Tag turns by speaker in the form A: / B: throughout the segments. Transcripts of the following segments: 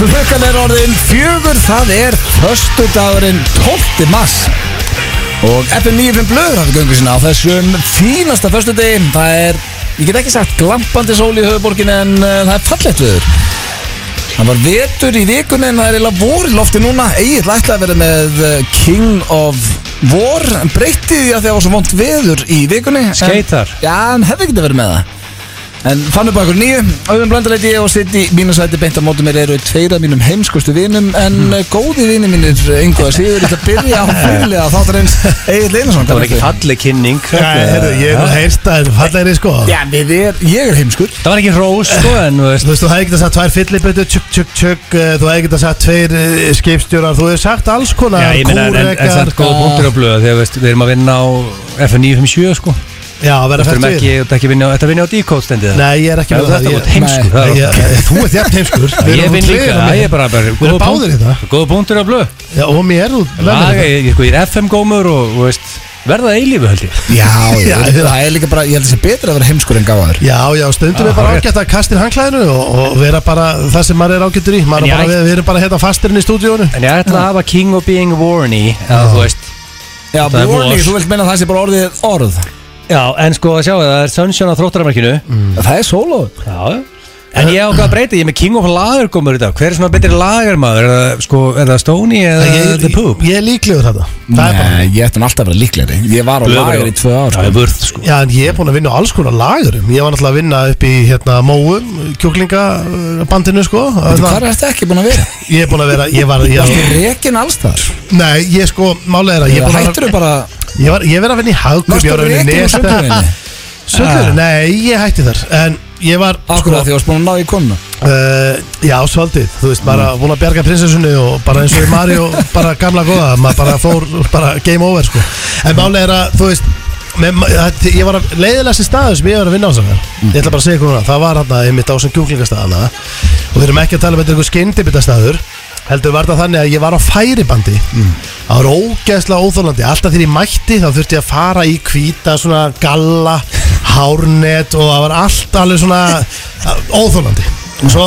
A: Klukkan er orðin fjögur, það er Föstudagurinn 12. mass Og FM 95 blöður hafði göngu sinna á þessum fínasta föstudegi Það er, ég get ekki sagt glampandi sól í höfuborgin en uh, það er fallegt viður Það var vetur í vikunni en það er eiginlega vor í lofti núna Egil ætlaði að vera með uh, King of Vor En breytti því að því að það var svo vond veður í vikunni En-
B: Skeitar.
A: Já, hann hefði ekki verið með það En fann upp á ykkur nýju, auðvitað blandalæti ég og sitt í mínu sæti beint á mótu mér eru tveira mínum heimskustu vinum en mm. góði vini mínir yngu að síður ætla að byrja á fyrirlega þáttarins Egil Einarsson
B: Það var ekki falleg kynning
C: heyrðu, ég hef heyrst að þetta er fallegri sko
A: Já, við er, ég er heimskur
B: Það var ekki hrós sko en þú veist,
C: Þú veist, þú hefði getað sagt tvær fyllibötu, tjökk, tjökk, tjökk eh, Þú hefði getað sagt tveir eh, skipstjórar Þú hefði sagt alls konar
B: Já, ég meina, en, en
C: kúrekar.
B: samt góða punktur á blöðu Þegar veist, við erum að vinna á F957 sko Þú
C: Já, verða
B: veist, við erum
C: fært
B: ekki,
C: við
B: þetta er ekki vinna, þetta er vinna á D-code stendið
C: Nei, ég er ekki
B: Þetta
C: með það
B: er
C: ég-
B: bara heimsku það
C: Nei,
B: er
C: ég-
B: okkar.
C: Þú ert jafn heimskur Við
B: Ég
C: erum
B: vinn
C: nú
B: líka,
C: tveir á
B: það
C: mér.
B: er bara bara
C: Við erum
B: góða
C: báðir í
B: punkt-
C: það
B: Góða punktur á blöðu
C: Já, og hérna. mér þú
B: Laga,
C: lemur þetta.
B: Ég sko, ég er FM gómur og þú veist, verða eilífu held ég
A: Já, já,
C: Já,
A: það er líka bara, ég held að það sé betra að vera heimskur en gáður
C: Já, já, stundum
B: Já,
C: er bara
B: rétt.
C: ágætt að kastin hangklæðinu og, og vera bara það sem maður er ágættur í Maður
B: En
C: er
B: ég
C: bara,
B: ætti-
C: við, við erum bara hérna fastirinn í stúdíónu
B: En ég ætla að hafa King of Being Warny eða þú veist
A: Já,
B: Það er
A: warning,
B: vor.
A: þú vilt meina að það sé bara orðið orð
B: Já, en sko að sjá, það er Sunshine á þróttaramarkinu
A: Það er solo
B: Já En ég ákvað að breyta, ég er með King of Lagergómur í dag Hver er svona betri lagermaður? Er það, sko, er það Stoney eða
C: Ég,
B: The Poop?
C: ég, ég er líklegur þetta Það er bara
A: Nei, ég ætti hann alltaf að vera líklegri Ég var á lager í tvö ár
B: Það er
A: sko.
B: vörð, sko
C: Já, en ég er búinn að vinna á alls konar lagurum Ég var náttúrulega að vinna upp í hérna móum, kjúklingabandinu sko
A: Veitu,
C: Þarna-
A: Hvar ertu ekki búin að vera?
C: Ég er búinn að vera, ég var,
A: Varstu
C: ég,
A: rekin alls þar?
C: nei, ég sko, málega er að ég er búinn að
A: Hættur þú bara
C: Ég var, ég var að vinna í hagkaup, ég
A: Varstu
C: var að vinna í
A: rekin í
C: nesta
A: sundlöginni? Ah.
C: Söndlöðinu, nei, ég hætti þar En ég var, sko,
A: Akkur að því varst búin að ná í konu
C: Uh, já, svolítið, þú veist, bara búin að bjarga prinsessunni og bara eins og í Mario, bara gamla góða, maður bara fór, bara game over, sko. En málega er að, þú veist, með, að, ég var að leiðilega sér staður sem ég var að vinna á saman. Ég ætla bara að segja ykkur núna, það var hérna einmitt á sem kjúklingastaðana og við erum ekki að tala með einhver skyndibitastaður, heldur var það þannig að ég var á færibandi. Það var ógeðslega óþólandi, alltaf þegar ég mætti þá þurfti ég að fara í hvíta svona galla, hárnet og það var allt alveg svona óþólandi. Og svo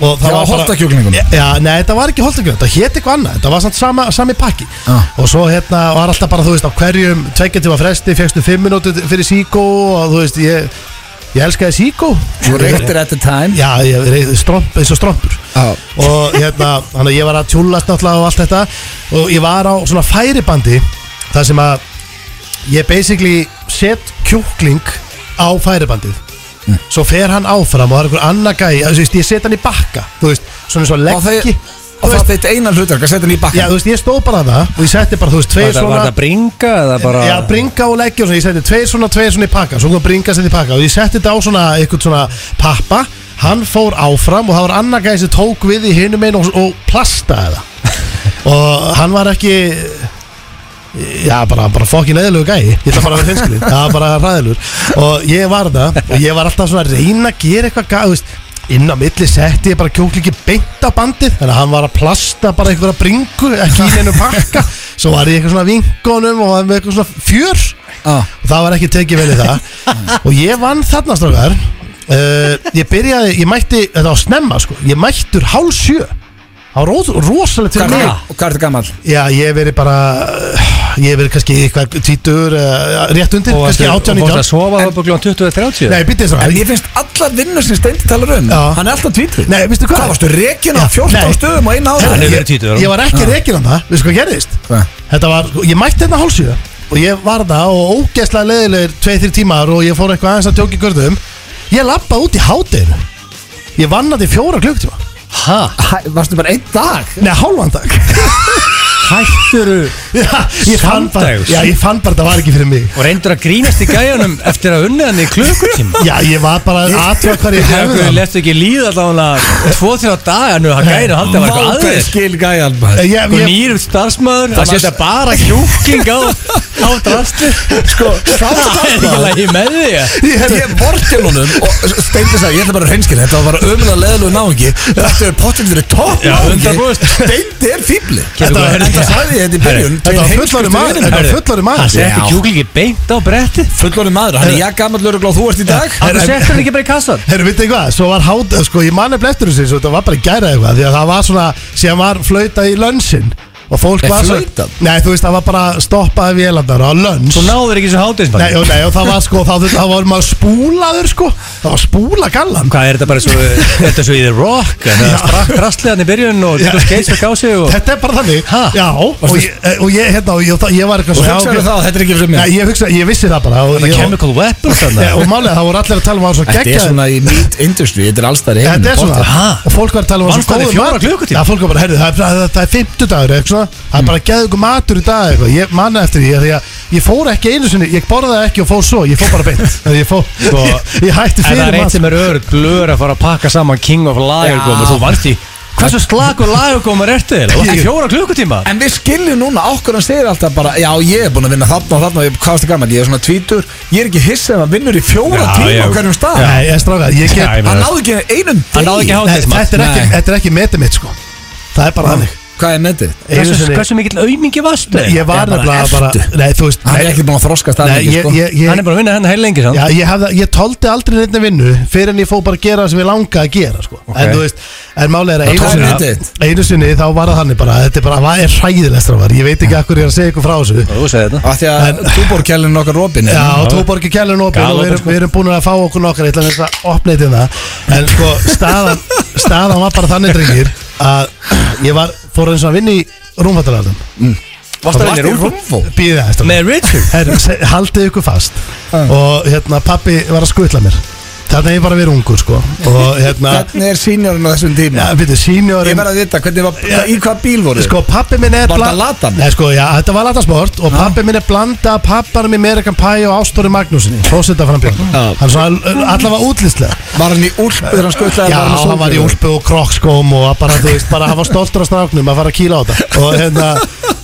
C: og það
A: Já,
C: var bara-
A: holtakjúklingum.
C: Já, nei, þetta var ekki holtakjúklingum, þetta héti eitthvað annað Þetta var samt sama, sami pakki
A: Ah.
C: Og svo hérna var alltaf bara, þú veist, á hverjum Tveikja tíma fresti, fegstu fimm minúti fyrir síkó Og þú veist, ég Ég elskaði síkó
A: Þú reyktir at the time
C: Já, ég reyði stromp, eins og strompur
A: Já.
C: Og hérna, þannig að ég var að tjúllast náttúrulega og allt þetta Og ég var á svona færibandi þar sem að ég basically set kjúkling á færibandið
A: Mm.
C: Svo fer hann áfram og það er einhver annar gæi þú veist, Ég set hann í bakka, þú veist, svona eins og
A: Og þau-
C: leggji
A: Og það er eitt einan hlutark að setja hann í
C: Já,
A: bakkan
C: þú veist, ég stóð bara það og ég setti bara, þú veist, tveir
B: Var það, var
C: svona
B: það bringa eða bara
C: Já, bringa og leggja og svona, ég seti tveir svona, tveir svona í pakka Svo kom bringa seti í pakka og ég setti þetta á svona, eitthvað svona pappa Hann fór áfram og það var annar gæði sem tók við í hinum einu og, og plastaði það Og hann var ekki, já, bara, bara fokkin eðalögu gæði Ég ætla bara að vera hinskilin, það var bara ræðilur Og ég var það og ég var alltaf svona að reyna að gera eitthvað gæði, þú veist inn á milli setti ég bara kjóklingi beint á bandið þannig að hann var að plasta bara einhverja bringu ekki í neinu pakka svo var ég eitthvað svona vinkonum og var með eitthvað svona fjör
A: Já.
C: og það var ekki tekið vel í það og ég vann þarna strákar uh, ég byrjaði, ég mætti þetta var snemma sko, ég mættur hálf sjö það var ró- rosalegt
A: Hvað
C: fyrir mig
A: ertu- og Hvað er þetta gammal?
C: já, ég hef verið bara ég hef verið kannski eitthvað tvítur uh, rétt undir,
B: Og varstu-
C: kannski
B: og fórstu
C: 18-19
B: að sofa þá búin 20-30
C: nei, býtti þess
A: En
C: að
A: ég finnst allar vinnur sem Steindi talar um
C: Já.
A: Hann er alltaf tvítur
C: Nei, veistu hvað?
A: Hvað varstu rekin á
C: Já,
A: 14
C: nei.
A: stöðum og eina ára?
B: Hann er
C: Ég-
B: verið Ah. tvítugur, hann.
C: Ég var ekki reikin á það, veistu hvað gerðist?
A: Hvað?
C: Þetta var, ég mætti hérna hálsjöðu og ég var það og ógeðslega leðilegur 2-3 tímar og ég fór eitthvað aðeins að tjóka í görðum Ég lappaði út í hátinu Ég vann að því fjóra klukktíma Hæ?
A: Hæ, Varstu bara einn dag?
C: Nei, hálfan dag
B: Hætturu
C: Já, ég fann bara,
B: Samdags?
C: já, ég fann bara að það var ekki fyrir mig
B: Og reyndur að grínast í gæjanum eftir að unni hann í klukkutíma
C: Já, ég var bara að aðtöða hvað ég hefði
B: Þegar
C: það
B: lestu ekki líða allavega Tvo þrjá daga nú að gæra Haldið að var eitthvað
A: Vákvæð
B: aðeins
A: skil gæjan maður
C: Ég- ég-
B: Sko nýrum starfsmæður Það setja bara kjúking á Á drastu
A: Sko,
B: Það er ekki
A: sátt
B: lagi með því ja.
A: Ég vorkjálunum og Steindi sagði, ég ætla bara að reynskila þetta var bara ömulega leðalug náðingi þetta er pottin fyrir topp
B: Já,
A: náðingi
B: 100%.
A: Steindi er fíbli
B: Þetta
A: þetta
B: var-
A: sagði ég þetta í byrjun
C: Þetta var fullari maður Þetta var
B: Það
C: fullari maður
B: setti
A: Já.
B: kjúklingi beint á bretti
A: fullorinn maður hann er ég gammal lögreglá þú ert í dag
B: Það setti hann ekki bara í kassan
C: Herru, vitið þið hvað, svo var hát, sko, ég mani eftir þessu, svo þetta var bara gæra eitthvað, því að það var svona, síðan var flautað í lönnsinn og fólk
A: Er
C: var svo...
A: flautað?
C: Nei, þú veist, það var bara stoppaði vélarnar á lönns.
B: Svo náður ekki svo hátinsmann
C: Nei, og, nei, og það var sko, þá, þá var maður spúlaður, sko, það var spúla gallan.
B: Hvað er þetta bara svo, er þetta svo í The Rock En Það
C: Já.
B: sprakk drastlegan í byrjun og
C: Já.
B: þetta skeits og gási og
C: Þetta er bara þannig,
B: Ha?
C: já, og ég, og ég, hérna, og ég, ég var eitthvað
A: og
C: svo...
A: hugsaðu þá þetta er ekki fyrir
C: Nei,
A: mig
C: ég hugsa, ég vissi það bara. og
B: Þetta
C: ég-
B: Chemical Weapons
C: Já,
B: þannig
C: og málega, það voru allir að tala um að hann svo
A: þetta er
C: geggjaður.
A: svona í meat industry þetta er allstæðar í
C: Þetta er svona
B: Ha?
C: Og fólk var að tala um að
B: Vannst það í fjóra klukkutíma? Mm.
C: Já, fólk var bara, heyrðu, það, er- það, það, það er fimmtudagur eitthvað svona Það er bara að geða ykkur matur í dag eitthvað Ég manna eftir því, því að ég fór ekki einu sinni Ég borðaði ekki og fór svo, ég fór bara beint Þegar ég fór, sko, ég
B: En
C: hætti
B: það
C: fyrir
B: er eitt
C: mat
B: sem er öðru glöður að fara að pakka saman King of Lagergómar
A: Já.
B: Þú vannst í Hversu slagur Lagergómar ertu þér? Það er fjóra klukkutíma
A: En við skiljum núna okkur hann segir alltaf bara Já, ég er búin að vinna þarna og þarna og ég, Hvað varstu gammal, ég er svona tvítur Ég er ekki hissa ef hann vinnur í fjóra
B: Já,
A: tíma
B: já.
A: á hverjum stað
C: Nei, ég stráka, ég
B: Já, ég
C: get
B: meina-
A: Hann náði ekki einum
B: Hann náði ekki
A: degi.
C: Nei,
B: hátinsmann
C: Þetta er ekki,
A: Nei.
C: þetta er ekki metið mitt, sko Það er bara þannig
A: Hvað er metið?
C: Einu
B: Hversu,
C: sinni,
B: hversu mikill aumingi varstu?
C: ég var nefnilega bara
A: ertu.
C: Nei, þú veist,
A: Hann er
C: nei,
A: ekki búin að þroskast að
C: nei,
A: mikið,
C: ég-
A: sko.
C: ég- ég-
B: Hann er bara að vinna henni heil lengi sann
C: Já, ég, hafði, ég toldi aldrei neittni vinnu fyrir en ég fóð bara að gera það sem ég langaði að gera sko. en þú veist, en málega er
A: Það
C: einu
A: tókst
C: sinni,
A: neitt.
C: einu sinni þá var það þannig bara, þetta er bara, hvað er hræðilegt strákar? ég veit ekki að hverju ég er að segja ykkur frá þessu
B: Þú segir þetta
A: Af því að túborkjælinn okkar Robin er-
C: Já, sko. tóborgi kjælun opið og við erum, við erum búin að fá okkur nokkar, ég ætla að opna eitt um það en sko, staðan, staðan var bara þannig drengir að ég var, fór eins og að vinna í rúmfattalarðum
A: Varstu
B: Varstu
A: að
B: í
A: vinna í Rúmfó?
C: býðið það, strákar.
B: Með Richard
C: Herru, se- haldið ykkur fast
A: Ah.
C: og hérna, pappi var að skutla mér þarna er ég bara verið ungur sko og hérna
A: Hvernig er sínjörinn á þessum tíma?
C: Já, við þið,
A: Ég
C: seniorinn
A: verð að vita, hvernig var, í hvað bíl voru?
C: Sko, pappi minn er
A: Var
C: bla-
A: þetta Latan?
C: Nei, sko, já, þetta var latasport Og pappi minn er blanda af Papparum í Amerikan Pie og Ástóri Magnúsinni Prósita frambjörn
A: Já.
C: Hann er svona allavega útlýslega
A: Var hann í úlpu þegar hann skutlaði?
C: Já, hann var í úlpu og krokkskóm Og bara, þú veist, bara hann var stoltur af stráknum Að fara að kýla á þetta Og hérna,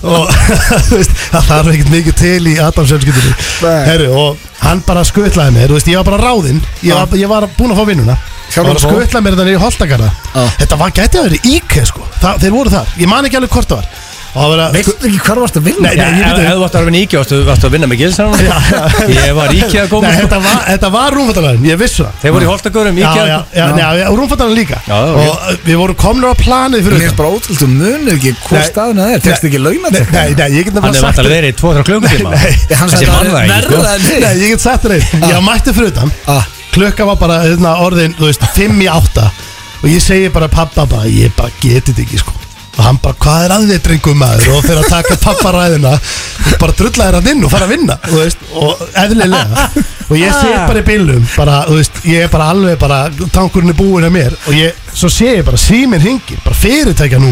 C: og þú veist Það þarf ekkert mikið til í Adamsjölskyldinni
A: Nei.
C: Herru, og hann bara skutlaði mér Þú veist, ég var bara ráðinn Ég, var- ég var búin að fá vinnuna
A: Sjálfur
C: Og
A: fá.
C: skutlaði ætla mér þannig í Holtakarða
A: Já.
C: Þetta var gæti að vera ík sko. Þa, Þeir voru þar, ég man ekki alveg hvort það var Og það var að
A: Veistu ekki hvað varst að vinna?
C: Nei,
B: Já,
C: ég
B: ef
C: veit
B: ef
C: það.
B: þú varst að vinna íkja, varstu, varstu að vinna með Gilsan Ég var íkja að
C: Nei,
B: góma
C: þetta var, þetta var rúmfattarlæðin, ég vissi það
B: Þeir voru í Holtagörum,
C: Já,
B: íkja
C: já, já, já, já rúmfattarlæðin líka
B: Já, já,
C: Og uh, við vorum komnir á planið
A: Mér
C: fyrir
A: finnst bara ótrúld, þú munir ekki hvað
C: Nei.
A: staðina er, tekst ekki launat
C: Nei, nei, nei, ég get
B: Hann
C: nefnilega
B: hefur
C: sagt
B: alltaf verið í
A: Hann sagði
B: 2-3 klukkutíma Þessi
A: að
B: mann
A: það
B: það
A: er verða en þig
B: ekki sko.
C: Nei, ég get sagt þér eitt Ég mætti fyrir utan
A: Ah.
C: Klukka var bara hérna, orðin, þú veist, 5 í 8 Og ég segi bara pappa bara, ég bara geti þetta ekki, sko Og hann bara, hvað er að þið drengum maður Og fyrir að taka pappa ræðina og Bara drulla þér að vinna og fara að vinna þú veist, Og eðlilega Og ég sé bara í bílum bara, þú veist, Ég er bara alveg bara, tankurinn er búin að mér Og ég, svo sé ég bara, síminn hingir Bara fyrirtækja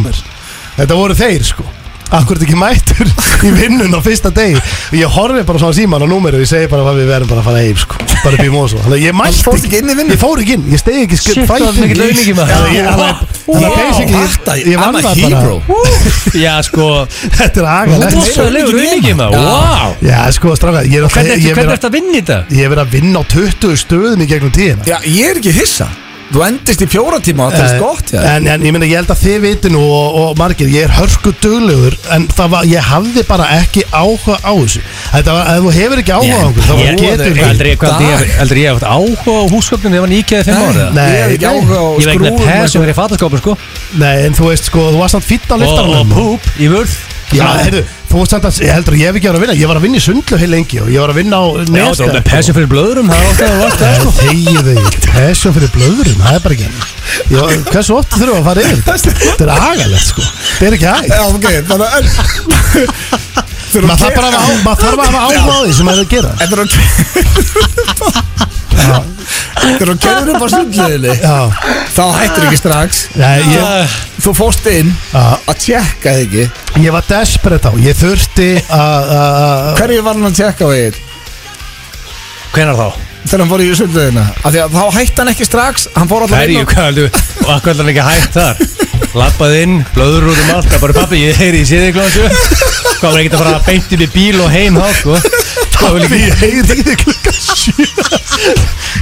C: Þetta voru þeir, sko Akkur ekki mættur í vinnun á fyrsta degi og ég horfi bara svona á síman á númeru og ég segi bara að við verðum bara að fara heim sko bara upp í mósu þannig að ég mætti
A: Hann fórst ekki inn í vinnuna?
C: ég fór ekki inn ég stegi ekki
B: Shit,
C: skjöld
B: það var mikill aumingi, maður.
C: þannig að basically ég- ég vann það bara
B: Já, sko
C: þetta er agalegt
A: Rosa-
B: Rosalegur aumingi maður, wow
C: já sko stráka ég er alltaf
B: Hvernig
C: ég
B: ertu-
C: er
B: hvernig
C: verið að-
B: ertu að vinna í þetta?
C: ég er verið að vinna á 20 stöðum í gegnum tíðina
A: Já, ég er ekki hissa Þú endist í fjóra tíma og það er skott já.
C: Eh, en, en ég meina ég held að þið viti nú og, og margir, ég er hörku duglegur en það var, ég hafði bara ekki áhuga á þessu þetta var, ef þú hefur ekki áhuga á einhverju, þá
B: Ég getur
C: getur þú
B: Aldrei ég
A: Dag.
B: hafði haft áhuga á húsgöfnum Ég var nýkjaði 5 ára
C: Nei,
A: Ég hef ekki
C: nei.
A: áhuga á
B: Ég var
A: skrúfum
B: eitthvað pæs sem
A: og-
B: verið í fattaskópum, sko
C: Nei, en þú veist sko, þú varst samt fýtt á
B: Og, og
C: liftarunum
B: púp í vörð
C: Já, heyrðu, þú varst samt að, ég heldur, ég hef ekki verið að vinna Ég var að vinna í sundlu heil lengi og ég var að vinna á
B: Já, þú
C: Nesgarð.
B: með passion fyrir blöðrum Það var alltaf að varst það, sko
C: Þegið þig, passion fyrir blöðurinn, það er bara ekki Já, Hversu oft þurfum við að fara yfir þetta? Þetta er agalegt sko, þetta er ekki hægt
A: Já, ok, þannig að
C: Maður þarf bara að hafa á- maður þarf að hafa áhuga á því sem maður er að gera
A: Þetta er að Þetta er að kerður upp á sundliðinni
C: Já,
A: Þá hættir ekki strax
C: nei, ég,
B: Ah.
A: Þú fórst inn
C: Já.
A: að tjekka þig ekki
C: ég var desperate á, ég þurfti að að-
A: Hverju var hann að tjekka á þig?
B: Hvenar þá?
A: Þegar hann fór í sundliðina Af því að þá hætti hann ekki strax Hann fór alltaf
B: Herri,
A: inn og-
B: hvað heldur Og hvað heldur hann ekki hægt þar? lappað inn, blöður út um allt það bara pappi, ég heyri í síðiglásu hvað var ekkert að fara beint inn í bíl og heim þá sko hvað vil ekki
C: Heiði ekki klukkan sjö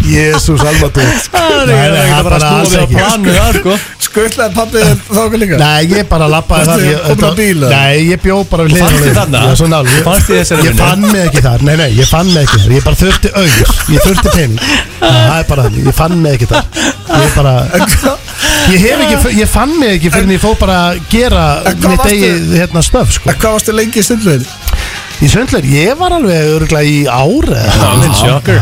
C: Jésús almatur
B: það
C: Nei,
B: er
C: nei,
B: ekkert að fara
C: bara
B: að
C: alls
B: snúa við á
C: ekki.
B: planu það sko
A: Skuttlaði pappið þér þáka líka
C: Nei, ég bara lappaði
A: Varstu
C: þar ég,
A: komin á
C: þetta-
A: bíl, eða?
C: Nei, ég bjó bara við
B: Fannstu
C: hliðina á
B: þarna?
C: leiðinni. Já, svo nál Ég,
B: Fannstu í þessari
C: ég
B: vinnu?
C: fann mig ekki þar Nei, nei, ég fann mig ekki þar Ég bara þurfti augur Ég þurfti pening Það er bara þannig Ég fann mig ekki þar Ég bara Ég hef ekki Ég fann mig ekki fyrir en ég fór bara að gera
A: En hvað
C: mitt
A: varstu-
C: eigið hérna stöf sko
A: En Hvað varstu lengi í sundlegin?
C: Í söndleir Ég var alveg örgulega í ára
B: Ah, minn sjokker.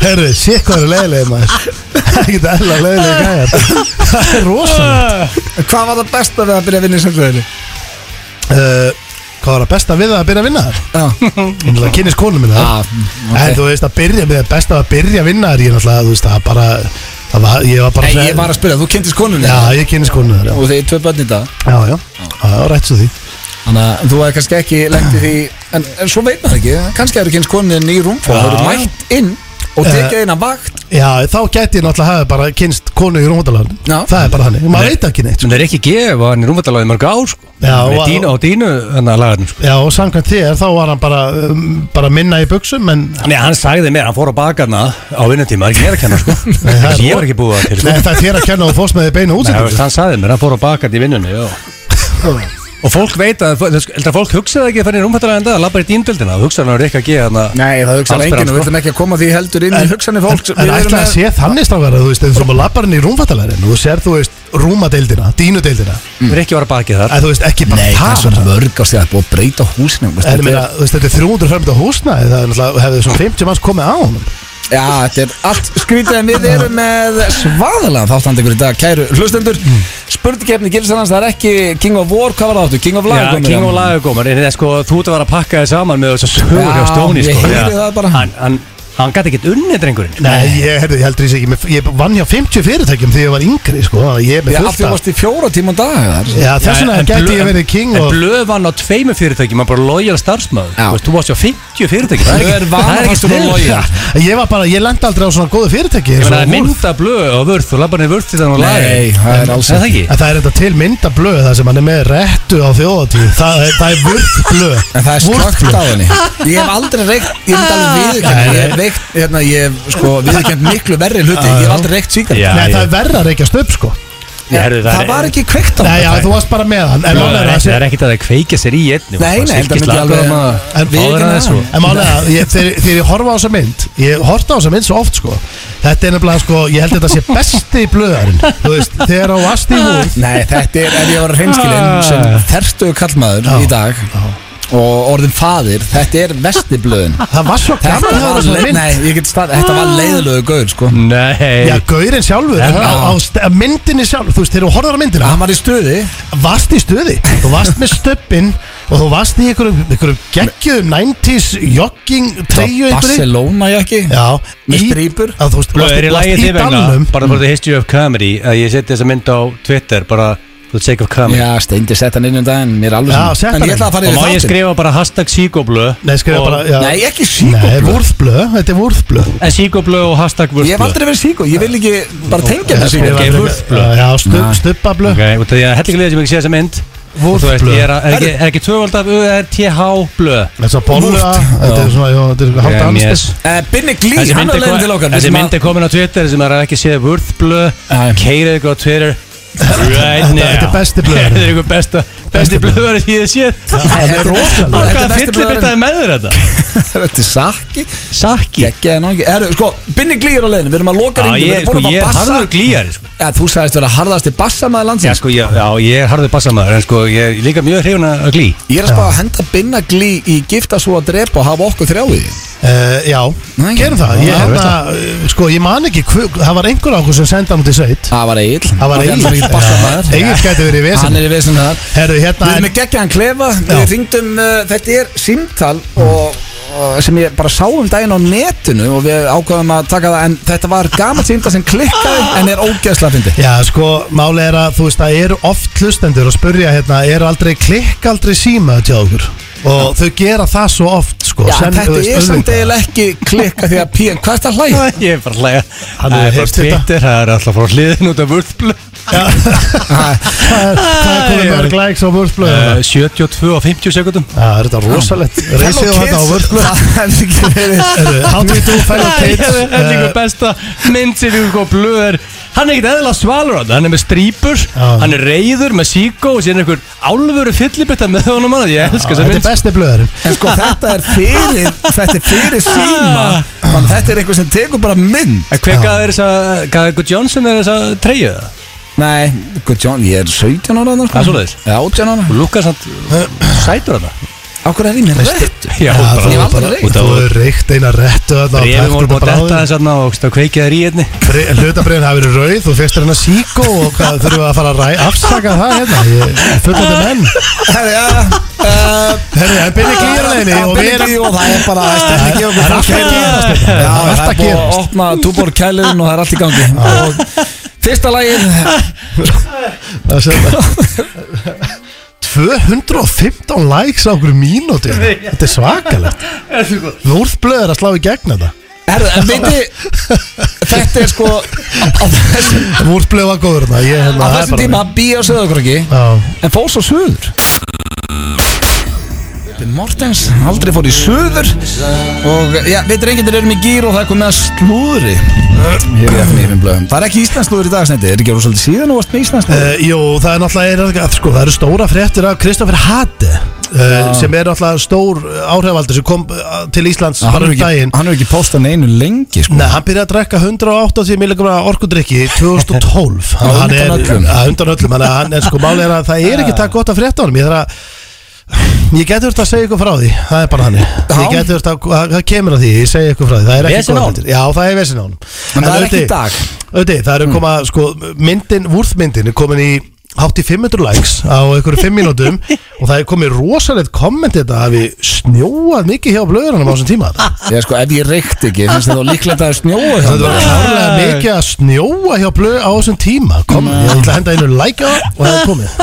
C: Herru, sé hvað eru leiðilegir maður Það er ekki eðla leiðilegir gæjar Það er rosalega
A: Hvað var það besta við að byrja að vinna í sundlegin?
C: uh, Hvað var að besta við það að byrja að vinna þar?
A: Já,
C: Ég náttúrulega kynist konu minna þar
A: Ah, ok.
C: En þú veist að byrja með besta að byrja að vinna þar Ég náttúrulega, þú veist, það bara það var, Ég var bara
A: Nei, ég var að spyrja, þú kynntist konunni
C: Já, ég kynist konu þar, já
A: Og þið er tvö börn í dag
C: Já, já, já, rætt svo því
A: Þannig að þú hefði kannski ekki lengt í því En, en svo veit maður ekki, kannski hefur kynst konin í rúmfóð
C: Já.
A: Þú hefur mætt inn og tekið inn að vakt
C: Já, þá gæti ég náttúrulega hafa bara kynst konu í Rúndaland
A: Já.
C: Það er bara þannig, maður veit ekki neitt sko.
B: sem þeir ekki gefa hann í rúmvættalagið mörg ár sko
C: Já,
B: Hann er
C: og-
B: dínu, á dínu þannig að lagarnum sko
C: Já, og samkvæmt þér, þá var hann bara, um, bara minna í buksum En
B: Nei, hann sagði mér, hann fór á bakarna á vinnutíma, það er ekki mér að kenna sko
C: það er
B: Þessi ég var ekki búið að til sko
C: Nei, það er þér að kenna og fórst með því beinu
B: Nei, þú veist,
C: útsendingu
B: hann sagði mér, hann fór á bakart í vinnunni já. Og fólk veit að, þú veist, heldur að fólk hugsa það ekki að fann í rúmfættalega enda að labba í dýndöldina Þú hugsa hann að Rikka G hann að
A: Nei, það hugsaði
B: Allsber
A: enginn og
B: hann, sko.
A: við ætlum ekki að koma því heldur inn í hugsanir fólks
C: En
A: Við erum
C: ætlaði að
A: með-
C: sé þannig strákar að þú veist, eins og maður lappar inn í rúmfattalærin Þú sér, þú veist, rúmadeildina, dínudeildina
B: Rikki var að baki þar
C: að þú veist ekki bara
A: Nei, það er
C: það
A: svo mörg á sig að búið að breyta húsinu veist,
C: En ég
A: þetta
C: meina,
A: er-
C: þú veist, þetta er 300 hörmynda húsnæði Það er náttúrulega, hefði svona 50 manns komið á honum
A: Já, þetta er allt skrítið en við erum með svaðalega þáttandegur í dag, kæru hlustendur
C: Mm.
A: Spurningkeppni Gilsarans, það er ekki King of War, hvað var það áttu? King of Lager
B: Já, King og Lagagómar, en það er sko, þú ert að vera að pakka þér saman með þessu sögur
A: Já,
B: hjá Stóni
A: ég
B: sko
A: heyri það bara.
B: Hann, hann, hann gæti ekkert unnið drengurinn
C: Nei, ég, herri, ég heldur því ekki með- Ég vann hjá 50 fyrirtækjum þegar ég var yngri, sko þannig að Ég
A: Já,
C: er með
A: allt
C: fullt
A: því
C: af
A: varst í fjóra tíma á dag þar.
C: Já, þess vegna
B: en
C: gæti
B: Blöð-
C: ég verið king
B: En
C: og
B: blöð vann á tveimu fyrirtækjum, hann bara lojal starfsmöður
A: Já.
B: Þú veist, þú varst hjá 50 fyrirtækjum Það
A: Blöð
B: er ekki-
A: vann á
B: það er ekki svona
A: snill.
B: lojal
C: Ég var bara, ég lendi aldrei á svona góðu fyrirtæki
B: Ég
C: eins og
B: meina, það er
C: Wolf.
B: mynda blöð og vörð, þú labbar niður vörð til þannig að
A: Nei, það er alls
B: það ekki
C: En það er enda til myndablöð Það sem hann er með rettu á þjóðatíð Það, er- það er vurtblöð
A: En það er slögt
C: Vurtblöð.
A: á henni Ég hef aldrei reykt, ég hef aldrei viðurkennt Ég hef veikt, hérna, ég hef sko viðurkennt miklu verri hluti Ég hef aldrei reykt síkar
B: Já,
C: Nei,
B: já.
C: það er verra að reykjast upp, sko
B: Ég heyrði
A: Það var ekki kveikt á
C: Nei, já,
A: henni
C: þú varst bara með hann En
B: Já,
C: málið
B: Það er
C: er að-
B: ekki- það er ekkert að það kveikja sér í einni
A: Nei, nei, þetta myndi ég alveg
C: En-
B: En áður
A: viðurkenna
B: en þessu
A: það.
C: En málega að ég, þegar, þegar ég horfa á þessa mynd Ég horfa á þessa mynd svo oft sko Þetta er nefnilega sko, ég held að þetta sé besti blöðarinn Þú veist, þegar á Asti Wolf
A: Nei, þetta er, ef ég var reynskilinn sem þerstuðu kallmaður
C: Ah. Já,
A: í dag og orðin faðir, þetta er vestiblöðin
C: Það var svo
A: Þetta
C: gaman að
A: var,
C: hafa þessa
A: le-
C: mynd Ah.
A: nei, ég get stað, þetta var leiðilegu gaur, sko
B: Nei
C: Já, gaurinn sjálfur en
B: Já.
C: á, á st- að myndinni sjálfur, þú veist, þegar þú horfðar á myndina
A: Hann var í stuði
C: Varst í stuði, þú varst með stöppin Og þú varst í einhverjum, einhverjum geggjuðum 90s jogging treyju einhverju
A: Barcelona, ég ekki
C: Já,
A: Með
C: í-
A: strípur.
C: Já, Þú veist, þú
B: Það er í
C: varst-
B: lagi
C: varst í
B: þig vegna
C: dalnum
B: Bara bara the history of comedy að Ég seti þessa mynd á Twitter Bara for the sake of comedy
A: Já, steindi sett hann inn um daginn, mér er alveg
C: Já,
A: sama.
C: sett hann
A: En ég ætla að fara
B: Og má
A: yfir
B: ég
A: þáttinn
B: skrifa bara hashtag síkóblö
C: Nei, skrifa bara, já
A: Nei, ekki
C: Nei,
A: síkoblöð
C: vúrðblöð, þetta er vúrðblöð
B: En síkóblö Eh, og hashtag
A: Ég hef
B: vörðblö
A: aldrei verið síko, ég vil ekki bara tengja með síko
B: skrifa- vúrðblöð.
C: Já,
A: Nei.
C: stu- stubbablöð
B: Ok, og það er hellinga liðið sem ekki sé þessa mynd Og þú veist,
C: Vúrðblöð.
B: ég er að- er ekki- er ekki tvöfald af URTH blö
C: Þess að bolla,
A: Vúrt.
C: þetta er svona, já, þetta er halda
B: Em,
C: annars
B: yes.
A: Eh, Binni Glý,
B: Þessi
A: hann
B: mynd
A: er
B: er
A: leiðin til
B: ko-
A: okkar
B: þessi mynd er komin á Twitter sem er ekki séð vörðblö
A: Já.
B: Keirið ykkur á Twitter Right now
C: þetta er besti blöðurinn.
B: Þetta er ykkur besta- besti blöður sem ég hef séð
C: Það er
B: Á
C: rosalega
A: Þetta er
B: hvaða
A: besti
B: fyllir
A: blöðurinn.
B: þetta með þér þetta?
A: Þetta er sakki
B: Sakki
A: Gekkið en ákveð Erðu, sko, Binni Glý er á leiðin Við erum að loka
B: Já,
A: ringin Við
B: ég,
A: erum
B: sko,
A: búin að
B: ég er
A: fá bassa
B: harður glíjar sko.
A: Ja, Þú sagðist vera harðasti bassamaður
B: Já,
A: landsins
B: sko, ég, já, ég er harður bassamæður En sko, ég er líka mjög hrifun að glí
A: Ég er að spá að henda Binna Glý í gifta svo að drepa og hafa okkur þrjá í því.
C: Eh, Já,
A: Nei,
C: gerum það
A: já,
C: Ég
A: veist
C: hérna, eh, sko, ég man ekki hver- Það var einhver ákveð sem senda hann út í sveit
A: Það var Egil
C: Það var Egill.
A: bassamaður
C: Egill gæti verið í veseni.
A: Hann er í vesinu þar
C: Herru, hérna
A: Við erum
C: en-
A: með geggjaðan klefa Við
C: Já.
A: þyngdum, uh, þetta er símtal og, og sem ég bara sá um daginn á netinu og við ákvaðum að taka það en þetta var gamalt símtal sem klikkaði en er ógeðslega fyndi
C: Já, sko, máli er að þú veist að eru oft hlustendur að spurja hérna, er aldrei klikk aldrei síma til okkur? og þau gera það svo oft sko,
A: Já,
C: sem- þú
A: þetta
C: veist,
A: er samt
C: auðvitað.
A: eiginlega ekki klikka því að pían, hvað er þetta hlæg?
B: Ég er bara að hlæja
C: Hann
B: Það er
C: hefur
B: bara
C: heyrt þetta.
B: Twitter, það er alltaf frá hliðin út af vörðblu
C: Það er- það er komið
B: Æ,
C: mörg likes á vörflöðu
B: 72 og 50 sekundum
C: Það Ah, er þetta rosalegt Reysið á þetta á sko. vörflöðu
A: Það er ekki verið
C: How do you do fellow kids
B: Það er líka
C: Eh,
B: besta mynd sem við komum blöð er Hann er ekkert eðla svalur á þetta, hann er með strípur
C: Já.
B: Hann er reyður með síkó og síðan er einhver álfuru fyllibetta með honum hann Ég elska þess að
C: Þetta er
B: mynd
C: besti blöðurinn
A: En sko þetta er fyrir Þetta er fyrir síma Þannig að þetta er eitthvað sem tekur bara mynd
B: En hver gaf þér þess að, gaf ykkur Johnson er þess að treyja það?
A: Nei, hvað John, ég er 17 ára þarna, sko.
B: Það er svoleiðis.
A: Já, 18 ára
B: Og Lukas hann sætur hann
A: Ákveð er ég mér rétt
B: Já,
C: Já,
A: ég
B: bara
C: Ah, þú
A: var
C: er bara-
A: aldrei reykt.
C: Þú er reykt eina réttu þarna og
B: Brefum
C: taktu
B: voru búin að
C: bara á
B: detta
C: þig.
B: þess aðna og og kveikið þær í hérna. einni
C: Bre- Hlutabriðin hafi verið rauð Þú fyrst er hennar síkó og hvað þurfum við að fara að ræ- afsaka það hérna Fullandi menn
A: Herri, já uh,
C: Herri, það er byrja glýjarleginni og við erum
A: og það er bara stemningi og
C: Það er allt að
A: Já,
C: gerast þetta. Það er
A: það er
C: allt að
A: búið að
C: gerast.
A: opna túbor kæliðin og það er allt í gangi Og fyrsta lagið
C: Það er sem- 215 likes á okkur mínúti Þetta er svakalegt Vörfblöð er að slá í gegn þetta
A: Herri, en veiti Þetta er sko Á þessum,
C: Vörfblöð var góður þarna Ég
A: á
C: hérna það er
A: þessum
C: bara-
A: tíma býja á söðakröki
C: Já.
A: En fór svo suður Björn Mortens, aldrei fór í suður Og já, við drengindir erum í gýr og það er komið að slúðri Hér er FNF blöðum Það er ekki Íslands slúður í dag, snendi Er ekki alveg svolítið síðan og varst með Íslands slúður?
C: Uh, jú, það er náttúrulega er, að, sko, það eru stóra fréttir af Kristoffer Hade uh, sem er náttúrulega stór áhrifaldur sem kom uh, til Íslands
A: Hann
C: bara
A: er
C: um
A: ekki,
C: daginn
A: hann hefur ekki postað neinu lengi sko.
C: Nei, hann byrjaði að drekka 180 milligra orkudrykki 2012
A: Á
C: Hann er-
A: undan öllum.
C: Á undan öllum, hann er, hann er sko málið er að það er ekki það gott að frétta á honum Ég þarf að Ég geti verið að segja ykkur frá því, það er bara hann Ég
A: Já.
C: geti verið að, það kemur að því, ég segja ykkur frá því Það er ekki
B: Vesen á
C: góð
B: honum?
C: fréttir. Já, það er vesin á honum
A: En það er ekki
C: auðvitað-
A: í dag Mm.
C: Auðvitað, það eru koma, sko, myndin, vúrþmyndin er komin í hátt í 500 likes á einhverju 5 mínútum og það er komið rosalegt komment þetta hafi snjóað mikið hjá blöðunum á þessum tíma
A: Ég sko, ef ég reykt ekki, finnst þið þá líklegt að það er snjóa hjá
C: það var
A: mér?
C: klárlega mikið að snjóa hjá blöð á þessum tíma kom, ég ætla að henda einu like á það og það er komið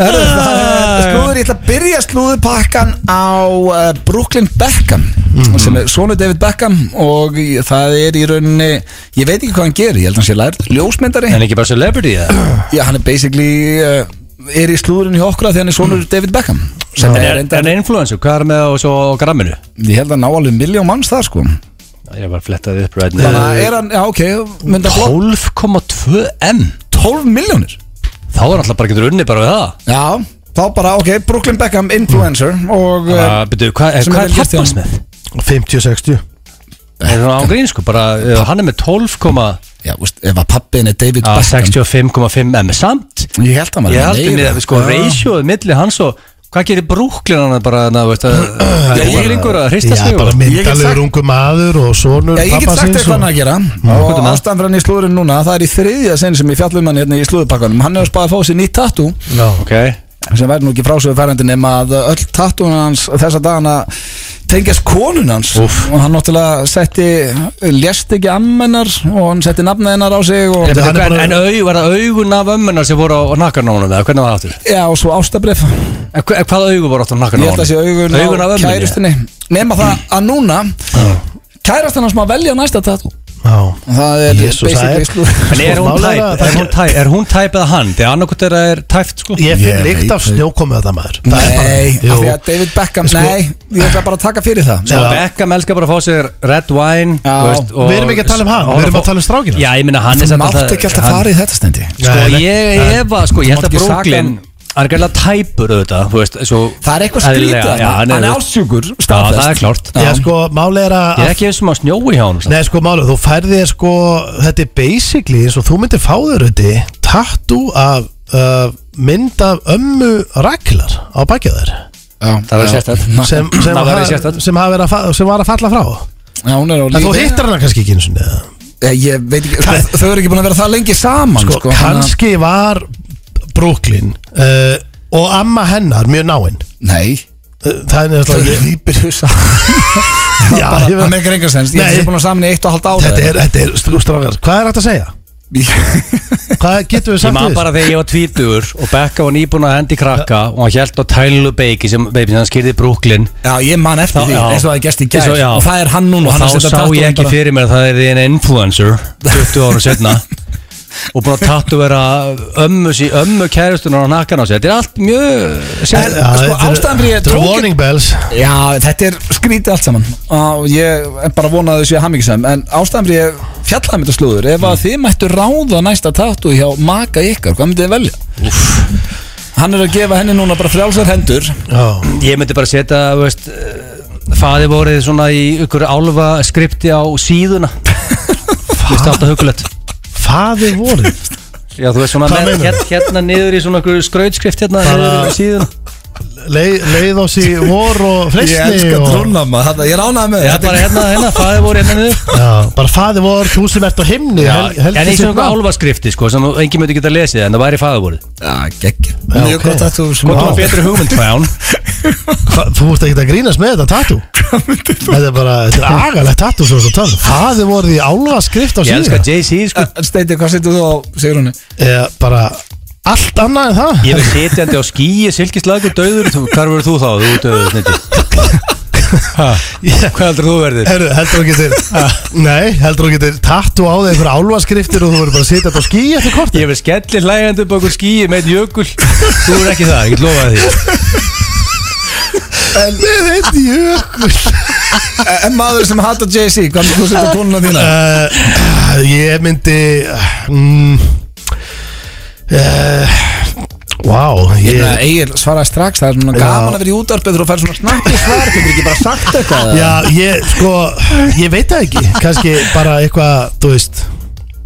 A: Herru, það er Slúður, ég ætla að byrja slúðupakkan á uh, Brooklyn Beckham
B: Mhm.
A: sem er sonu David Beckham og í- það er í rauninni ég veit ekki hvað hann gerir, ég held að hann sé lært ljósmyndari,
B: En ekki bara celebrity það
A: já, hann er basically uh, er í slúðurinn hjá okkur af því hann er sonur
B: Mm.
A: David Beckham sem
B: En
A: er
B: er
A: enda,
B: hann influencer, hvað er með á, svo, á gramminu?
A: ég held að ná alveg miljón manns það sko
B: Ég er bara flettaði upp hérna. right
A: þannig að er hann, já ok, mynda blokk
B: 12,2 M
A: 12 miljónir
B: Þá er alltaf bara getur unni bara við það
A: já, þá bara ok, Brooklyn Beckham influencer og uh,
B: Uh, byrju, hvað er,
A: Sem
B: hva
A: er
B: er
A: vel gert hjá
B: pappans
A: honum.
B: með?
C: 50-60
B: Er hann án grín sko, bara, uh, hann er með 12,65
A: já, veist, ef að pappin er David
B: Ah,
A: Beckham
B: M samt
A: ég held að maður
B: Ég held henni að sko,
A: Já.
B: ratioð milli hans og hvað gerir brúklinn hann bara, na, veist að
C: Já,
B: ég er lengur að hrista
C: Já,
B: sig
C: bara
B: og-
A: Ég get sagt-
C: myndalegur ungu maður og sonur
A: Já, ég get
C: pabba
A: sagt
C: síns
A: eitthvað hann
C: og-
A: að gera
B: hvað er
A: og
B: það?
A: ástæðan fyrir hann í slúðurinn núna það er í þriðja sen sem ég fjallum hann hérna í slúðupakkanum hann hefur spáð að fá sér nýtt tattoo
C: Já.
B: Ok,
A: sem væri nú ekki frásöðuferðandi nema að öll tattoo hans þessa dagana tengjast konun hans Úf. og hann náttúrulega setti lést ekki ammennar og hann setti nafna hennar á sig og,
C: Þetta- hann er
B: en,
C: bara-
B: en au, var það augun af ömmunar sem voru á, á nakkarnámanum eða hvernig var það aftur?
A: já, og svo ástabref
B: En, hva- en hvaða augun voru átt á
A: ég
B: nakkarnámanum?
A: held að sé augun,
B: augun
A: á
B: af ömmunni?
A: kærustinni nema það að núna kærastan hans maður velja næsta tattoo
C: Já.
A: það er
C: Jesús, það er-
A: basically slúður
B: En er
C: Sko,
B: hún
C: málið
B: tæp?
C: er að
B: Er
C: það-
B: hún tæp, er hún tæp eða hann? Þegar annarkot er að er tæpt sko
C: Ég
A: Ég
C: finn lykt
A: veit
C: af
A: það.
C: snjókomu þetta maður Það er bara-
A: Nei, af því
C: Jú.
A: að David Beckham,
C: Sko-
A: nei, ég ætla bara að taka fyrir það
C: Já.
B: Og Beckham elskar bara að fá sér red wine
A: Já.
B: þú veist, og-
C: Við erum ekki að tala um hann, við erum að tala um strákina.
B: Já, ég minna hann er
A: Þú
B: samt
A: mátt ekki alltaf fara í þetta stendi
B: Sko,
C: Nei, nei.
B: ég hefa, sko,
A: Þú mátt
B: ég held að
A: ekki saka
B: Brooklyn
A: hann.
B: Hann er gæðilega tæpur auðvitað, þú veist svo,
A: Það er eitthvað skrítið
B: eðlilega,
A: þarna.
B: já,
A: Hann er ásjúkur,
B: Já,
A: staðfest.
B: það er klárt
A: Já.
C: Já, sko, málið er að
B: Ég er ekki eins og maður snjói hjá hann
C: Nei, sko, málið, þú færði þér sko Þetta er basically eins og þú myndir fá þér þetta Tattoo af uh, mynd af ömmu Ragnar á bakið þér
B: Það verður sérstætt
C: sem, sem,
B: Það verður
C: ha-
B: sérstætt.
C: sem, hafa verið að fa- sem var að falla frá
A: Já, hún er á
C: En þú
A: lífi
C: hittar hana kannski ekki eins og neða
A: Ég, ég veit ekki, sko, þau eru ekki búin að vera það lengi saman
C: Sko,
A: sko, þannig
C: kannski var Brooklyn uh, og amma hennar mjög náinn
A: að- Nei,
C: Uh, Það er
A: þau
C: náttúrulega
A: rýpir þau saman
C: Já,
A: Það
C: ég veit-
A: meikar engan sens, ég
C: Nei.
A: er búin að saman í eitt og halda ára
C: Þetta er, þetta er, strákar, hvað er þetta að segja? Hvað getur við
B: Ég
C: sagt
B: man
C: við
B: bara þegar ég var tvítugur og Becca var nýbúin að hendi krakka og hann held á Tyler Bakey sem baby, hann skýrði Brooklyn
A: Já, ég man eftir því,
B: Já.
A: eins og það er gest í gær
B: Eins og- já.
A: Og það er hann núna,
B: og
A: hann er að
B: þá
A: setja
B: sá ég
A: tattúin
B: ekki
A: bara-
B: fyrir mér að það er einn influencer 20 ára setna og búin að tattu vera ömmu, sí, ömmu kærustunar á nakkan á sig þetta er allt mjög
A: En,
B: sér,
C: Já,
A: sko,
C: þetta eru-
A: ástæðan fyrir ég
C: Þetta eru
A: tók-
C: warning bells
A: Já, þetta er skrítið allt saman og ég er bara vonað þessu ég hamingisam en ástæðan fyrir ég fjallaði með þetta slúður ef að þið mættu ráða næsta tattu hjá maka ykkar, hvað myndið þið velja? Hann er að gefa henni núna bara frjálsar hendur
C: Já
B: ég myndi bara setja þú veist, faði vorið svona í ykkur álfa skripti á síðuna Mér finnst alltaf hugulegt
C: Faði voru
B: Já, þú veist svona
C: Hvað
B: með,
C: meinarðu?
B: hér, hérna niður í svona ykkur skrautskrift hérna
C: Bara-
B: niður í síðuna
C: Leið, leið á sig vor og freysni
A: maður, þetta- ég ránaði með
B: Já, bara hérna, hérna, faði voru hérna niður
C: Já, bara faði vor, þú sem ert á himni
B: Já,
C: hel- heldur
B: en í
C: sitt
B: svona
C: nafn.
B: álfaskrifti sko, sem engin myndi geta lesið en það væri faðavorið
A: Já, geggjum
C: Já,
A: Mjög
C: ok.
A: gott að þú sem
B: Hvort var
C: Vá.
B: betri hugmynd fæðan
C: Hva, Þú ert ekki að grínast með þetta tattu Þetta er bara, þetta er agalegt tattu svo svo tala Faði voru því álva skrift á
B: Ég elska
C: síðan
B: Jay-Z sko
A: En Steiti, hvað setur þú á Sigrunni?
C: Eða bara allt annað en það
B: Ég er setjandi á skýi, silkislagur, döður þú- Hvar verður þú þá? Þú ert döður sniti
C: Ég-
B: Hvað heldur þú verður?
C: Herru, heldur þú getur Ah, Nei, heldur þú getur tattu á þig einhver álva skriftir og þú verður bara að sitja þetta á skí eftir kort
B: Ég verð skellir hlægandi upp á okkur skýi með einn jökul Þú er ekki það, ég get lofað því
C: Með eitt jökul
A: E, En maður sem hata Jay-Z, hvað myndir þú setja konuna þína?
C: uh, Ég myndi mm, uh, Wow
A: Ég meina,
C: ég,
A: Egil svaraði strax, það er svona
C: Já.
A: gaman að vera í útarpið og fær svona snakki svar, getur ekki bara sagt eitthvað eða?
C: Já, ég, sko, ég veit það ekki kannski bara eitthvað, þú veist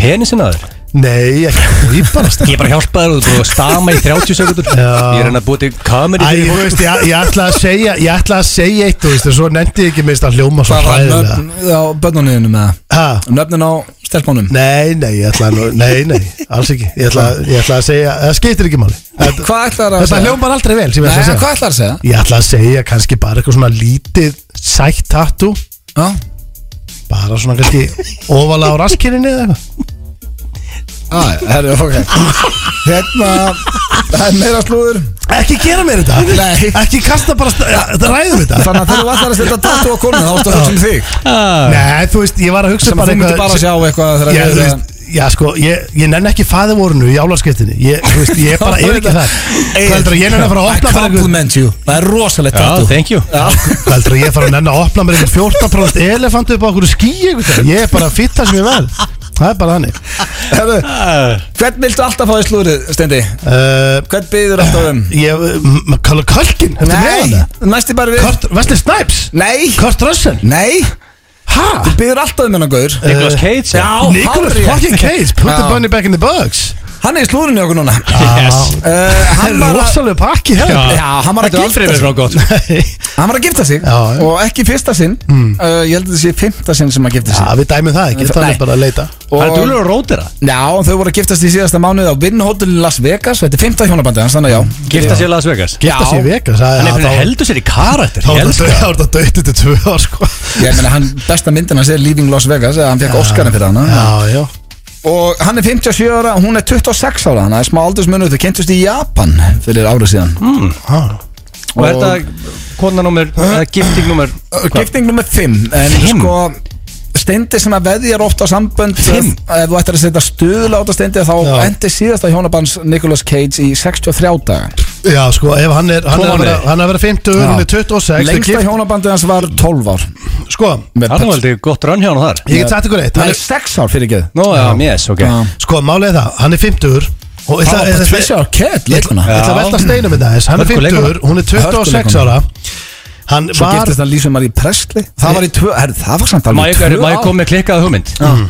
B: Penisin að þér?
C: Nei, ekki Íbarast
B: Ég er bara að hjálpa þér og þú er búin að stama í 30 sekundur Ég er henni að búið til kameri
C: Æ,
B: fyrir
C: þú
B: fólk
C: veist, ég, ég ætla að segja Ég ætla að segja eitt, þú veist En svo nefndi ég ekki meist að hljóma svo
A: Hvað var
C: hræðilega
A: nöfn á bönnunniðinu með það?
C: Ha?
A: Nöfnin á stelpónum?
C: Nei, nei, ég ætla að Nei, nei, alls ekki Ég ætla, ég ætla að segja, það skiptir ekki máli Þetta
A: Hvað ætlar að
C: þetta hljómar aldrei vel sem
A: Nei,
C: ég
A: en hvað ætlar að segja?
C: ætla að segja Ég ætla að segja kannski bara eitthvað svona lítið Sætt tattoo
A: Já,
C: Bara svona kannski ofalega á raskininni eða eitthvað
A: ah, herri, ok Hérna, það er meira slúður
C: Ekki gera mér þetta
A: Nei.
C: Ekki kasta bara sta- ja, Þetta ræðum við þetta
A: Þannig að þegar þú ætlar að setja tattu á konuna, þá ætlar að hugsa um þig
B: Ah,
C: Nei, þú veist, ég var að hugsa
A: Sem að þú myndir bara sjá eitthvað þegar
C: Já,
A: að
C: þú
A: vera
C: veist, já sko, ég, ég nenn ekki fæðivorinu í álarskiptinni Ég, þú veist, ég bara er ekki það Hvað heldur að ég nenn að fara að opna
A: I
C: bara einhver
A: compliment you, það er rosalegt
B: Já,
A: tattu
B: thank you
C: Hvað heldur að ég fara að nenn að opna mér einhver 14% elefant upp á okkur skí einhvers staðar? Ég er bara að fitta sem ég verð Það er bara þannig
A: Herru,
B: Ah.
A: Hvern viltu alltaf fá í slúrið, Steindi?
C: uh,
A: Hvern byður alltaf um?
C: Ég, maður kallar Kölkin, þetta er með hana
A: næsti bara við
C: Kurt, Wesley Snipes
A: Nei,
C: Kurt Russell
A: nei,
C: Ha?
A: þú byður alltaf um hennan gaur
B: Nicolas Cage
A: Já,
C: Nicholas
A: hárrétt.
C: fucking Cage Put the
A: Já.
C: bunny back in the box
A: Hann er í slúrinu hjá okkur núna
B: Yes
A: uh,
C: Það
A: hann,
C: er
A: var að,
C: rosalega hérna. pakki hefur
B: Já.
A: já, hann var að
B: Þetta er
A: gifta
B: aldrei verið
A: sig
B: svona gott
A: Hann var að gifta sig
C: Já, já.
A: Og ekki í fyrsta sinn uh, Ég held að þetta sé fymta sinn sem að gifta sig
C: Já, við dæmum það ekki, það
A: Nei.
C: er bara að leita
B: Það er
A: Og-
B: dúlur að rótira
A: Já, og þau voru að giftast í síðasta mánuð á Vinhótel í Las Vegas Þetta er fymta hjónabandið hans, þannig að já
B: Gifta sér Las Vegas
C: Gifta
A: Já.
C: sig í Vegas það-
B: Hann er
C: það-
B: fyrir
C: þá-
B: að heldur sér í karakter
C: Þá
B: Ég
C: er
B: elska
C: þetta- þá er þetta döttið til tvö ár sko
A: Ég meina, hann, besta myndin hans er Leaving Las Vegas eða Hann fekk Oscarin fyrir hana
C: Já, já
A: Og hann er 57 ára, hún er 26 ára Þannig að smá aldursmunur, þau kynntust í Japan Fyrir árið síðan mm.
C: Ha.
B: Og er þetta konanúmer, eða giftingnúmer
A: Sko, Gifting nummer 5 En
B: Fimm?
A: sko, steindi sem að veðjar oft á sambönd eh,
B: Fimm?
A: Ef þú ættir að setja stuðla át á steindi Þá
C: Já.
A: endi síðasta hjónabans Nicolas Cage í 63 daga
C: Já, sko, ef hann er Hann
B: Tvo
C: er að vera-
B: mánuði.
C: hann er að vera 50,
A: Já.
C: hann er 26 þau
A: Lengsta
C: gift-
A: hjónabandi hans var 12 ár
C: Sko,
B: Það er aldrei gott rann hjá hann þar
C: ég get sagt ykkur eitt hann
A: Nei,
C: er-
A: 6 ár fyrir geð
B: Nú, já, yes, ok
A: Já.
C: Sko, málið er það, hann er 50 og
A: Það
C: ég ætla-
A: var
C: ég-
A: Patricia Arquette,
C: Eh, Ég ætla
A: leikuna
C: ég ætla að velta steinum í þess Hann er
B: Hörkuleikona.
C: 50, hún er 26
A: Hörkuleikona.
C: ára Hann
A: Svo
C: var
A: giftist hann Lísu Marie Presley Það var í 2, herri, það var samt
B: Má
A: alveg
B: ég
A: í tvö
B: má ég
A: ár.
B: koma með klikkaða hugmynd Mm.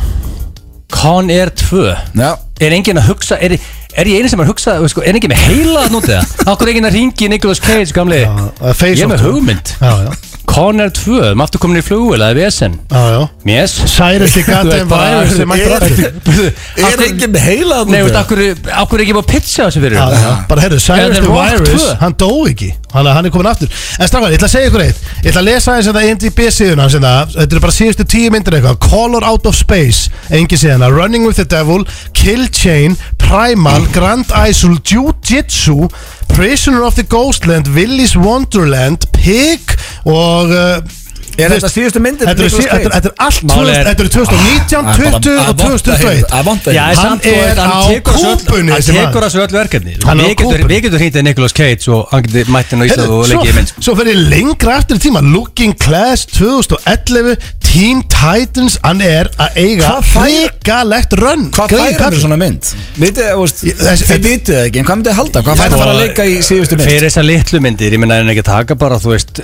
B: Con Air 2
A: Já,
B: Er enginn að hugsa Er, er ég eini sem er að hugsa sko, Er enginn með heila að núti það Akkur er enginn að ringi Nicolas Cage gamli
C: Já, það er
B: Ég er
C: face off
B: með
C: tour.
B: hugmynd
C: Já, já
B: Conner 2, við erum um aftur komin í flugvél, það er vesen
C: já, já
B: Mjess
C: Særist í gata virus sem mættur aftur
A: Er ekki með heila
B: Nei, veist, akkur, akkur er ekki bara að pitcha þessu fyrir
C: Já, já. bara heyrðu,
B: Eða
C: Cyrus
B: þeir
C: the
B: Rock
C: Virus,
B: 2.
C: hann dó ekki hann, hann er komin aftur en strafgar, ég ætla að segja ykkur eitt ég ætla að lesa eins þetta IMDb síðun hans hérna. þetta eru bara síðustu tíu myndir eitthvað Color Out of Space, engi síðan Running with the Devil, Kill Chain Primal, Grand Isle Jiu Jitsu, Prisoner of the Ghostland Willy's Wonderland Pig og uh,
A: Er
C: þú
A: þetta
C: veist,
A: síðustu myndir
C: Þetta eru
A: Nicolas
C: sí-
A: Cage?
C: þetta eru- þetta eru allt
B: Málið er-
C: 2000 þetta eru 2019, 20 og 2021
A: Það vant að
B: Já,
A: heila
B: samt
C: Hann
B: og
C: er
B: þetta-
C: á
B: tekur þessu öll-
C: kúpunni,
B: Hann
C: þessi
B: tekur
C: maður.
B: þessu öll verkefni
C: Hann er á
B: Við getum-
C: kúpunni.
B: Við getum hýttið Nicolas Cage og hann getur mætt inn á Ísland
C: Heyrðu,
B: og leikið í mynd sko.
C: svo, svo fer ég lengra eftir í tíma Looking Class 2011 Teen Titans Hann er að eiga
A: Hvað fær-
C: hrikalegt rönn
A: Hvað færir hann svona mynd? Vitið, þú veist,
C: Ég- þessi-
A: þið vitið það ekki, en hvað myndið þið halda? Hvað færir hann að fara að leika í síðustu mynd?
B: Fyrir þessar litlu myndir, ég minna en ekki að taka bara, þú veist,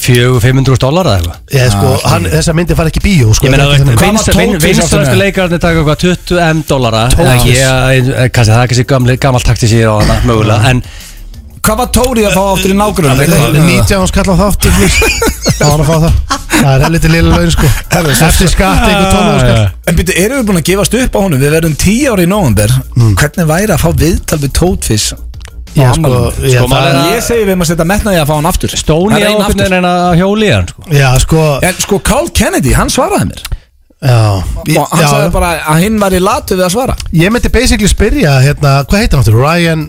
B: fjögur, 500 dólar eða eitthvað
C: Ég, sko, hann, Þessa myndi fara ekki í bíó sko,
B: Ég meina,
C: þetta
B: þú
C: er
A: hvað
C: þannig.
A: var
B: veist,
A: Tóti sáttur
B: vinstrastu
A: með?
B: leikarnir taka eitthvað 20 M dólara
C: Tóti.
B: eða ekki, eða- kannski það er kannski gamli- gamall taktis ég á hana, mögulega, en
A: Hvað var Tóri að fá áttur í nágrunum?
C: 19 hans kalla á þátt Það var að fá það Það er helviti lilla laun sko Eftir skatt einhver tónu hans kall
A: En byrju, erum við búin að gefast upp á honum? Við verðum 10 ári í nóvember Hvernig væri að fá viðtal við Tótfis?
C: Já,
A: Á
C: sko,
A: afmælinu?
C: já,
B: Sko, maður er
C: það-
B: að-
A: Ég segi við maður setja metnaði að fá hann aftur
B: Stóni
A: Það
B: á
A: er einn
B: einhvern
A: aftur.
B: veginn að hjóli hann, sko
C: Já, sko
A: En sko, Carl Kennedy, hann svaraði mér
C: Já,
A: Og hann sagði
C: já
A: bara að hinn var í latu við að svara
C: Ég myndi basically spyrja hérna, Hvað heitir hann aftur? Ryan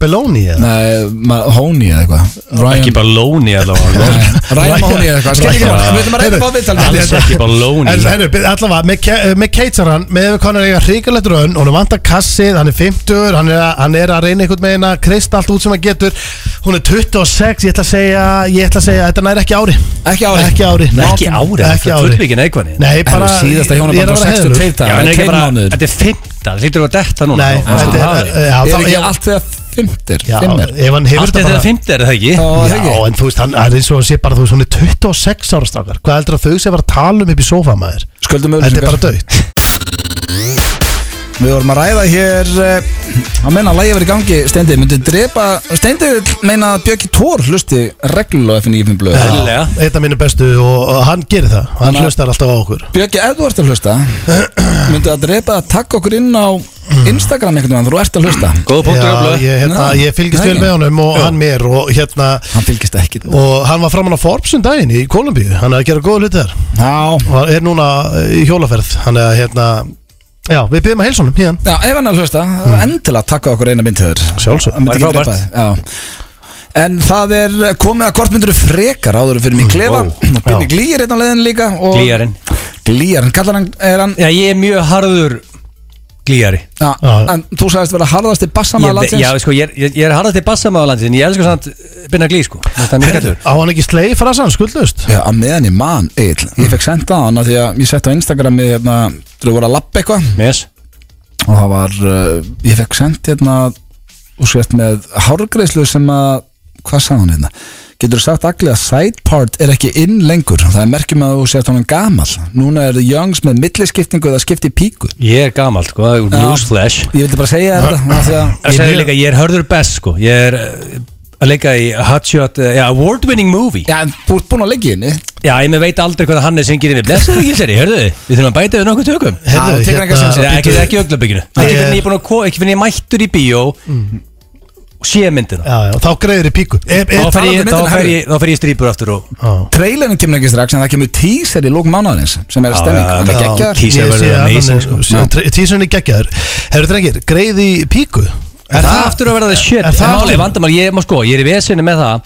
C: Belloni eða?
A: Nei, Mahoney eða eitthvað
B: Ekki
A: Ryan
B: bara lóni allavega
A: Ryan Mahoney eða eitthvað Skilja ekki máli, við ætlum að reyna að fá viðtal við
B: Alls
A: hann.
B: ekki bara lóni
C: En hennu, allavega, með, Ke- eh, með Keitsar hann með við konar eiga hrikalegt raun hún er vantar kassið, hann er 50 hann er, að- hann er að reyna einhvern veginn að krist allt út sem hann getur hún er 26, ég ætla að segja ég ætla að segja, þetta nær ekki ári
A: Ekki ári.
C: ekki ári,
B: Ekki ári,
C: ekki ári.
B: fullvíkin eitthvað
C: Nei, bara,
A: Herru, síðasta hjónaband
C: ég er að
A: var
C: vera
A: 62
C: heiðarlegur.
A: dagar.
B: Já, en ekki
A: Tveir
B: bara,
A: mánuðir.
B: þetta er 15, það lítur að detta núna
C: Nei,
B: Já, það
C: þetta er já,
A: Er
C: þá-
A: ekki
C: já,
A: allt þegar fimmtir
C: já,
A: Fimmir
C: ef hann hefur
B: Allt er
C: þetta
B: þetta
C: bara
B: 15, er það ekki?
A: Og
C: Já,
A: þegar
C: en þú veist, hann hann er eins og hann sé bara, þú veist, hún er 26 ára strákar Hvað heldur að þau sem var að tala um upp í sofa maður?
A: Skuldum
C: Þetta er
A: auðvitað
C: bara dögt
A: Við vorum að ræða hér eh, að meina að lægi verið í gangi Steindi myndi drepa Steindi vill meina að Björki Tór hlusti reglulega FNÍFN blöð
B: Eðlilega.
C: Eitt af mínu bestu og, og hann gerir það Hann
A: Þannig að-
C: hlustar alltaf á okkur
A: Björki, ef þú ert að hlusta myndi að drepa að taka okkur inn á Instagram einhvern veginn, þú ert að hlusta
B: Góða punktur
C: Já,
B: öflug
C: ég, hérna,
A: Já,
C: ég fylgist
A: það
C: vel
A: ekki.
C: með honum og hann mér og hérna
A: Hann fylgist ekki Já,
C: og hann var framann á Forbes um daginn í Kolumbíu hann er að gera góða hluti þar
A: já
C: og er núna eh, í hjólaferð hann er að hérna já við byrjum að heilsa honum hérna
A: ef hann er að hlusta, endilega taka okkur eina mynd til þér
C: sjálfsög
A: Hann myndi
B: Hmm. Það er
A: ekki drepa
B: frábært.
A: þig, Já En það er komið að kortmyndur frekar áður en fyrir mig klefa
C: wow.
A: og Binni
C: Já.
A: Glýjar einn hérna á leiðin líka og-
B: Hmm, Glýjarinn
A: Glýjarinn, kallar hann, er hann
B: Já, ég er mjög harður glýjari
A: Já,
C: Já.
A: en þú sagðist vera harðasti bassamæður
B: Ég,
A: landsins
B: já, sko, ég, er- ég, ég er harðast í bassamáða landsins en ég elskar samt Binna Glý, sko Mér finnst Það er mjög gættur
C: á hann ekki sleið frasan skuldlust
A: Já, að meðan ég man, eill
B: Hmm.
A: Ég fekk senda á hana því að ég sett á Instagrami hérna, þú voru að lappa eitthvað
B: Yes
A: og það var, uh, ég fekk send hérna og sett með hárgreislu sem að, hvað sagði hún hérna Getur þú sagt allir að side part er ekki inn lengur Það er merkjum að þú sett honum gamal Núna er Youngs með milliskiptingu eða skipti í píku
B: Ég er gamalt, sko, það er úr
A: Já.
B: newsflash
A: Ég vildi bara segja þér þetta af því að-
B: Það segir líka, ég er hörður best, sko Ég er eh, að leika í Hot Shot eh, Já, award winning movie
A: Já, en þú ert búin að leggja henni
B: Já, ég með veit aldrei hvað hann er sem gerir við Blessaður ekki, sér ég, hörðu þið Við þurfum að bæta við nokkuð tökum
A: Já, þú tekur engan sens.
B: Nei, ekki, ekki augnabygginu
C: Nei.
B: ekki finn ég, búin að ko- ekki finn ég mættur í bíó og sé myndina
C: já, já, þá greiður í píku e, e,
B: þá fer
A: talandi
B: ég,
A: um
B: þá
A: myndina,
B: fer
A: herri.
B: ég, þá fer ég strípur aftur og
C: á,
A: Trailerin kemur ekki strax en það kemur teaser í lók mánuðarins sem er stemming
B: já,
A: Það er
B: já,
A: geggjaður.
B: teaser. Tísan verður
C: Ég sé að
B: amazing,
C: hann er-
B: sko.
C: sé- tre- Tísan er geggjaður Herru drengir, greið í píku
B: er það, aftur að verða það shit
C: Er það
B: það
C: aftur?
B: máli, vandamál, ég, má sko, ég er í vesinu með það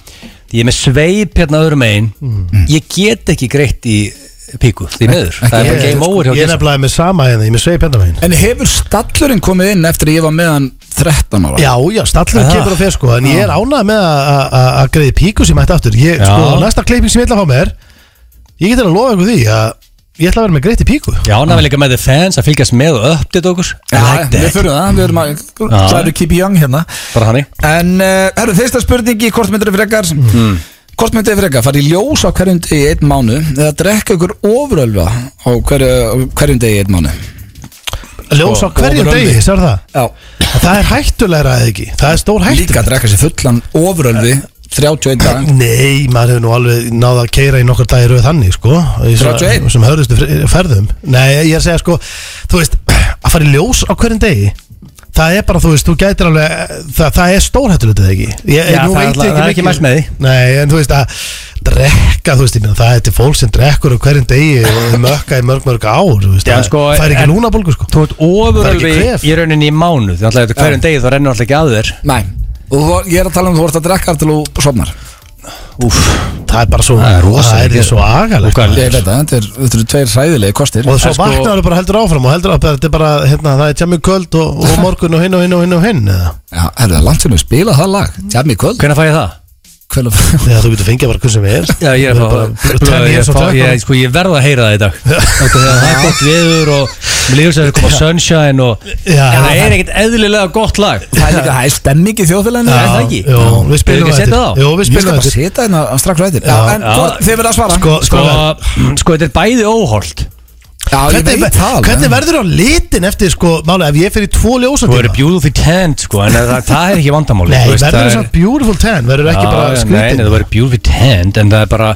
B: því ég er með sveip hérna öðrum megin ég get ekki greitt í píku því miður, það er
C: Ég
B: bara
C: er
B: game over hjá
C: sko, ég er
B: gæstum
C: nefnilega með sama hérna, ég er með sveið penda megin
A: En hefur stallurinn komið inn eftir að ég var með hann 13 ára?
C: Já, já, stallur
B: Ah.
C: kemur og fer sko En ég er ánað með að- að- að að greiði píku sem ætti aftur ég,
B: Já.
C: Sko, næsta kleiping sem ég ætla að fá mér Ég get að lofa ykkur því að Ég ætla að vera með greiði píku
B: já, hann er vel líka með the fans að fylgjast með og uppdita okkur I like
A: við
B: that,
A: fyrir það, við erum að
B: Já.
A: træðu keep young hérna
B: bara hannig
A: En, uh, herru, þeirsta spurningi, hvort myndir þið frekar mm. Hvort myndir þið frekar, farið í ljós á hverjum degi í einn mánu eða drekka ykkur ofrölva á hverju, á hverjum degi í einn mánu
B: Sko,
C: Ljós á
A: Og-
C: hverjum
A: og
C: degi,
A: römmi.
C: sér það
A: Já,
C: Það er hættulegra eða ekki, það er stór hættu
A: líka að drekka sér fullan ofrölvi 31 dag
C: Nei, maður hefur nú alveg náða að keira í nokkur dagir auð þannig, sko í svona-
A: 31?
C: Sem hörðustu fr- ferðum Nei, ég er að segja, sko, þú veist Að fara í ljós á hverjum degi Það er bara, þú veist, þú gætir alveg Það, það er stórhættulegt eða ekki ég,
B: Já,
C: nú
B: það er
C: veit ég
B: alltaf- það er ekki
C: mikið- um-
B: mælt með því.
C: Nei, en þú veist að drekka, þú veist, ég meina, það er til fólk sem drekkur á hverjum degi og mökka í mörg, mörg ár, þú veist,
B: Já, en
C: það
B: sko,
C: fær ekki
B: en-
C: lúna bólgu, sko
B: Þú ert
C: Það er ekki
B: ofurölvi
C: kvef.
B: í rauninni í mánuð Þannig að hverjum degi þá rennur alltaf ekki að þér
A: Nei, og þú, ég er að tala um þú vorst að drekka þar til þú sofnar
C: Úf, það er bara svo,
B: Það er rosalegt
C: það er því
B: að
C: svo agalegt
B: Og hvað-
A: Ég veit það, þetta er- þetta eru tveir hræðilegi kostir
C: Og svo
B: En sko-
C: vaknaður bara heldur áfram og heldur að þetta er bara, hérna, það er tjami kvöld og, og morgun og hinn og hinn og hinn og hinn eða
A: Já, er það langt sem við spila það lag Tjami kvöld
B: Hvernig fæ ég það?
A: Hvernig
C: Þegar þú getur fengið bara hvern sem er
B: Já, ég er að
C: Þú
B: fá
C: bara
B: blöð,
C: Ten
B: ég,
C: years of
B: fá, ég,
C: track
B: sko, ég verð að heyra það í dag Þetta þegar Það er gott viður og Mér líður sér að koma sunshine og
C: Já.
B: En það er ekkert eðlilega gott lag
A: Það er líka, það er stemming í þjóðfélaginu
B: Já.
A: er það ekki?
C: Jó, við
B: Erum
C: spilum
B: við ekki að setja það á?
C: Jó,
A: Ég
C: við
A: skal
C: spilum
A: bara
C: þetta
A: setja hérna á strax ræðin Já, en
B: Já.
A: hvort- þið verða að svara
C: Sko,
B: Sko,
C: sko
B: sko þetta er bæði óholt
A: Já, ég
C: Hvernig,
A: veit það alveg.
C: hvernig verður á litin eftir, sko, máli, ef ég fer í tvo ljósa
B: Þú eru beautiful tent sko En það, það er ekki vandamáli
C: Nei,
B: þú veist,
C: verður
B: það er-
C: þess að beautiful ten, verður ekki
B: Já,
C: bara
B: já, Nei, nei,
C: skrítin
B: það verður beautiful tent En það er bara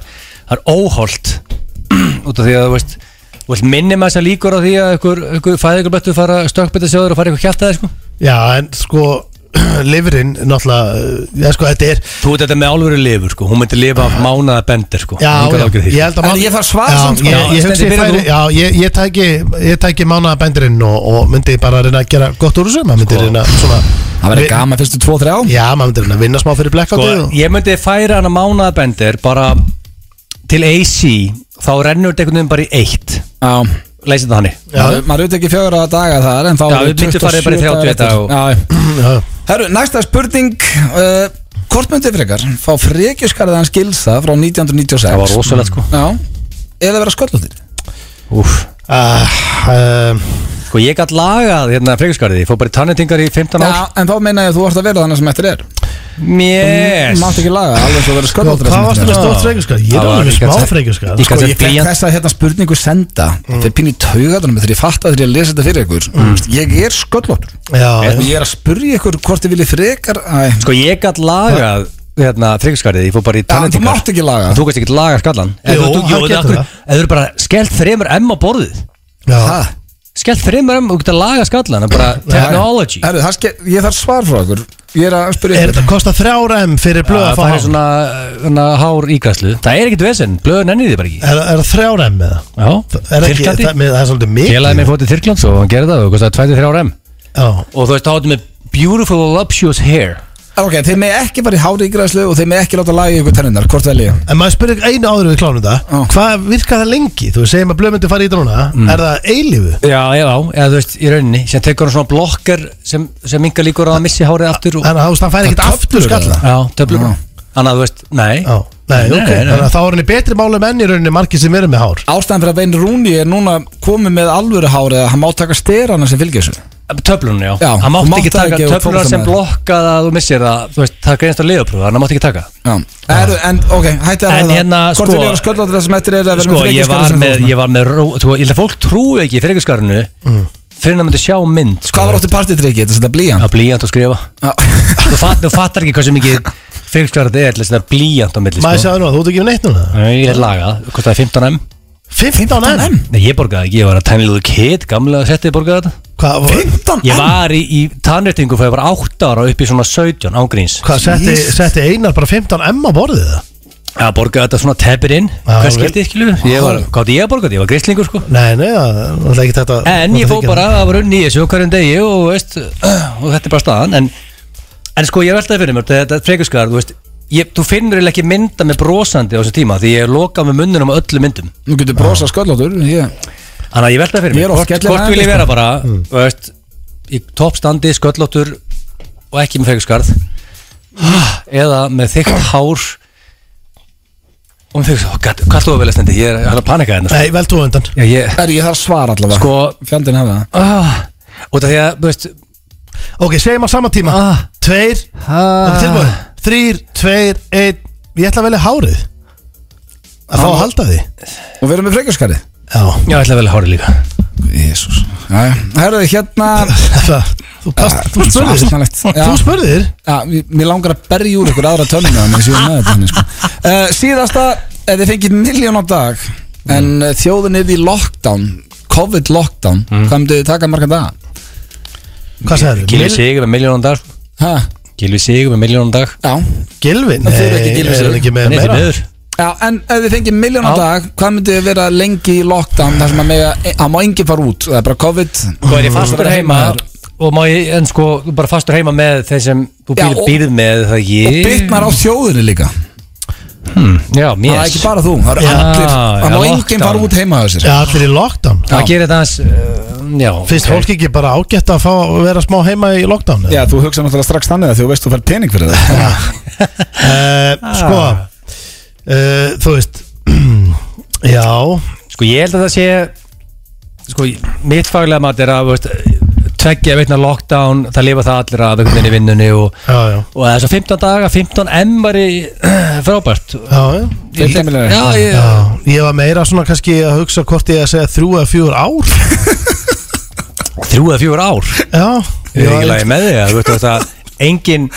B: Það er óholt Út af því að þú veist Þú veist minni maður þess líkur á því að ykkur, ykkur fæði ykkur betur fara stökkbytta sjóður og fara ykkur kjæfta sko.
C: Já, en sko, lifrin, náttúrulega, ja, sko, þetta er
B: Þú veit þetta með álveru lifur sko, hún myndi lifa af mánaða bendir sko
C: Já,
B: Engar
C: já,
B: áhyggjur af því,
C: ég
B: sko.
C: held að
A: En
C: mál-
A: ég þarf svar
C: Já,
A: samt, sko.
C: ég, ég,
B: Já,
C: hugsa ég,
B: Steindi,
C: færi,
B: byrja þú.
C: já, ég, ég tæki, ég tæki mánaðabendurinn og, og myndi bara reyna að gera gott úr þessu maður myndi
B: Sko,
C: reyna svona
A: Það verður
C: vi-
A: gaman fyrstu 2-3 á
C: Já, maður myndi reyna að vinna smá fyrir
B: sko,
C: blackoutið og-
B: Ég myndi færa hana mánaða bendir bara til AC þá rennur þetta einhvern veginn bara í eitt
A: Já,
B: Leysið það hannig
C: Já.
A: maður maður auðvitað ekki fjögur á daga þar En þá
B: Já,
A: eru
B: við myndum farið bara í
A: 27
B: 30
A: dagar
B: daga
A: eftir. Já, já.
C: Já,
A: Herru, næsta spurning uh, Hvort myndið frekar fá frekjuskarðan skilsa frá 1996
B: Það var rosalegt, sko.
A: Já, eða vera sköllóttir
B: Úf.
C: Ah, um,
B: Sko ég gætt lagað hérna frekjuskarði, ég fór bara í tannitingar í 15 ár
A: Já, en þá meina ég að þú varst að vera þannig sem eftir er
B: Mér
A: Mátt ekki laga, alveg eins og vera
C: sko,
A: sköllóttir
C: Hvað varstu með
B: Já.
C: stórt freikurskar? Ég
B: Það
C: er
B: var
C: alveg með
B: líka
C: smá
B: þetta-
C: freikurskar
B: líka-
A: Sko, ég
B: Þetta er
A: fekk
B: blýant.
A: þessa hérna spurningu senda mm. Þeir pínu taugatunum þegar ég fatt að þegar ég lesa þetta fyrir ykkur mm. Ég er sköllóttur
C: Já,
A: Ég er að spurja ykkur hvort þið viljið frekar Æ,
B: Sko ég gætt lagað hérna frekjuskarði, ég fór bara í
A: já, þú
B: tannitingar
A: mátt ekki laga
B: Þú gætt ekki laga skallan En
C: Jú,
B: þú- þú-
C: hann
B: jú,
C: getur
B: af hverju-
C: það.
B: Ef þú eru bara skellt þremur M á borðið
C: já
A: Það
B: Skellt þremur M, þú getur laga skallan en bara technology
A: Herru, það ske, ég þarf svar frá ykkur Ég er að spurja ykkur
C: Er þetta kosta þrjára M fyrir blöð
B: Já,
C: að fá
B: það er
C: hann?
B: svona, svona hár íkastlu Það er ekkit vesinn, blöðu nenni því bara ekki
C: Er er það þrjára M eða?
B: Já,
C: Er ekki,
B: Tyrklandi
C: það með- það er svolítið
B: Félagið
C: mikið
B: minn fótið Tyrklands og hann gerði það og kostaði 23 rem
C: Já,
B: Og þú veist, þá áttu með beautiful voluptuous hair
A: Ok, þeir með ekki fara í hári ígræðslu og þeir með ekki láta laga ykkur tennunar Hvort vel ég?
C: En maður spyrir einu áður við klánum þetta
A: Já.
C: Hvað virkar það lengi? Þú segir maður blöð myndi fara í þetta núna Er það eilífu?
B: Já, já, eða þú veist, í rauninni sem tekur hann svona blokker sem, sem mingar líkur á að missi hárið aftur og,
C: Þannig að þú veist, hann fær ekkert
A: Það
C: aftur
A: töflur
C: skalla
B: Já, töflur Þannig að þú veist, nei
C: Já, nei,
B: Nei,
C: ok
B: nei, nei.
C: Þannig að þá er henni betri málum enn í rauninni margir sem eru með hár
A: Ástæðan fyrir að Vein Rúni er núna komið með alvöru hári að hann má taka sterana sem fylgja þessu
B: Töflunum, já,
A: Já,
B: Hann
A: þú
B: mátti
A: mátt
B: ekki
A: það
B: taka
A: ekki ef þú
B: töflunar sem
A: fótboltamaður.
B: blokkað að þú missir það Þú veist, það greinst á liðapröfu, hann mátti ekki taka
A: Já, Heru, en ok, hætti að
B: En
A: ræða.
B: hérna,
A: Hvort
B: sko-
A: vil ég vera sköllóttir það sem eftir er að vera
B: Sko,
A: með
B: ég
A: frekjuskarða
B: var
A: sem
B: með,
A: fólk?
B: ég var með ró- þú- Ég held að fólk trúi ekki í frekjuskarinu mm. Fyrir hann myndi sjá mynd sko.
A: Hvað var óttu partitrykki? Þetta er þetta blíjan
B: Að blíjant og skrifa Þú fatt, þú fattar ekki hversu mikið frekjuskarinu er Þetta er blíjant á milli
C: Maður
B: sko.
C: sagði nú að þú ert ekki með neitt núna
B: Nei, Ég er lagað, hvort það er 15 m
C: 15 enn
B: Nei, ég borgaði ekki, ég var að tiny little kid Gamlega settið borgaði þetta
C: Hvað,
B: Ég
A: 15
B: var í, í tannréttingu fyrir bara 8 ára upp í svona 17 ángríns
C: hvað setti,
A: Jesus.
C: setti Einar bara 15 M á borðið það?
B: Að borgaði þetta svona teppir inn
C: Já,
B: Hvað
C: vel.
B: skildi ekki ljú? Ég var, hvað átti ég að borga þetta? Ég var grislingur sko
C: Nei, nei, það er náttúrulega ekki þetta
B: En ég fór bara að vera unni í þessu á hverjum degi og, veist, og þetta er bara staðan en, en sko ég veltaði fyrir mér þetta frekurskar, þú veist ég, þú finnur eiginlega ekki mynda með brosandi á þessum tíma því ég er lokað með munnunum á öllum myndum
A: Nú getur brosa sköllóttur ég...
B: þannig að ég veltaði fyrir
A: Ég er
B: mér
A: oft
B: hvort,
A: skellilega
B: hvort vil ég
A: aðeins,
B: vera bara þú veist, í toppstandi, sköllóttur og ekki með frekurskarð eða með þykkt hár og með þykkt hár hvað er þú að velja stendi? Ég er að panika hérna sko.
C: Nei, vel þú undan
B: Já, ég,
A: Herru, ég þarf svar allavega
B: sko,
A: Fjandinn hefði það
B: ah, út af því að, þú veist
C: Ok, segjum á sama tíma
B: Ah.
C: Tveir,
A: Ah.
C: ok, tilbúin Þrýr, tveir, einn Ég ætla að velja hárið Að fá að halda því
A: Og við erum með frekjuskarið
C: Já
B: Já, ég ætla að velja hárið líka
A: Jésús Herru, hérna
C: Það Þú, past, þú
A: Svo
C: spurðir
A: aftanlegt. Já.
C: Þú spurðir
A: Já, mér mér langar að berja úr ykkur aðra tölvuna en ég sé um með þetta þannig, sko. uh, Síðasta, ef þið fengið miljón á dag en mm. þjóðin er í lockdown COVID lockdown,
B: Mhm.
A: hvað myndu þið taka marga dag?
C: Hvað sagður
B: Gilvi Sigur með miljónum dag sko.
A: Ha?
B: Gilvi Sigur með miljónum dag
A: Já.
C: Gilvi?
A: Það þýðir ekki
C: Nei,
A: Gylfi
C: er
A: Sig.
C: hann ekki með
B: Nei, því
C: meira?
B: miður.
A: Já, en ef þið fengið miljón á
B: Já.
A: dag hvað myndu þið vera lengi í lockdown þar sem að mega, að má engin fara út það er bara COVID
B: Þú er ég fastur
A: Bara
B: heima og má ég, en sko, þú er bara fastur heima með þeir sem þú
A: Já,
B: býr,
A: og-
B: býrð með það
A: og
B: ekki
A: bytnar á þjóðinni líka
B: Já,
A: það
B: mér
A: er ekki bara þú, það eru
C: Já,
A: allir
B: já,
A: það má engin
B: lockdown.
A: fara út heima á þessir
C: Já, allir í lockdown
A: Já.
B: Það gerir þetta hans uh, Já,
C: Finnst
B: ok.
C: fólk ekki bara ágætt að fá að vera smá heima í lockdown? eða?
A: Já, þú hugsa náttúrulega strax þannig að þú veist þú fær pening fyrir það
C: Eh, Sko
B: Ah.
C: eh, Þú veist Já
B: Sko ég held að það sé Sko mitt faglega mat er að þú veist, Tveggja veitna lockdown Það lifa það allir að einhvern veginn í vinnunni Og,
C: Já, já
B: og þess að 15 daga, 15 M var í frábært
C: Já, já.
B: Ég-
A: 15 milljónir.
B: Já, ég,
C: já, ég var meira svona kannski að hugsa hvort ég að segja þrjú eða fjúr ár
B: Þrjú eða fjúr ár
C: Já,
B: Ég er ekki
C: já,
B: lagi með þig að, Þú veist að engin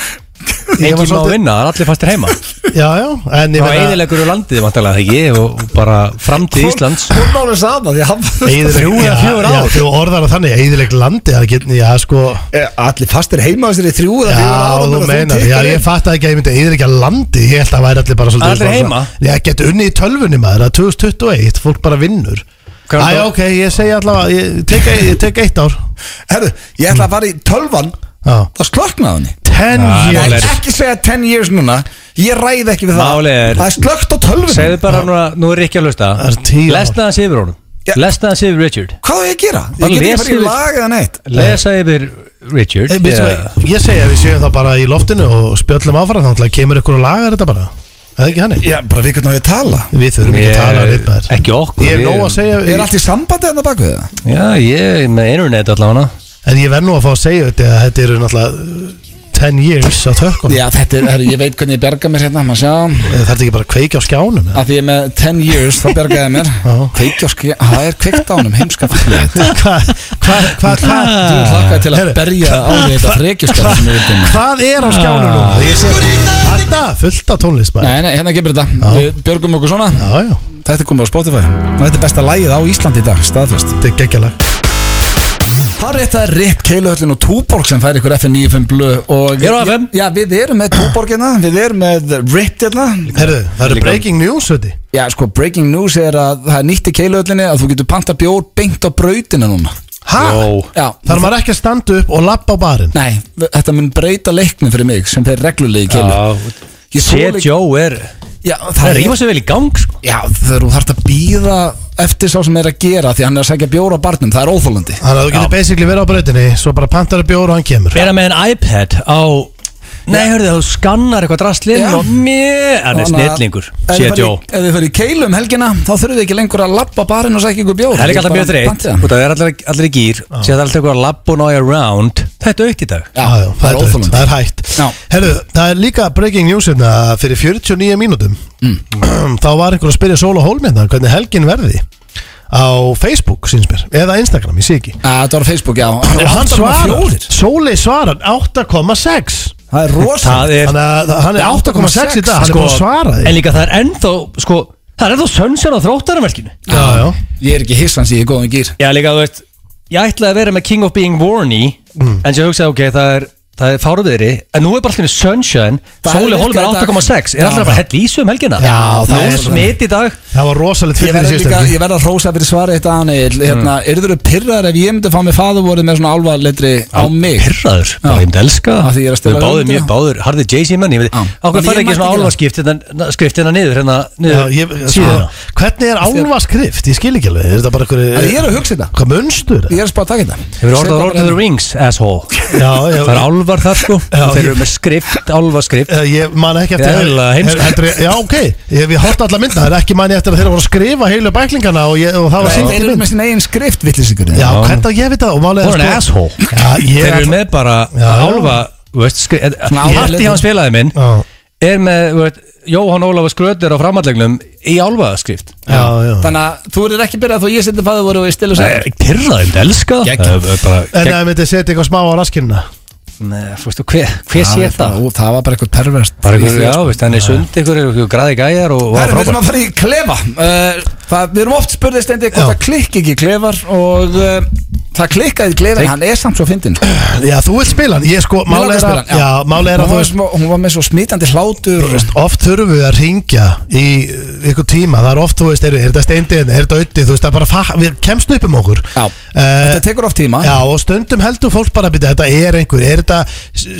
C: Ég var
B: Engin má
C: svolítið-
B: vinna, það er allir fastir heima
C: já, já En ég
B: Það eðilegur úr landið, vantarlega ég og og bara framtíð Íslands
A: Hún máli sama því að hann
C: eyðilegg-
B: Þrjú eða
C: já,
B: fjögur
C: já,
B: ár.
C: Þú orðar að þannig, eðileg landi að get, Já, sko
A: Eh, Allir fastir heima á þessari í þrjú eða
C: Já,
A: fjögur ára
C: þú meinar, já, ég fatt ekki að ég myndi eðilegja landi Ég held að það væri allir bara svolítið
B: Allir heima?
C: Já, get unni í tölvunni maður, að 2021, fólk bara vinnur
B: Hvað er
C: Æ,
B: það-
C: ok, ég segja allavega, ég tek, ég tek eitt ár
A: Herru, ég ætla að fara í tölvan
C: Já,
A: þá slöknaði henni
C: ten
A: Ég
B: Já, málið
C: years
A: ætla ekki að segja 10 years núna Ég ræð ekki við það
B: Málið er-
A: Það er slökt á tölvunni
B: Segðu bara núna, nú er ekki að hlusta
C: Það er tíu ár.
B: Lesna hans yfir
A: Já.
B: honum Lesna hans yfir Richard
A: Hvað er ég að gera?
B: Bara
A: Ég get ekki
B: lesa
A: bara í
B: yfir-
A: lag eða neitt
B: Lesa yfir Richard
C: Hey, yeah. Ég segja að við séum það bara í loftinu og spjöllum áfram þannig að kemur ykkur og lagar þetta bara Það er ekki hannig
A: Já, bara við hvernig að ég tala
C: Við þurfum ekki að tala um neitt maður
B: Ekki okkur
C: Ég er
B: við
C: nóg
B: erum-
C: að segja
A: Er allt í sambandi þarna bak við það?
B: Já, ég er með internet allavega
C: En ég verð nú að fá að segja þetta að þetta eru náttúrulega 10 years á tökum
A: Já, þetta er, herru, ég veit hvernig ég berga mér hérna maður sjá
C: Það er ekki bara að kveika á skjánum eða?
A: Að því ég er með 10 years, þá bergaði mér
C: Já.
A: Kveikjóski, það er kveikt ánum, heimska fyrir
C: Hvað,
B: Ah.
C: hvað, hvað,
A: Þú
C: hvað
A: hlakkaði til að
C: Heyrðu,
A: berja á því þetta frekjuskar sem ég vildi maður
C: Hvað er á skjánum núna? Ég sé alltaf fullt af tónlist bara
A: Ah. Nei, nei, hérna kemur þetta Við björgum okkur svona
C: Já, já,
A: Þetta er komið á Spotify Og þetta er besta lagið á Íslandi í dag, staðfest
C: þetta er geggjalag
A: Það er rétt að Ripp, Keiluhöllin og Túborg sem fær ykkur FN95 blöð og
B: Eru á FM?
A: Já, við erum með Túborg hérna, við erum með Ripp hérna
C: Herðu, það eru breaking news þetta
A: Já, sko, breaking news er að það er nýtt í Keiluhöllinni að þú getur panta bjór beint á brautina núna
C: Hæ?
B: Jó.
A: Já,
C: Þarf maður ekki að standa upp og labba á barinn?
A: nei, þetta mun breyta leiknum fyrir mig sem fer reglulegi í Keilu
B: núna
A: Ég
B: Sér
A: þoli-
B: Joe er
A: Já,
B: Það
A: það
B: er
A: er
B: ríma sér vel í gang sko
A: Já, þegar þú þarft að býða eftir sá sem er að gera því hann er að segja bjór á barnum, það er óþólandi
C: Þannig að þú getur basically verið á brautinni Svo bara pantar að bjóra og hann kemur
B: Vera með en iPad á Nei, hörðu, þú skannar eitthvað drastlinn
A: Já.
B: og mér Hann er snillingur, sér Joe
A: Ef þið fyrir í keilu um helgina þá þurfum við ekki lengur að labba barinn og sækja ykkur bjór
B: Það er ekki alltaf mjög
A: Bara
B: þreitt
A: pantið það.
B: og það er allir, allir í gýr sér það er alltaf um eitthvað labb og nája round Þetta er aukt í dag
A: Já,
C: Já, já,
A: það er
C: dautt,
A: óþólandi
C: Það er hægt
A: Já.
C: Herru, það er líka breaking news hérna að Fyrir 49 mínútum
A: Mm.
C: Þá var einhver að spyrja Sól og Hólmérna Hvernig helgin verði Á Facebook, síns mér Eða Instagram, ég sé ekki
A: Já, Þetta var á Facebook, já
C: Og
A: 8,4.
C: hann svarar Sóli svarar 8,6
A: Það er rosa
B: Það er
C: Þannig að hann er 8,6 í dag Hann er búin að svara
B: Sko, En
C: því
B: líka það er ennþá sko, Það er ennþá sönnsjón á þróttarverkinu
C: Já, já
A: Ég er ekki hissan sem ég er góðan gýr
B: Já líka þú veist Ég ætlaði að vera með King of Being Warny
C: Mm.
B: En sem ég hugsaði ok það er Það er fáruðiðri En nú er bara allir sunshine
A: Það
B: Sóli
A: hefði
B: Holm er
A: virkað í dag.
B: 8,6 Er
A: Já.
B: allir að bara hella í sig um helgina
C: Já, það
B: það
C: er
B: er
C: svona.
B: smitt í dag
C: Það var
A: Ég
C: rosalegt fyrir
A: verð,
C: því
A: líka,
C: síðast
A: ég verð að hrósa fyrir svarið þetta hann hérna, mm. Eru pyrrar ef ég myndi fá mig faðurvorið með svona álvaðletri á mig?
B: Pyrraður Bara ég myndi elska
A: Af því ég er að stela
B: Við báðum
A: hugmyndina.
B: mjög báður Harði Jay-Z menn Ég veit
A: Já. En
B: Ákveð
A: ég
B: fara
A: mætti
B: ekki
A: ekki það.
B: svona álfarskipt hérna- Skrift hérna niður Hérna
C: Já,
B: niður
C: ég, sko,
B: síðuna.
C: hvernig er álvaskrift? Ég skil ekki alveg, er þetta bara
A: Það Ég
C: einhverju
A: er að hugsa þetta
C: Hvað munstur?
A: Ég er að spá að taka þetta
B: Hefur
A: Setja
B: orðað Lord of
A: bara
B: the Rings, asshole
C: Já, já,
B: Það er álvar þar sko
C: Já,
B: Þeir
C: ég-
B: eru með skrift, álvarskrift
C: Eh, Ég man ekki eftir
B: Ég er eiginlega heimsk.
C: Heldur ég- Já, ok Ég hef hort alla mynda Það er ekki man ég eftir að þeirra voru að skrifa heilu bæklingana og, ég, og það var
A: Nei,
C: sýnt í
A: Þeir eru
C: mynd
A: með sinna eigin skrift, villisingur
C: Já, hvernig á ég veit það og málega
B: Hún er an asshole
C: Já, ég
B: Þeir
C: er
B: eru með bara
C: Já, já.
B: álva þú veist, skri- eh,
A: álvarletur.
B: Hatti hans félagi minn
C: Já.
B: Er með þú veist, Jóhann Ólafur Skröter á framallegnum í álfaðaskrift
C: já, já.
A: Þannig að þú verður ekki byrjað þó ég setja fæður voru í stilu
B: Það
A: sér
B: er pyrraðind, elska það.
A: Geggjað.
B: það er bara,
C: En
B: gegn, eh,
C: það myndi setja eitthvað smá á raskimna
B: Nei, fórstu, hver, hver sé það?
A: Það var bara eitthvað perverst
B: Bara ykkur, já, veist, hann er sund ykkur, ykkur graði gæjar og
A: Það er, við
B: var
A: erum
B: frábært
A: að fara í klefa uh, það, Við erum oft spurðið stendi hvort
C: Já.
A: það klikki ekki í klefar og uh, það klikkaði í klefar,
B: Klikk.
A: hann er samt svo fyndin
C: Já, þú vilt spila hann Ég sko, máli
A: langar að
C: er
A: spila
C: að
A: hann, já.
C: Já, máli er
A: hún,
C: að þú
A: var,
C: veist
A: smá- hún var með svo smítandi hlátur og,
C: Oft þurfum við að ringja í uh, ykkur tíma Það er oft, þú veist, er, er þetta steindiðin, er þetta auðið Þú veist, það er bara, fa- við kemst upp um okkur
A: Já.
C: Eh,
A: Þetta tekur oft tíma
C: Já, og stundum heldur fólk bara að byrja Þetta er einhver, er þetta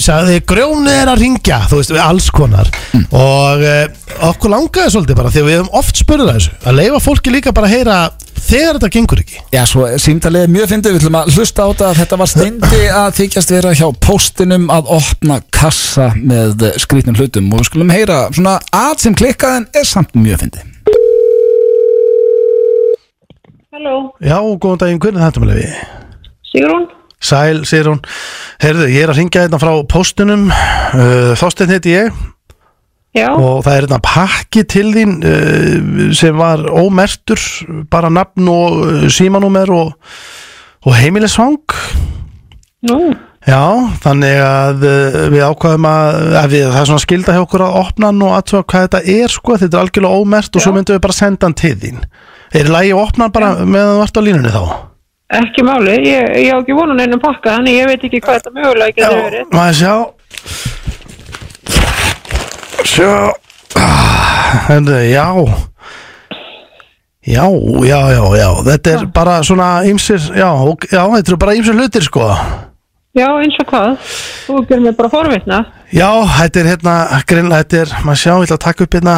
C: sagði, Grjónið er að ringja, þú veist, við alls konar
A: Mm.
C: Og uh, okkur langaði svolítið bara Þegar við höfum oft spurðið að þessu Að leifa fólki líka bara að heyra Þegar þetta gengur ekki
A: Já, svo símtalið er mjög fyndið, við ætlum að hlusta á þetta að þetta var steindi að þykjast vera hjá póstinum að opna kassa með skrýtnum hlutum og við skulum heyra svona að sem klikkaðin er samt mjög fyndið
D: Halló,
C: Já, góðan daginn, hvernig er þetta með leiði?
D: Sigrún?
C: Sæl, segir hún Herðu, ég er að ringja hérna frá póstunum uh, Þorsteinn heiti ég
D: Já,
C: og það er hérna pakki til þín uh, sem var ómertur bara nafn og uh, símanúmer og, og heimilisfang
D: nú,
C: Já, þannig að uh, við ákvaðum að, að við, það er svona skilda hjá okkur að opna hann og aðtöfa hvað þetta er sko, þetta er algjörlega ómert og svo
D: Já.
C: myndum við bara senda hann til þín Er í lagi að opna hann bara meðan þú ert á línunni þá?
D: ekki máli, ég, ég á ekki vonun einum pakka, þannig ég veit ekki hvað þetta mögulega getur verið.
C: maður sjá Sjá Henni, já Já, já, já, já Þetta er bara svona ymsir Já, ok- já þetta eru bara ymsir hlutir sko
D: Já, eins og hvað, þú gerir mig bara forvitna.
C: Já, þetta er hérna greinlega, þetta er, maður sjá, ég ætla að taka upp hérna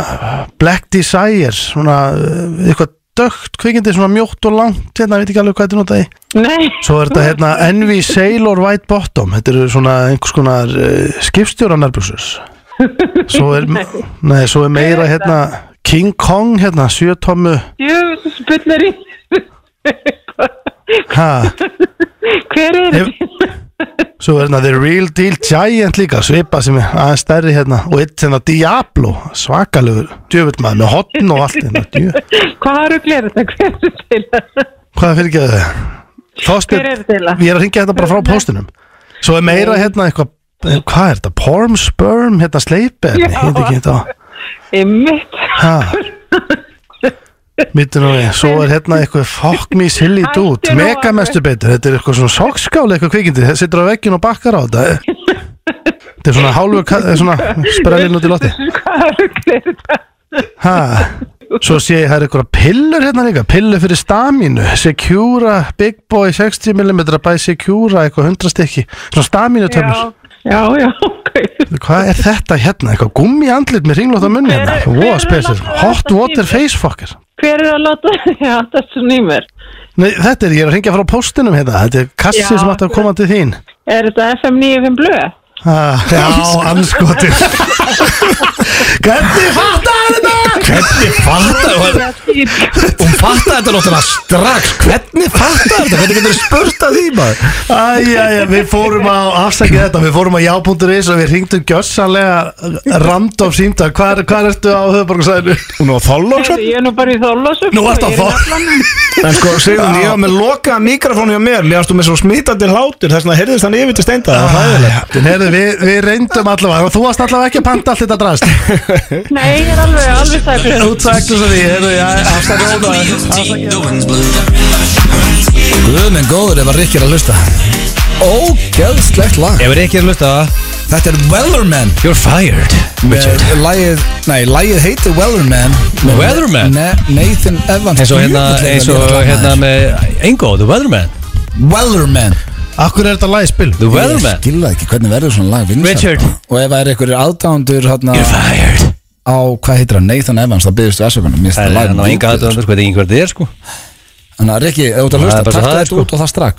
C: Black Desire svona, eh, eitthvað dögt kvikindi svona mjótt og langt, hérna, ég veit ekki alveg hvað þetta er notað í
D: Nei,
C: Svo er þetta hérna Envy Sailor White Bottom Þetta eru svona einhvers konar uh, skipstjóra nærbjörnsus Svo er, nei, svo er meira hérna King Kong hérna, sjötommu
D: ég spillir í,
C: ha,
D: hver er
C: Hef-
D: þetta?
C: Svo er hérna The Real Deal Giant líka Svipa sem er aðeins stærri hérna Og eitt hérna Diablo, svakalegur Djöfull maður með hotn og allt hérna djö-
D: Hvað eru glir þetta, hver er þetta til það?
C: Hvað fyrir ekki það?
D: Hver er þetta til það?
C: Ég er að ringja þetta bara frá póstinum Svo er meira hérna eitthvað Hvað er þetta? Porm, sperm, hérna sleipi
D: Já.
C: Hérna ekki þetta
D: Ég mitt,
C: Hæ? Mítið nú við, svo er hérna eitthvað fuck me silly dude,
D: Hættu nú
C: mega
D: alveg.
C: mestu betur, þetta er eitthvað svona sokskáli eitthvað kvikindi, þetta situr á veggin og bakkar á þetta Þetta er svona hálfur, ka- eh, svona sprælinn út í lotti
D: hvað eru glir þetta?
C: Hæ? Svo sé ég, það er eitthvað pillur hérna líka, pillur fyrir stamínu, Secura, Big Boy 60mm by Secura, eitthvað 100 stykki, svona stamínu
D: Já,
C: töfnir
D: já, já, ok.
C: Hvað er þetta hérna, eitthvað gummi andlit með ringlóta munni
D: Hver er-
C: hérna,
D: hver er
C: wow,
D: að
C: spesir,
D: láta
C: hot
D: þetta
C: water
D: stífið?
C: face fucker
D: Hver er að láta þetta svona í mér?
C: Nei, þetta er, ég er að ringja frá póstinum hérna, þetta er kassi
D: Já,
C: sem átti að koma til þín
D: Er þetta FM 95 blöð?
C: ah, Já, anskotir Hvernig fattar þetta?
A: Hvernig fattar
D: Já, dýr.
A: Hún fattar þetta náttúrulega strax Hvernig fattar þetta? Hvernig getur spurt að því maður?
C: Æjæja, við fórum að afsækja þetta, við fórum að já.is og við ringdum gjössanlega random símtal, hvar, hvar ertu á höfuborgarsæðinu?
A: Hún var þollóksvætt
D: Ég er nú bara í þólasöf
C: Nú ertu á Þorlás-
A: En sko, Sigrun, ég var með lokaða mikrofónu hjá mér Mér varstu með svo smitandi hlátur Þess vegna heyrðist hann yfir til steinda Það var hræðilegt
C: Herðu, við, við reyndum allavega og þú varst allavega ekki að panta allt þetta drast
D: Nei, ég er alveg, alveg sækla
C: Útsæklu svo því, herðu, já, afsækja þetta
A: Guð minn góður ef að Rikki er að hlusta Ógjöðslegt lag
B: Ef er ekki að hlusta það
A: Þetta er Weatherman
B: You're fired Richard.
A: Með lagið, nei, lagið heitir Weatherman Með
B: Weatherman?
A: Ne Nathan Evans
B: Eins og hérna,
A: Djöfull er
B: eins og
A: þetta lag
B: hérna
A: maður.
B: með Engo, The Weatherman
A: Weatherman
C: Akkur er þetta lagið spil?
B: The
A: Ég
B: Weatherman
A: skilða ekki hvernig verður svona lag vinsælt.
B: Richard.
A: Og ef það er einhverjir aðdándur hérna
B: You're fired
A: á, hvað heitir hann, Nathan Evans, það byggðist við afsökunum Mér finnst
B: Það
A: það
B: er
A: lag
B: hann á enga
A: viðbjóður.
B: aðdöndur, hvað er ekki hvernig þið er sko
A: Þannig að Rikki, ef þú ert að
B: Það
A: hlusta,
B: er bara
A: takk
B: svo það er,
A: þetta
B: sko.
A: út og það strax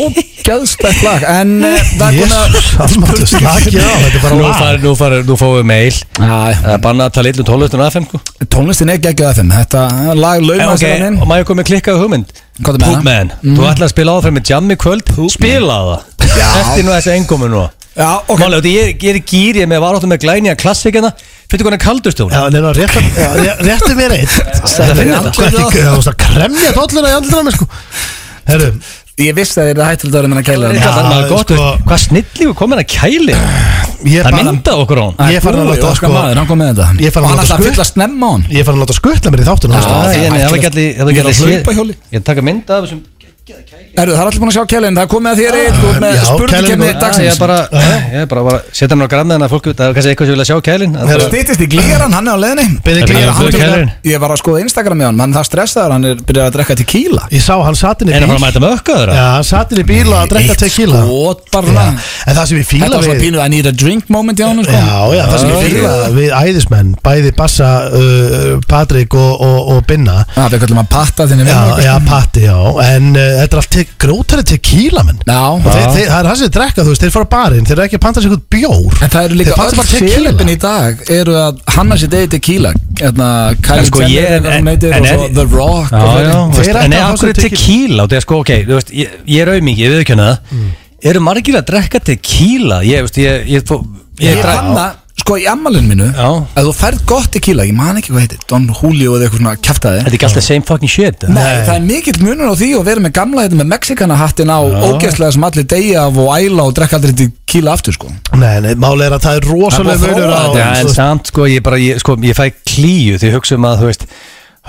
A: Ógæðstætt lag, en eh, það er
C: Jésus, almatur, slakið á, þetta er bara
B: Nú
C: lag
B: farið- Nú farið- nú fáum við mail
A: komin
B: Það er bannað að tala illu tólustun aðfem sko
A: að Tónlistin er geggjað FM, þetta lag lauma
B: Ok, um,
A: sér hann inn
B: og maður komið klikkað hugmynd
A: Hvað er með Mhm. Mm. hana?
B: Poopman, þú ætlar að spila áfram með Jammi kvöld Spila það Eftir nú þessi engómi nú
A: Já, ok
B: Málega, ég, er- ég er gýr, ég er með varáttum með glænja klassikina Fyrir hvernig kaldust þú?
C: Já, nema réttu, já, ré- réttu mér eitt
B: þetta finnir
C: Þetta
B: þetta.
C: sko ekki, það varst að kremja dolluna í andlina á mér sko Herru,
A: Ég vissi að þið er hættilegt að vera með
B: Það
A: kælar
B: er ekki alltaf
C: Já,
B: maður gott,
C: sko-
B: veist, hvað snillífu kom hérna kæli
C: ég
B: Það
C: bara
B: mynda okkur á hann
C: Ég fann að láta
A: sko
C: sko-
A: maður, hann kom með þetta
C: Ég fann að
A: Og hann
C: láta
A: ætlaði að
C: sko-
A: fylla snemma á hann
C: Ég fann að láta skutla mér í þáttun
A: Já,
B: Ég
A: já.
C: Já,
B: hef
A: ætli-
B: ekki allir, ég hef
A: Ég er
B: ekki
A: að hlaupa hjóli.
B: allir Ég hef taka mynda af þessum
A: Erðu, það er allir búin að sjá kælinn, það er komið að þér eitt og með
C: Já, kælinn
A: spurningkemni
B: Ah,
C: er-
B: Já, Ég
A: dagsins
B: er bara, ég er bara, bara setja hann á græmiðan að fólk Það er kannski eitthvað sem vilja sjá kælin að
A: Það
B: bara-
A: stýttist í glýran, hann er á leðinni
C: Byrði
B: Ég er
C: glýra
B: að fara að
C: handtökum
B: kærin.
A: Ég var að skoða Instagram í hann, hann það stressaður, hann er byrjað að drekka tequila
C: Ég sá hann satt inn í
B: En að fara að
C: bíl
B: mæta með ökka þeirra
C: Já, hann satt inn í bíl og að drekka tequila
A: Skot bara
C: Já,
A: svona.
C: En það sem ég
A: Þetta
C: fíla
A: var svona
C: við
A: pínu I need a drink moment í hann sko.
C: Já, já, það sem ég fíla við æðismenn Bæði Bassa, uh, Patrik og, og, og Binna
A: Já, við kallum að patta þinni
C: Já,
A: vinnu
C: já, Patti, já En uh, þetta er allt te- grótari tequila, menn
A: Já,
C: Og þeir, þeir, það er það sem þeir drekka, þú veist, þeir fara á barinn Þeir eru ekki að panta sér eitthvað bjór
A: en það eru líka
C: Þeir panta
A: öll
C: bara tequila.
A: félipin í dag eru að hanna sér degi tequila hérna, Kylie
B: sko, ég-
A: Jenner eða
B: en-
A: hún heitir,
B: en
A: og
B: er-
A: svo The Rock
B: Já,
A: og
B: já,
A: fleiri.
B: þú veist,
C: Þeir ættu
B: en
C: að
B: af
C: fá sér
B: hverju tequila Þú veist, sko, ok, þú veist, ég, ég er auðmingi, ég viðkjöna það Eru margir að drekka tequila Ég, veist, ég, ég, fó- ég,
A: Ég
B: dra-
A: fann það, sko í ammalinn mínu
B: Já.
A: að þú færð gott tequila, ég man ekki hvað heitir Don Julio eða eitthvað svona kæftæði
B: Þetta er ekki alltaf same fucking shit eða?
A: Nei, það er mikill munur á því og verið með gamla hérna með Mexikana hattin á ógeðslega sem allir deyja af og æla og drekka aldrei tequila aftur sko
C: Nei, nei, máli er að það er
A: Það er
C: rosalega
A: búið að
C: munur
A: þróa
C: á
B: Já, en
C: þú veist,
B: samt, sko, ég bara, ég, sko, ég fæ klíu Því ég hugsa um að, þú veist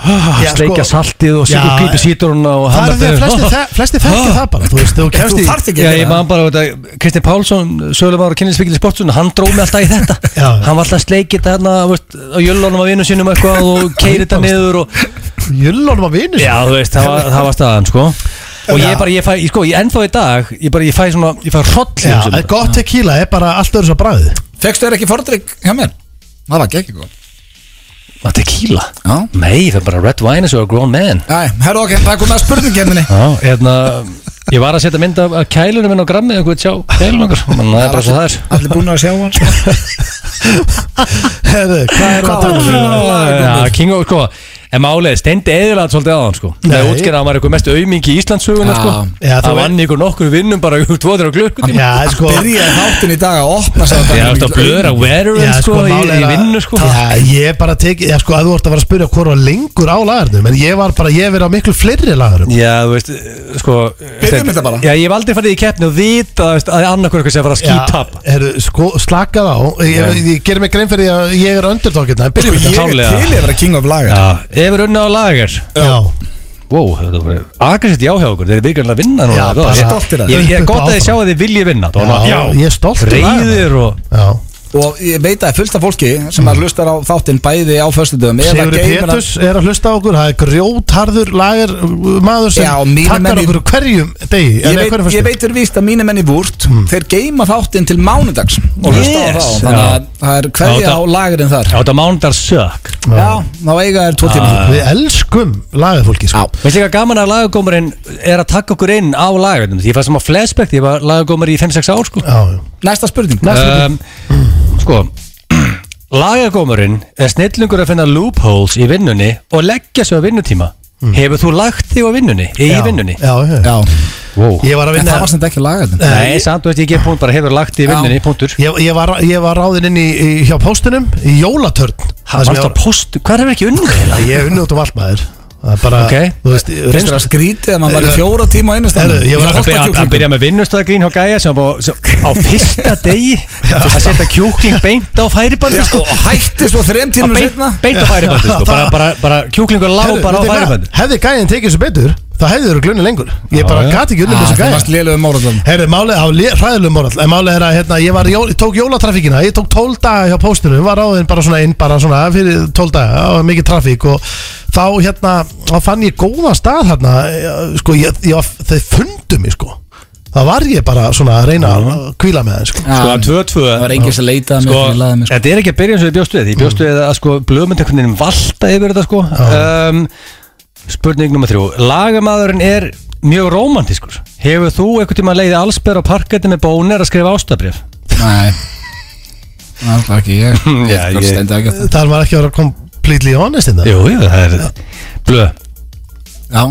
C: Já, sko-
B: Sleikja saltið og sigur
C: Já,
B: kvítu síturuna og
C: Það er því að
B: hamra-
C: flesti, þe flesti þekki það bara Þú veist, þú kemst
A: Þú
C: í
A: þarft ekki
B: Já,
A: að
B: ég
A: gera það
B: man bara, þetta, Kristinn Pálsson, sögulegar og kynningsvíkil í sportsunum, hann dróð mig alltaf í þetta
C: Já.
B: Hann var alltaf að sleikja þetta hérna, þú veist, á jöllunum á vinnu sínum eitthvað og keiri þetta niður og
C: Jullunum að vinnu
B: Já, þú veist, það var, það var staðan, sko Og ég bara, ég fæ, ég, sko, ég ennþá í dag, ég bara, ég fæ svona, ég fæ hroll í
C: Já,
B: þessum.
C: en gott tequila er bara allt öðru svo bræði
A: Fekstu þér ekki fordrygg hjá mér? Það var ekki góð
B: Að tequila?
A: Já.
B: Nei, ég fæ bara red wine as a grown man.
A: Æ, herru ok, það er komið að spurningkemminni
B: Já, hérna, ég var að setja mynd af af kælunum minn á grammi, einhvern sjá kælunum okkur, menn það er bara svo það er.
A: Allir búin að sjá hann sko.
C: Herðu, hvað er að tala um?
B: Ah. Já, King of, sko, en málið, steindi eðilat svolítið aðan, sko. Nei. Það
C: Nei. Ah.
B: útskýrði að hann var eitthvað mest aumingi í Íslandsugunar,
A: Já.
B: sko.
C: Já, þú
B: það
C: veit-
B: vann ykkur nokkur vinnum bara úr tvoður á klukkutíma.
C: Já, en sko
A: Byrjaði þáttin í dag að opna sig á
B: Já,
A: daginn.
B: þetta blöður að
C: Já,
B: veteran, sko, í,
C: málið er
B: í
C: að-
B: vinnu, sko.
C: Já, ég bara teki, já, sko, að þú ert að vera að spyrja hvað var lengur á lagarnum En ég var bara, ég hef verið á miklu fleiri lagarnum
B: Já, þú veist, sko
A: Byrjum þetta bara.
B: Já, ég hef aldrei farið í keppni og vita þú veist, að annarkur eitthvað sem var að skítap
C: er, sko, slakað á Ég, ég, ég gerir mig grein fyrir því að ég er öndurtókirna En byrjum
A: Ég er
C: við
A: til
B: klárlega.
A: í að vera king of laga
B: Já, hefur unna á lager
C: þetta Já,
B: Wow, þetta var aggressivt já hjá okkur Þeir eru virkilega að vinna núna
C: Já,
B: það var-
C: bara
B: Ég-
A: stoltir að þeim.
B: Ég ég er gott að þið
C: Áfram.
B: sjá að þið vilji vinna Það var
C: Já,
B: svona,
C: ég er stoltur af þeim.
B: Reyðir og
C: já
A: Og ég veit að fullta fólki sem
B: Mm.
A: að hlustar á þáttin bæði á föstudöfum eða
C: Sigurður
A: geymir að-
C: Petus er að hlusta á okkur Það er grjótharður lager uh, maður sem
A: Já, mínir menn í-
C: takkar okkur á hverjum degi
A: Ég
C: eða
A: veit,
C: hverjum föstu.
A: ég veit fyrir víst að mínu menn í vúrt Þeir geima þáttinn til mánudags Og hlusta á
B: Yes.
A: þá Þannig að
B: Já.
A: það er hverja á
B: Já, það-
A: lagerinn þar
B: Já, þetta mándar sök
A: Já, þá eiga er tvo tíma
C: Við elskum lagarfólki sko.
B: Veist líka gaman að lagagómarinn er að taka okkur inn á lagarnum Því ég fann sem að flashback, ég var lagagómar í 5-6 ár sko
C: Já, já.
A: Næsta spurning
B: um, Sko Lagagómurinn er snillingur að finna loopholes í vinnunni og leggja sig á vinnutíma Hefur þú lagt þig á vinnunni? Í
C: já,
B: vinnunni?
C: já, já.
A: Já,
B: Wow.
C: Ég var
A: en
C: að vinna
A: það var sem ekki lagerinn
B: Nei, samt þú veist ég gef punkt bara hefur lagt þig í
A: Já.
B: vinnunni, punktur
C: ég, ég, var, ég var ráðinn inn í, í, hjá póstunum í jólatörn Það sem
B: Varst
C: ég
B: að post, hvað hefur ekki unnið
C: var-
B: hérna?
C: Ég hef unnið út um allt maður Það er bara,
B: Ok.
C: þú veist,
A: Finnst þér að skrítið að maður var í fjóra tíma á einu stað
C: Herru, ég var að
B: Hann byrja, hann byrja með vinnustæðagrín hjá Gæja sem á, sem á fyrsta degi að setja kjúkling beint á færibandi sko,
A: Og hætti svo þrem tíma
B: beint,
A: setna
B: beint á færibandi sko, bara, bara, bara kjúklingur lág
C: Herru,
B: bara á
C: veitir hvað?
B: færibandi
C: Hefði gæðin tekið þessu betur þá hefði þeir glunni lengur Ég bara
B: já.
C: gati ekki unnið þessu
A: Það
C: gæðin
A: Ah, varst um lélegum áraðum
C: Herri, málið á hræðilegum orðall En málið er að hérna, ég, var, í jól, ég tók jólatrafíkina Ég tók tól daga hjá póstinu Var áðin bara svona inn bara svona fyrir tól daga Það var mikið trafík og þá hérna Þá fann ég góðan stað hérna eh, Sko, ég, ég var, þeir fundu mig sko Það var ég bara svona að reyna að kvíla með þeim sko
B: Sko,
A: Ah,
B: að 2-2
A: Það var enginn sem leitaði mig,
B: sko,
A: sem laði mig, sko.
B: Þetta er ekki að byrja eins og ég bjóst við Ég bjóst við að sko, blöðmynd einhvern veginn valta yfir þetta sko. um, Spurning nummer þrjú Lagamæðurinn er mjög rómantískur Hefur þú einhvern tíma leiði allsber á parketti með bónir að skrifa ástabrif?
A: Nei Það var ekki ég
B: Já,
A: Ég
B: ég-
A: stendi ekki að það
C: Það var ekki að vera hérna. completely honest in það
B: Jú, jú, það er Blöð,
A: Já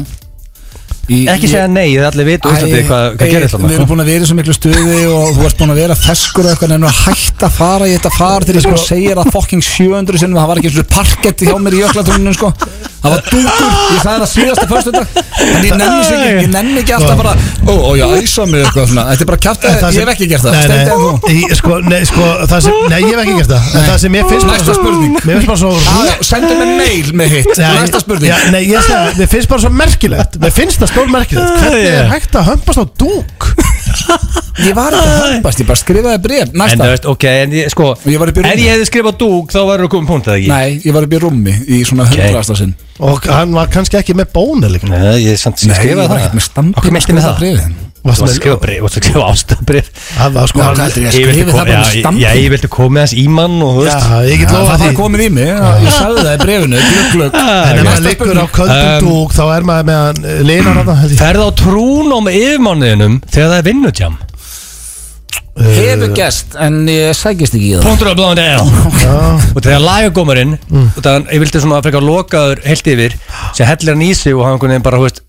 A: Í-
B: Ekki segja nei, það allir vita útlandi hvað, hvað sko. gerir
A: Við erum
B: það
A: búin að vera í svo miklu stuði og þú varst búin að vera feskur og eitthvað en að hætta að fara í þetta far til ég sko segir að fucking 700 sinnum það var ekki eins og parkett hjá mér í jöklatúninu sko það var dúkur, ég sagði það síðasta fyrstu en ég nenni sig ekki, ég nenni ekki alltaf bara ó, ó, já, æsa mig eitthvað svona þetta er bara kjátt
C: En það
A: ég
C: sem-
A: hef ekki gert það,
C: Nei,
A: stendur en þú
C: nei, í- sko, nei, sko, það sem, nei, ég hef ekki gert það En það sem ég finnst bara
A: Næsta
C: svo-
A: spurning.
C: Mér finnst bara svo
A: Ah, já, sendu mig mail með hitt,
C: Nei,
A: næsta spurning
C: já, Nei, ég sagði, mér finnst bara svo merkilegt Mér finnst það stór merkilegt
B: Ah,
C: Hvernig er hægt að hömpast á dúk?
A: ég var ekki að hömpast, ég bara skrifaði bref
B: En
A: næsta,
B: það veist, ok, en ég, sko
A: Ég var í byrjun.
B: Ef ég hefði skrifað dúk, þá varum við komið punkt, eða ekki?
A: nei, ég var upp í rúmi í svona hundrasta sinn
C: Og hann var kannski ekki með bónu líka
B: Nei, ég samt sem
A: ég
B: skrifaði
A: var
B: það
A: ekkert með standi
B: Okkur meinti með það?
A: bréfin.
B: Þú varst að skrifa bref, þú varst að skrifa ástabref
C: Það var sko
A: Já,
C: hann-
A: hvað heldur ég að
B: Ég vildi
A: skrifa það
B: kom-
A: bara
B: já,
A: með
B: ég-
A: stampi?
B: já, ég vildi komið hans í mann og þú
C: Já,
B: veist
C: ég get
A: Það
C: lofa
A: var
C: því
A: komið í mig, ég sagði það í brefinu, glögg, glögg
B: Ah,
C: En ef maður
A: Næsta
C: liggur á
A: spurning.
C: köldum
B: Um,
C: dúk Þá er maður með hann eh, linar að það
B: Ferð á trúnum yfirmánuðinum þegar það er vinnutjám
A: Hefur gest, en ég sækist ekki í það
B: Punktur á bláðan del Og þegar lagagómarinn mm. Ég vildi svona frekar lokaður heilt yfir sem hellir hann í sig og hann einhvern veginn bara þú veist,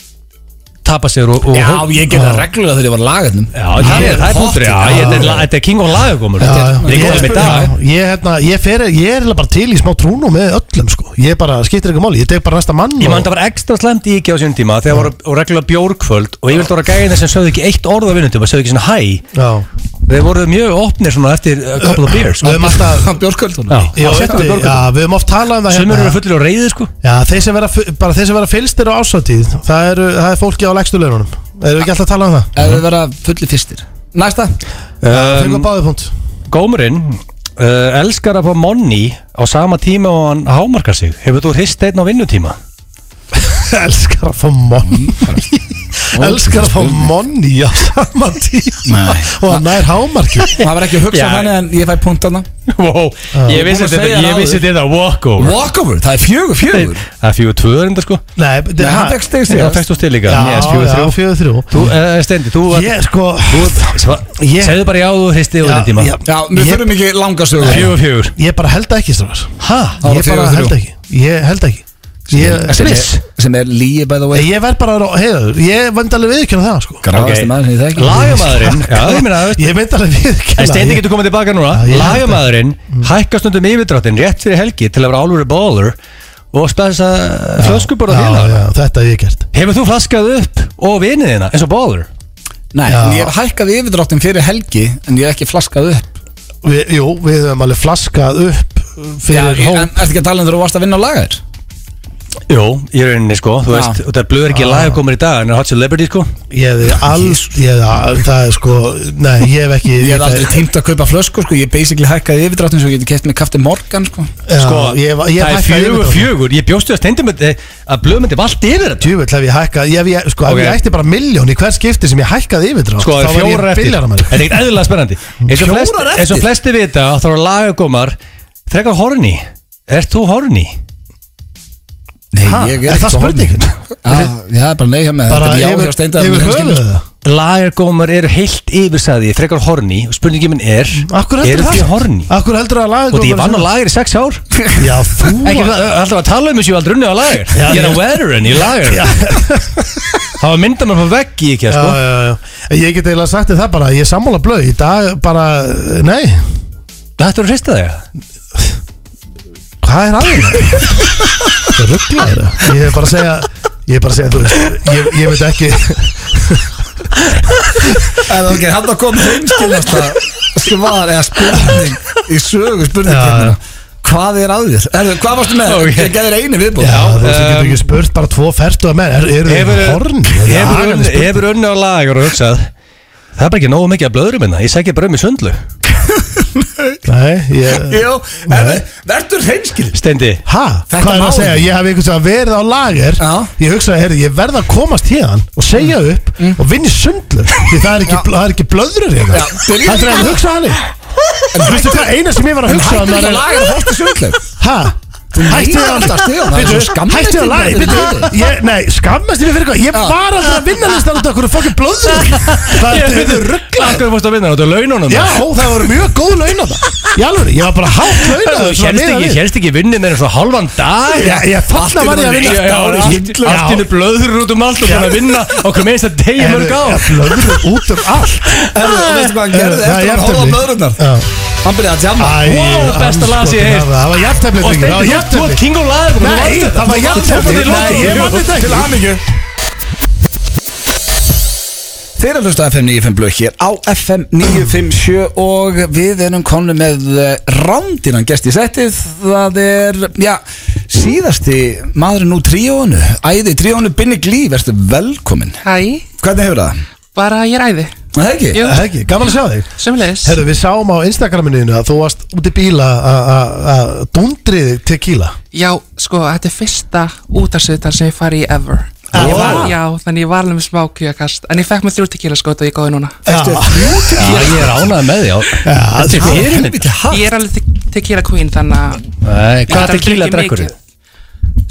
B: tapa sér og, og
A: Já, ég gerði það reglulega þegar ég var lagarnum
B: Já, það er, það er punktur, já, ég- þetta er la- þetta er king of lagagómur
C: Já,
B: Þetta
C: já.
B: er- þetta er góðum í dag
C: Já, Ég, hérna, ég, fer, ég er eiginlega bara til í smá trúnu með öllum sko. Ég bara skiptir ekki máli, ég tek bara næsta mann
B: Ég man
C: og,
B: það var ekstra slæmt í ekki á sínum tíma þegar voru og reglulega bjórkvöld og ég vildi voru að gæja þess sem sögðu ekki eitt orð á vinnutum og sögðu ekki svona hæ
C: já,
B: Þeir voru mjög opnir svona eftir a couple of beers
C: Við höfum alltaf
A: Hann bjórkvöldunum
B: Já.
C: Já, veitir, já, við höfum oft talað um það
B: Sumur eru
C: hérna
B: fullir á reyði sko
C: Já, þeir sem vera, fu- bara þeir sem vera fylstir á ásatið það, eru, það er fólki á legstu leirunum Erum við ekki alltaf að tala um það?
A: Ef við vera fulli fyrstir Næsta
C: Um, Fengum báðupunkt
B: Gómurinn uh, elskar að fá monni á sama tíma og hann hámarkar sig Hefur þú hrist einn á vinnutíma?
C: Elskar að fá monni Elskar að fá monni á sama tíma
A: Nei.
C: Og hann nær hámarki
A: Það var ekki að hugsa
B: Já.
A: þannig en ég fæ punkt þarna
B: wow, ég
A: Þú búin að segja það áður.
B: þetta walkover
A: Walkover, það er fjögur, fjögur
B: Það er fjögur tvöður enda sko
C: Nei,
A: Nei, hann fekk stig síðast.
B: Það fækst þú stil líka
C: Já,
B: Yes, fjögur
C: já,
B: þrjú
C: fjögur þrjú
B: Þú, uh, Stendi, þú var
C: Ég sko Ég-
B: Segðu bara já, þú hristi á
C: Já,
B: vinnutíma
C: já.
A: Já, við
C: Ég-
A: þurfum ekki langa sögur
B: Fjögur fjögur
C: Ég bara held ekki strafar
B: Hæ?
A: Það var
C: Ég bara
A: fjögur,
C: held
A: þrjú.
C: ekki Ég held ekki Ég,
A: Sem er-
B: Bliss.
A: Sem er líi by the way
C: ég verð bara að heiða Ég vend alveg viðkjöna það sko
A: Grafaðasti maður sem ég þekki
B: Lagamæðurinn Já, ég meina það
C: Ég vend alveg
B: En Steindi
C: viðkjöna
B: getur komið tilbaka núna
C: Já, ég held það. Mm.
B: Lagamæðurinn hækkar stundum yfirdráttin rétt fyrir helgi til að vera álfur baller og spæðis að flöskubor og
C: Já,
B: hérna
C: já, þetta hef ég gert
B: Hefur þú flaskað upp og vinið þina eins og báður?
A: Nei,
C: Já.
A: en ég hef hækkað yfirdráttin fyrir helgi En ég hef ekki flaskað upp
C: Vi, Jú, við höfum alveg flaskað upp
A: Já,
C: Fyrir
A: en
C: hó
A: ertu ekki að tala um þegar þú varst að vinna á lagar?
B: Jó, í rauninni sko, þú
A: Já.
B: veist, og það blöður ekki laga komur í dag en er hot celebrity sko
C: Ég hefði alls Ég hefði, það er sko Nei, ég hef ekki
A: Ég hef aldrei tímt að kaupa flösku sko, ég basically hækkaði yfirdráttin svo ég geti keft með kafti morgan sko.
C: Já, ég, hef- ég
B: það er fjögur,
C: fjögur
B: fjögur, ég bjóstu að stendi með að blöður myndi vald yfir þetta
C: Tjúvill hef ég hækkað Ég, ég, sko,
B: Ok.
C: ef ég ætti bara miljón í hver skipti sem ég hækkaði yfirdrá
B: Sko, það er fjórar eftir,
C: biljar að
B: þetta er ekkert eðlilega spennandi eins og,
A: Fjórar
B: flest,
A: eftir?
B: eins og flesti vita þá er laga komar þrekar horni, ert þú horni?
A: Nei,
C: Ha,
A: ég
C: er
A: er
C: það
A: svo
C: spurningin?
A: horny. Já, já, bara nei hjá með
C: Bara
A: Þetta er já
C: yfir,
A: hjá steindar
C: yfir höfuðu það
B: Lagergómar eru heilt yfirsæði frekar horni og spurningin minn er
C: Akkur heldur
B: eru
C: það?
B: þið horni?
C: Akkur heldur það að laga
B: Og því ég vann á lager í sex ár
C: Já, þú
B: Ekki það, alltaf að tala um þessu ég hef aldrei unnið á lager
C: Já,
B: Ég er
C: já.
B: að veteran í lager Það var mynda mér frá vegg í ekki
C: Já,
B: sko.
C: já, já Ég get eiginlega sagt þér það bara Ég er sammála blöð Í dag bara Nei
B: Þetta eru hrista þegar
C: Hvað er aðeins? Það ruggla þér Ég er bara að segja Ég er bara að segja Þú veist Ég, ég veit ekki
A: En ok, hann að koma heimskilasta sko, svar eða spurning í sögu
C: Já, já.
A: spurning Hvað er að þér? Erðu, hvað varstu með?
B: Ok.
A: Ég gæði þér einu viðbúð
C: Já, þú veist Ég
B: um,
C: get ekki spurt Bara tvo fertu að menn Er, er það horn?
B: Hefur unnið- Hefur unnið á lager og hugsað Það er bara ekki nógu mikið að blöðurum minna Ég segi bara um í sundlu
C: Nei, ég
A: Jú, erðu, verður heimskil
B: Steindi
C: Ha?
A: Þetta
C: Hvað er
A: má
C: að segja?
A: ekki.
C: Ég hef einhvers að verið á lager
A: Já. Mm.
C: Ég hugsaði, heyrðu, ég verð að komast hérðan og segja upp og vinni sundlu því það er ekki,
A: Já.
C: bl- það er ekki blöðrur hérna
A: Já, byrjum-
C: Það er að hugsa hannig En veistu hvað, eina sem ég var að hugsa
A: Hættu
C: maður
A: það
C: er-
A: lagar og hóttu sögleif
C: Ha?
A: Þú
C: Hættu
A: meinar
C: að
A: alltaf stuð, það er
C: Bíddu,
A: svo skammarlegt
C: Hættu að
A: í mér,
C: læg
A: þetta er
C: bíddu. Ég- Nei, skammast þér fyrir hvað Ég
A: Já.
C: var aldrei að vinna listan út af hverju fokkin blóður Það
B: Ég
C: er
B: veit
C: þau ruggla
B: Akkur fórst að vinna þetta á laununum
C: Já, það voru mjög góð laun á það Í alveg, ég var bara hátt laun á
B: Þú hélst ekki, hélst ekki vinni meira en svona halvan dag
C: Já, ég þarna var ég að vinna
B: Allt innu blöður út um allt og búin að vinna okkur meins að degi mörg á
C: Blöður út um allt
A: Erðu, og veistu hvað hann gerði
C: Það er
A: eftir að hann horfði á
C: jafntefli.
A: blöðrunnar?
C: Já.
A: Hann byrjaði að jamma
C: Æ,
B: Wow, besta lag sem ég heyrt.
C: andskotinn, Það var jæftefli
B: Og
C: Það var
B: Steindi, þú ert
C: jæftefli
B: king og laður
C: Nei, það var jæftefli Nei, ég vann þetta ekki
A: hamingju Þeir að hlusta á FM 95 blökk hér á FM 957 og við erum konu með eh, rándinan gest í settið það er, já, síðasti maðurinn úr tríónu æði tríónu Binni Glí, verður velkomin
E: Hæ,
A: Hvernig hefur það?
E: bara ég ræði
A: Er Það ekki?
E: Jú.
C: Það er ekki, gaman að sjá þig
E: Sumleis
C: Herru, við sáum á Instagraminu að þú varst út í bíla að- að- að dundrið tequila
E: Já, sko, þetta er fyrsta útarsvitar sem ég fari í ever
C: Ah,
E: Ég
C: vá.
E: var, Já, þannig ég var alveg með smá kjökast En ég fekk mér þrjú tequila skot og ég góði núna
A: Ertu þrjú
B: Já, ég er ánað með því, já Þetta er fyrirmynd
C: sko.
A: Helviti hart.
E: Ég er alveg te- tequila queen, þannig að
B: Nei,
E: Ég
B: Hvað
E: drekk
B: tequila
E: ekki
B: drekkur
E: mikið.
B: þið?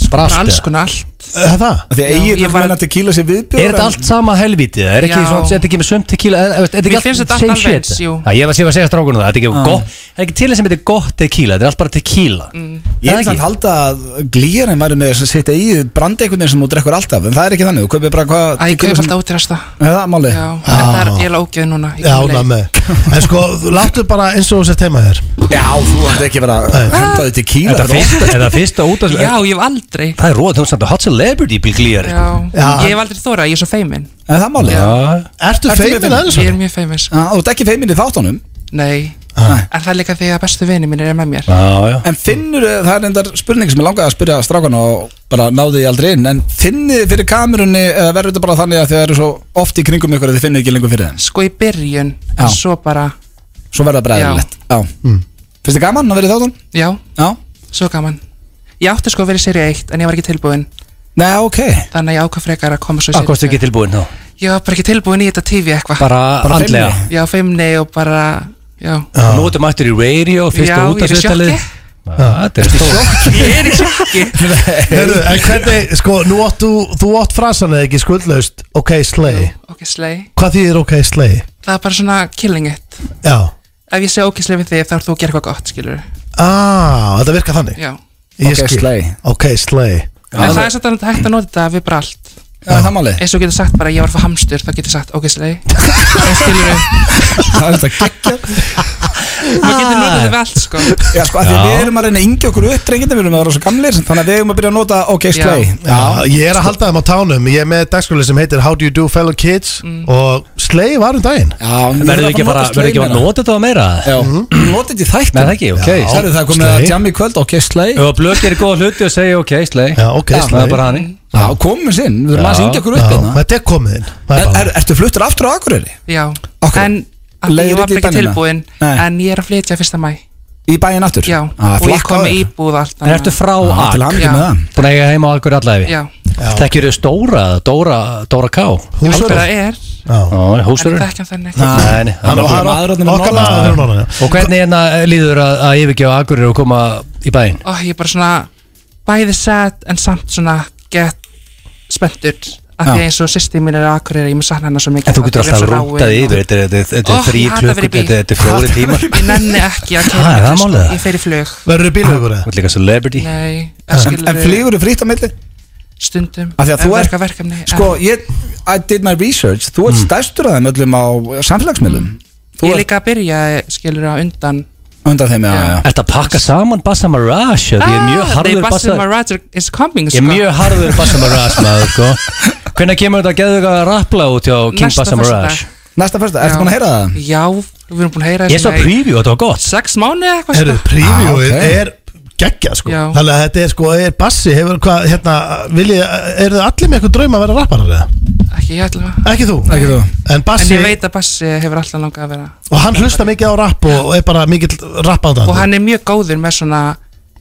B: Sprast
E: alls
B: eða?
E: konar allt
C: Er það?
A: Því að
E: Já,
A: eigið
E: ég
A: er
E: var-
A: menn að tequila sér viðbjörn
B: Er þetta allt sama helvítið? Er ekki
E: Já.
B: svona, er þetta ekki með sömt tequila? Er, er, er þetta
E: Mér
B: ekki allt
E: finnst þetta
B: same
E: allt alveg
B: shit?
E: eins, jú. Ah.
B: Já, ég var ég var að segja strákunum það, þetta er ekki gott Það er ekki til þess sem þetta er gott tequila, þetta er allt bara tequila
A: Ég
E: Mm.
B: Það
A: er
B: er
A: samt
B: ekki
A: halda að glýjarinn væri með þess að sitja í brandi einhvern veginn sem þú drekkur alltaf en það er ekki þannig, þú kaupir bara hvað
E: Æ, ég kaup
A: sem-
E: alltaf útirasta
A: Er það máli?
E: Já, en það er ég alveg ógjöð núna í
C: Já,
E: gamla
C: ná
E: leið.
C: með En sko, þú láttu bara eins og þú sért heima þér
A: Já, þú ætti ekki verið að henda þig til kíla
B: Þetta fyrsta, þetta fyrsta út af
E: Já, ég hef aldrei
B: Það er róð, þú veist að hot celebrity bílglýjar
E: Já,
C: Já.
E: ég hef aldrei þóra, ég er svo feimin
A: Er það máli? Já,
C: Ertu
A: Ertu
C: feimin
A: feimin?
C: aðeins?
E: Ég er mjög feimin, sko
A: Þú ert ekki feimin í þáttunum
E: Nei,
A: Ah.
E: en það er líka því að bestu vini minn er með mér
B: Já, já
A: En finnur, það er endar spurning sem ég langaði að spyrja strákan og bara náði ég aldrei inn en finnið þið fyrir kamerunni eða verður þetta bara þannig að þið eru svo oft í kringum ykkur að þið finnið ekki lengur fyrir þeim
E: Sko í byrjun,
A: Já.
E: en svo bara
A: Svo verður það bara eðlilegt Já
B: Mm.
A: Finnst þið gaman að vera í þáttunum?
E: Já,
A: Já
E: Svo gaman Ég átti sko að vera í seri 1 en ég var ekki tilbúin
A: Nei, ok
E: Þannig að ég ákvað frekar að koma svo í
B: Hvað kostu
E: seríu
B: ekki tilbúin þá?
E: tvö. Ég var bara ekki tilbúin í þetta TV eitthvað
B: Bara Ah.
A: Bara
B: andlega
A: feimni.
E: Já, feimni og bara Já,
B: Og Nú ertu mættur í radio, fyrsta
E: Já,
B: út af
E: ég er í sjokki.
B: Ah, Þetta er stóð
E: ég er í sjokki
C: Herru, en hvernig, sko, nú áttu, þú átt frasan eða ekki skuldlaust Ok, slay
E: Ok, slei
C: Hvað þýðir ok, slay?
E: Það er bara svona killing it
C: Já
E: Ef ég segi ok, slei við þig þá ert þú að gera eitthvað gott, skilur
C: Ah, þetta virkar þannig
E: Já
C: Ég
A: Ok,
C: skil.
A: slay.
C: Ok, slay
E: En það er satt að hægt að nota þetta við bara allt
A: Já, það máli
E: Eins og þú getur sagt bara ég var fyrir hamstur þá getur sagt ok, slei Skilur við
A: Það er þetta geggjað
E: Maður getur nota þetta við allt, sko
A: Já, sko, af því að við erum að reyna að yngja okkur upp drengindar, við erum að vera svo gamlir, þannig að við erum að byrja að nota OK Slay.
E: Já.
C: Já, ég er að halda þeim á tánum Ég er með dagskóli sem heitir How do you do fellow kids Og slay var um daginn
A: Já, ég
B: Verður
A: þarf
B: ekki bara,
A: nota
B: verður
A: Slay
B: ekki bara að
A: meira.
B: nota þetta meira?
E: Mhm.
A: Já, nota þetta í þættum.
B: Nei, það ekki, ok.
A: Já, Sérðu, það er komið
C: Slay.
A: að jamma í kvöld, OK Slay.
B: Og blöð gerir góða hluti og segja ok, slei
C: Já, ok, slay.
B: Það er bara
E: Mm.
B: hann
A: Já, komum sinn, við erum
B: Já.
A: að yngja okkur
C: Já,
A: upp hérna.
C: þetta er komið inn Það
A: Er,
C: er bara-
A: er, ertu fluttur aftur á Akureyri?
E: Já
A: Ok.
E: En að því
A: Leiðir ekki
E: ég var
A: í
E: bara ekki
A: bænina?
E: tilbúin
A: Nei.
E: En ég er að flytja fyrsta mæ
A: Í bæinn aftur?
E: Já,
A: Ah,
E: og ég kom
A: flakkaður.
E: með íbúð allt
B: En ertu frá
A: Já, til
B: Ak?
A: hann ekki
E: Já.
A: með það.
B: Búin að eiga heima á Akur allavegi?
E: Já,
B: Þekkir þau Stóra, Dóra, Dóra K?
C: Húsvörður.
E: Alfreða er
C: Já.
B: Já,
E: En
B: húsverður
E: ég þekki hann þannig
A: Nei.
B: Nei, nei,
A: Hann
B: hann-
A: var-
C: Okkar
A: maður
C: maður
A: þarna fyrir norðan.
C: fyrir norðan, já.
B: Og hvernig hérna líður að, að yfirgefa Akureyri og koma í bæinn?
E: Ó, Oh, ég er bara svona Bæði sad en samt svona Get spenntur Af því
A: Já.
E: eins og systið mín er á Akureyri Ég mun sakna hennar svo mikið
B: En þú getur
E: Ég er
B: alltaf
E: svo
B: rúntað
E: ráin.
B: yfir, þetta er- þetta er- þetta
E: Oh,
B: er þrý
E: ég hata að
B: klukkur,
E: vera í bíl.
B: þetta er- þetta er fjóri tímar
E: Ég nenni ekki að
B: Ha,
E: kæra
B: er það málið?
E: Ég fer í flug
C: Verður þið bílugur
B: Þú
C: eða?
B: ert líka celebrity
E: Nei, en
A: En, en
E: skilur
A: flýgur þú frítt á milli?
E: stundum
A: Af því að
E: en
A: þú ert-
E: verka verkefni
A: Sko, ég, I did my research, þú ert stærstur að þeim öllum á samfélagsmiðlum.
E: en,
A: Þú
E: Ég
A: ert
E: líka að byrja skilur á undan
A: undan þeim, já, já.
B: Ert að pakka saman Bassa Mirage? Því ég er mjög harður
E: Ah, Bassa
B: Bassa
E: Mirage is coming
B: Ég er
E: sko.
B: mjög harður Bassa Mirage maður sko Hvernig kemur þetta að geðu eitthvað að rappla út hjá King
E: Næsta
B: Bassa Mirage?
E: föstudag.
A: Næsta fyrsta,
E: Já.
A: ertu búin að heyra það?
E: Já, við erum búin að heyra
B: Ég svo
E: í
B: preview, þetta var gott
E: Sex mánu eða eitthvað
C: Herru,
E: svona.
C: previewið
A: Ah, ok.
C: er geggja sko
E: Já.
C: Þannig að þetta er sko, er bassi hefur hvað, hérna, viljið, eru þið allir með eitthvað draum að vera rapparar eða?
E: Ekki ég ætla að
C: Ekki þú?
A: Ekki þú.
C: En
E: En
C: bassi,
E: ég veit að Bassi hefur alltaf langað að vera
C: og hann hlusta mikið á rapp og, og er bara mikill rappandandi
E: Og hann er mjög góður með svona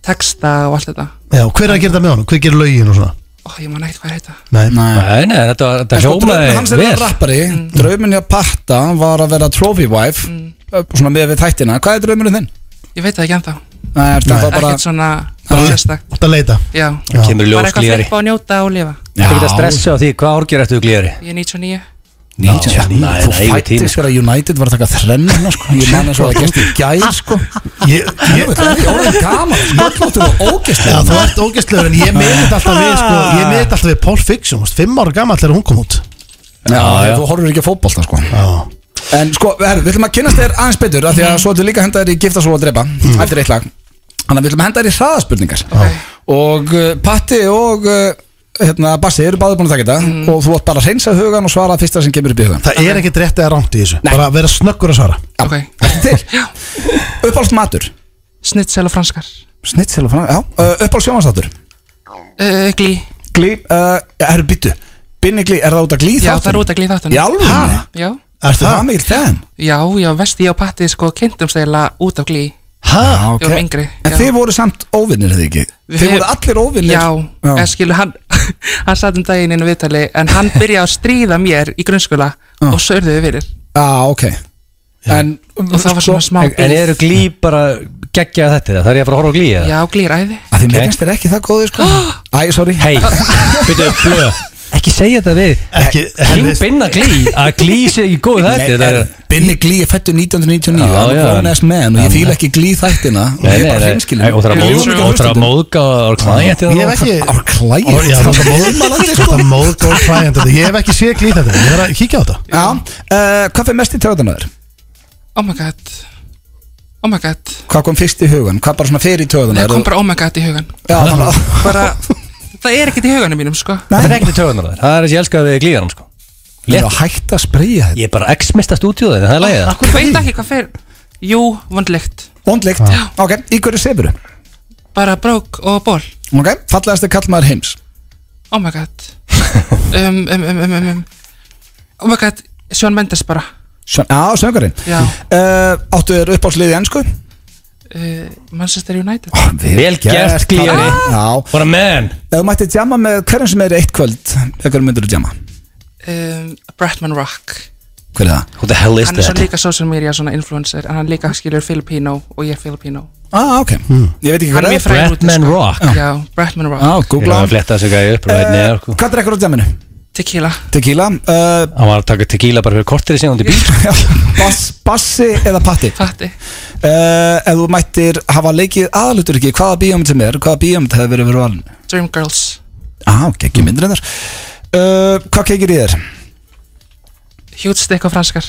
E: texta og allt þetta
C: Já, hver er að gera það með honum? Hver gerir lögin og svona?
E: Ó, ég man ekkert hvað heita
C: Nei,
B: Nei, nei, þetta, var- þetta
A: En sko, draumurinn hans er
B: hljómaði
A: að vera
B: vel
A: rappari Draumurinn hjá Patta var að vera trophy wife mm. Svona með við þættina Hvað er draumurinn þinn?
E: Ég veit það ekki ennþá
A: Nei, er þetta bara
E: Ekkert svona Það var sérstakt
C: Þú ert að leita
E: Já
C: Já.
B: kemur í
E: Bara
B: ljós
E: eitthvað
B: glýri
E: flippa og njóta og lifa
B: Þú getur að stressa á því, hvað árgjör eftir glýri?
E: Ég er 99
A: Já,
B: Nei,
A: Þú
B: nei, eigu tími,
A: fættist vera United var að taka þrennina sko. Ég man að svo að það gerst í gæð sko.
C: Ég, ég,
A: Það er ekki orðið gaman Möllóttur og ógæslega
C: Já, þú ert ógæstlegur en ég meðið alltaf við sko, ég meðið alltaf við Pulp Fiction, þú veist, fimm ára gammal þegar hún kom út
A: Já,
B: já.
A: þú horfur ekki að fótbolta sko.
C: Já,
A: En sko, herru, við ætlum að kynast þér aðeins betur af Því
E: Mhm.
A: að svo ætlum við líka að henda þér í gifta svo að drepa Eftir eitt lag Þannig að við ætlum að henda þér í hraðaspurningar Og uh, Patti og uh, hérna, Bassi eru báður búin að taka þetta
E: Mhm.
A: Og þú átt bara að reynsa hugan og svara fyrsta sem kemur upp í hugan
C: það er ekkert rétt eða rámt í þessu,
A: Nei.
C: bara vera snöggur að svara
A: Já.
E: Ok.
A: Ertu til? Uppáhalds matur
E: Snitsel og franskar
A: Snitsel og frá Uppáhalds sjónvarsáttur
E: uh, Glý
A: Glý uh, Herru, byttu Binnigli, er það út af glý
E: Já, það er út að glý þáttan
A: Í alveg?
C: Ha?
E: Já
A: Er
C: Er
A: það
C: það?
A: mikil þeim?
E: Já, já, vesti ég og Patti sko kynntumst eiginlega út af glý
A: Hæ? Okay.
E: vorum yngri,
A: Ah, En
E: já.
A: þið voru samt óvinnir eða ekki?
E: Við-
A: Þið voru allir óvinnir
E: Já, en skilu, hann, hann satt um daginn inn í viðtali En hann byrjaði að stríða mér í grunnskóla Og svo urðu við fyrir
A: Já, ok En um,
E: Og það var svona smá
B: En en eru glý bara geggja þetta? eða? Það er ég að fara að horfa á glý eða?
E: Já, glý er æði
A: Að þið
B: Ok.
A: okay. meðast er ekki það góðið sko Æ, sorry
B: Hei, byrju, blöð Ekki segja þetta við
C: Ekki,
B: Hring binna glý Að glý sé ekki góð þetta
A: Nei,
B: Það er
A: er, Binni Glý er fættu 1999
B: Já,
A: hann er
B: já.
A: grown ass man og ég
B: Já.
A: fíla ekki Glý þættina og ég er bara hreinskilin
B: Og það er að
A: Ég
B: móðga-
A: ljúga
B: og það er að
A: ekki
B: móðga og klæðið
C: Ég hef ekki
A: Á klæði
C: Ó, Já, þú ert að móð- þú
A: sko.
C: ert að móðgóð klæðan þetta Ég hef ekki séð glýð þetta, ég er að kíkja á þetta
A: Já, uh, hvað fyrir mest í töðunar?
E: Oh my god Oh my god
A: Hvað kom fyrst í hugan? Hvað bara svona fyrir í
E: Það
A: töðunar?
E: kom bara oh my god í hugan
A: Já, þannig að
E: Bara, það er ekkert í huganum mínum sko
B: Það er ekkert í töðunar þær Það er þessi elska við glýðanum sko
A: Ég er að hætta að spreyja þetta
B: Ég er bara x-mista stúdíóðin Það er lægið
E: Ég veit ekki hvað fer Jú, vondlegt
A: Vondlegt Ok, í hverju sefuru?
E: Bara brók og ból
A: Ok, fallegasti kallmaður heims
E: Oh my god um, um, um, um, um, um. Oh my god, Sjón Mendes bara
A: Sjön, á, söngarinn
E: Já.
A: uh, Áttu þér uppáhaldsliðið ennsku?
E: uh, Manchester United
B: Vel gert glýðan
A: Já,
B: What a man
A: ef þú mætti djama með hverjum sem er í eitt kvöld Hverjum myndir þú djama?
E: um, Bretman Rock
A: Hver er það?
B: Who the hell is
E: Hann er svo
B: that?
E: líka social media svona influencer En hann líka skilur Filipino og ég er Filipino
A: Ah, ok Ég veit ekki
E: Hann
A: hver það
E: er mjög
A: er
E: frægur út í
B: Bretman
E: sko.
B: Rock.
E: Já, Bretman Rock
A: Já,
B: Ég er
A: googla
B: að fletta þessu gæði upp og hérna neðar sko.
A: Hvað drekkur á djaminu?
E: Tequila
A: Tequila uh,
B: Hann var að taka tequila bara fyrir kortir í síðan bíl
A: já, bass, Bassi eða patti uh,
E: Fatti
A: Ef þú mættir hafa leikið aðalutur ekki Hvaða bíómynd sem er? Hvaða bíómynd hefur verið verið valin?
E: Dreamgirls
A: Á, ah, geggjum myndir þar uh, Hvað keikir í þér?
E: Huge stick og franskar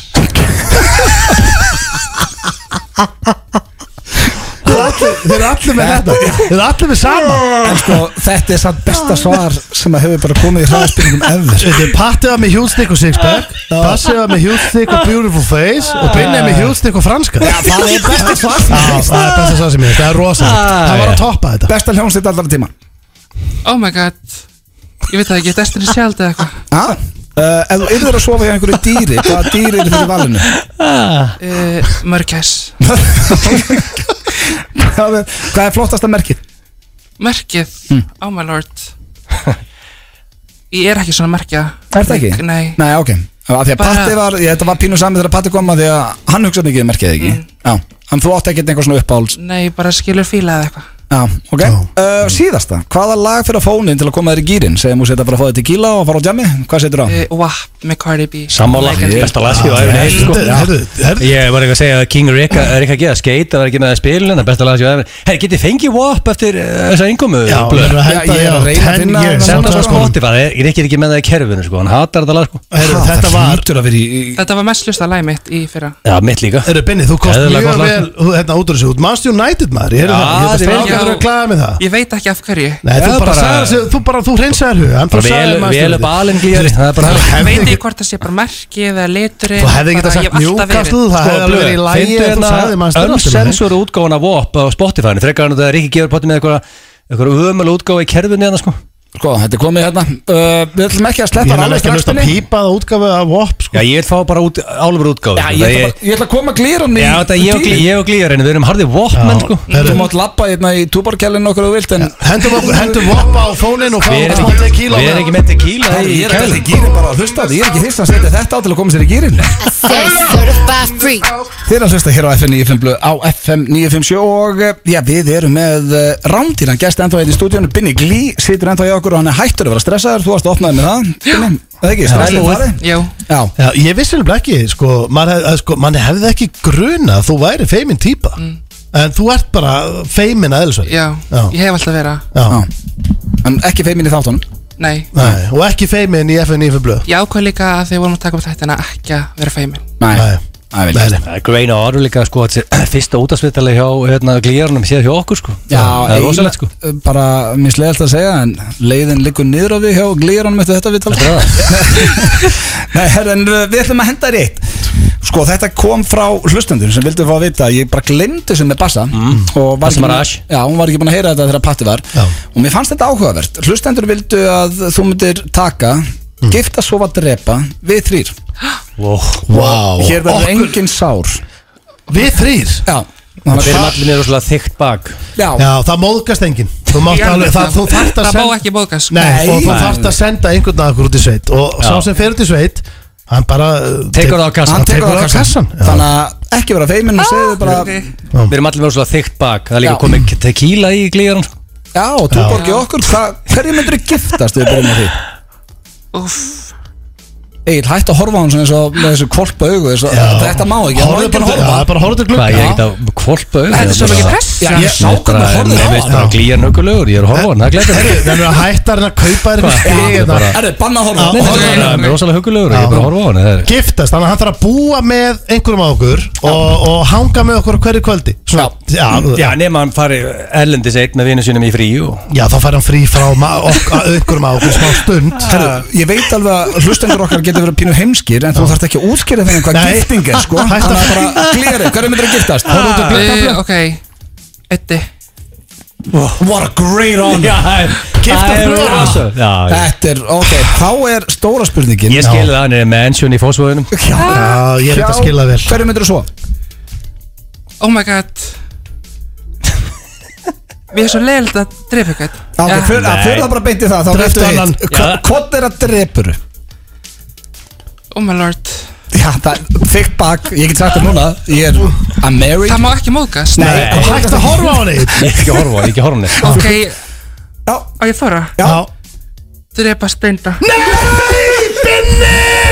C: Þeir eru allir með þetta, þeir eru allir með sama
A: En sko, þetta er satt besta svar sem að hefur bara komið í hraðspurningum ever
C: Þetta er Patti var með hjúlstikk og sixpack Bassi var með hjúlstikk og beautiful face Og Binni er með hjúlstikk og franska Já,
A: Það er besta svar sem
C: það er besta svar sem ég, það er rosalegt Það var að toppa þetta
A: Besta hljómsveit allra tíma
E: Oh my god Ég veit það ekki, Destiny Child eða eitthvað
A: ah, uh, Ef þú yfir að sofa hjá einhverju dýri Hvaða dýri er fyrir valinu?
E: uh, Mörgæs
A: Hvað er, hvað er flottasta merkið?
E: Merkið, oh my lord Ég er ekki svona merkja
A: Er það ekki?
E: Nei,
A: Nei, ok Af því að
E: Bara-
A: Patti var, ég, þetta var pínu sami þegar Patti kom að því að hann hugsaði mikið um merkið ekki
E: Mm.
A: Já, en þú átt ekkert einhver svona uppáhalds
E: nei, bara skilur fíla eða eitthvað
A: Já, ok
C: Já.
A: uh, Síðasta, hvaða lag fyrir fónin til að koma þér í gýrin? Segjum þú setja bara að fá þetta tequila og fara á jammi? Hvað setur á?
E: uh, WAP með Cardi B
B: Sammála, besta lagskið á æfni heilt sko.
C: Herðu, herðu, herðu
B: Ég var eitthvað að segja að King Rikka er ekki að geða skeit Það var ekki með að spila en það besta lagskið á æfni Herri, getið fengið WAP eftir eh, þessa inkomu
C: Já, við erum að
A: Já, ég
C: henda
A: er
C: þér á
A: að reyna að
C: 10
A: finna þennan
C: years
A: sko.
B: Senda
C: á
B: svo
C: töskunum.
B: skoti bara, ég er ekki með það í kerfinu sko, hann hatar þetta lag sko
C: Herru,
A: Ha,
C: Þetta
A: það
C: var,
A: Ah, hlýtur að vera í, í
E: Þetta var mest hlusta lagið mitt í fyrra
B: Já, mitt líka
C: herru Binni, þú kost
B: Eðlilega
C: mjög
B: gott lag.
C: vel þú- Hérna út úr þessu, út Manchester United maður Ég er
B: Já,
C: það, ég er
B: þið
C: bara
B: viljið-
C: strákað að klæða með það
E: Ég veit ekki af hverju
C: Nei, þú
B: Já,
C: bara
B: bara-
C: sagði þessu, þú bara, þú hreinsaðir hug Hann bara
B: Bara
C: sagði
B: vel-
C: Manchester
B: vel
C: United.
B: upp alinn glýðari Það er bara það
E: Ég veit
C: Hefði-
E: ekki hvort það sé bara merkið eða liturinn
C: Þú hefði ekki
E: bara-
C: sagt
E: ég hef alltaf verið-
C: Newcastle, það
B: Sko,
C: hefði alveg verið í lægi
B: finndu
C: ef Þú sagði
B: hérna
C: Manchester United
B: önsensur útgáfan af WAP á Spotify-inu Frekar hann að það er ekki gefur potti með eitthvað eitthvað ömulega útgáfa í kerfinu hérna sko
A: Sko, þetta er komið hérna uh, Við ætlum ekki að
C: Ég
A: sleppa
C: meina
A: alveg
C: ekki að hlusta
A: straxtinni Já,
C: pípað útgafu af WAP
B: Já,
C: sko
B: ég vil fá bara út, álfur útgáð
A: ég ætla, bara, ég ætla að koma að glýra hann í
B: Já, þetta er ég og glý- ég og glýjarinn, við erum harðið vopmenn sko
C: Já.
A: Þú mátt lappa hérna í túborkjælinu okkur og vilt En
C: Hendum WAP- Hendum WAP á fónin og
B: Við
C: fáum
B: erum
C: smá
B: ekki,
C: tequila
B: við erum ekki með tequila
A: Nei,
B: í
A: ég er ekki
B: kæli
A: allir gýrin bara að hlusta á þetta Ég er ekki fyrst að setja þetta á til að koma sér í gýrin
F: I said certified freak.
A: Þið er að hlusta hér á FM 957 á FM 957 og eh, já, við erum með eh, rándýran gest ennþá einn í stúdíunum Binni Glý situr ennþá í okkur og hann er hættur að vera stressaður þú varst að opnaði með það Binni, það ekki, stressaður
B: búið.
A: farið
E: Jú.
A: Já,
C: Já, ég vissi nefnilega ekki, sko, mann hef, að, sko, man hefði ekki gruna að þú væri feimin típa En þú ert bara feimin aðeinsvæli
E: Já, ég hef alltaf verið að-
C: Já.
A: já En ekki feimin í þáttunum
E: Nei,
C: Nei, og ekki feimin í FNF blöð
E: ég ákvað líka að þegar vorum að taka upp þættina ekki að vera feimin
A: Nei,
C: Nei.
A: það vil
C: Nei,
A: ég
C: nei.
B: Það er greina áru líka sko að sé- fyrsta útasvittali hjá hérna, glýjarnum séð hjá okkur sko
A: Já,
B: það er
A: eiginlega,
B: rosalegt sko
A: eh, bara mér slegðast að segja en leiðin liggur niður á við hjá glýranum eftir þetta viðtal Nei, herra, en eh, við ætlum að henda rétt Sko, þetta kom frá hlustendur sem vildu fá að vita að ég bara glemdi þessu með Bassa og var
B: Mm. Bassa
A: ekki búin-
B: Mirage.
A: Já, hún var ekki búin að heyra þetta þegar Patti var
C: Já.
A: og mér fannst þetta áhugavert Hlustendur vildu að þú myndir taka
B: Mm.
A: gifta, sofa, drepa við þrýr
B: wow.
C: Vá,
A: Hér verður
C: okkur,
A: engin sár
C: við þrýr
A: Já,
B: Við erum
A: já,
B: allir með rosalega þykkt bak
A: já,
C: Já, það móðgast enginn Þú, mátt alveg, það, þú þarft að
E: Það má
C: senda
E: ekki bókast sko.
C: Nei, og þú
B: Nei.
C: þarft að senda einhvern að okkur út í sveit Og sá sem fer út í sveit, hann bara uh,
B: Tekur það á kassann.
A: hann tekur það á kassan
C: Já.
A: Þannig að ekki vera feiminn og segðu bara
E: ok.
B: Við erum allir með rosalega þykkt bak Það er líka
A: Já.
B: komið tequila í sko. glýjarnum
A: Já, og þú borgið okkur hvað- Hverju myndir þú giftast við byrjum á því?
E: Úff,
A: Egil, hætt að horfa á hann svona eins og með þessu kvolpa augu þessu, Þetta má ekki, það má
C: Horfðu
A: ekki
C: bara- Já,
A: horfa
C: bara horfðu til
B: Hvað,
C: glugga
B: ég er ekkert að kvolpa auðvitað
E: Þetta er svo mikið pressa.
A: Já, ég sá hvernig horfðu á hann
B: hann Glýjarn aukulegur, ég er að horfa á hann, það glæður
C: Herru, Það er að hætta hann að kaupa þér
B: Hvað?
C: eitthvað
B: Ég er
C: stig
B: bara-
C: hérna.
A: Er þið banna að horfa á
C: Já,
A: hann?
C: horfðu
B: mig Hann er rosalega aukulegur, ég er bara að horfa á hann það er-
C: giftast, þannig að hann þarf að búa með einhverjum á okkur og, og hanga með okkur á hverju kvöldi Svona, já, já,
B: Já, nema hann fari erlendis eitt með vinnu sínum í frí og
C: já, þá fær hann frí frá ma- ok- að einhverjum á okkur smá stund
A: Herru, ég veit alveg að hlustendur okkar getur verið pínu heimskir en þú þarft ekki að útskýra þeim hvað
C: Nei.
A: gifting er sko
C: Hætt að-
A: Þannig að bara glýri, hverju myndir þú giftast? Horfðu út og glýri
E: við- Ok, Eddi
A: What a great honor
B: Já, það er- það er
A: brúðan.
B: rosa- Já, já.
A: Þetta er, ok, þá er stóra spurningin
B: Ég skilði það, hann er með ensjón í fósvöðunum
C: Já, ég er þetta að skila vel
A: Hverju myndir þú svo?
E: Oh my god Við erum svo leiðilegt að drepa eitthvað
A: Já, ok, fyrir
B: Nei.
A: það bara beinti það, þá
C: Dreptu
A: dreftu
C: annan.
A: hitt
B: Já.
A: Hvort er að drepuru?
E: Oh my lord
A: Já, það, þykkt bak, ég get sagt það núna Ég er, I'm married
E: Það má ekki móðgast
A: Nei,
C: Nei, hætt að horfa á hann
B: Ég er ekki að horfa, á hann, ég er ekki að horfa á hann
E: Ok,
A: Já.
E: á ég þóra
A: Já.
E: Drepa steinda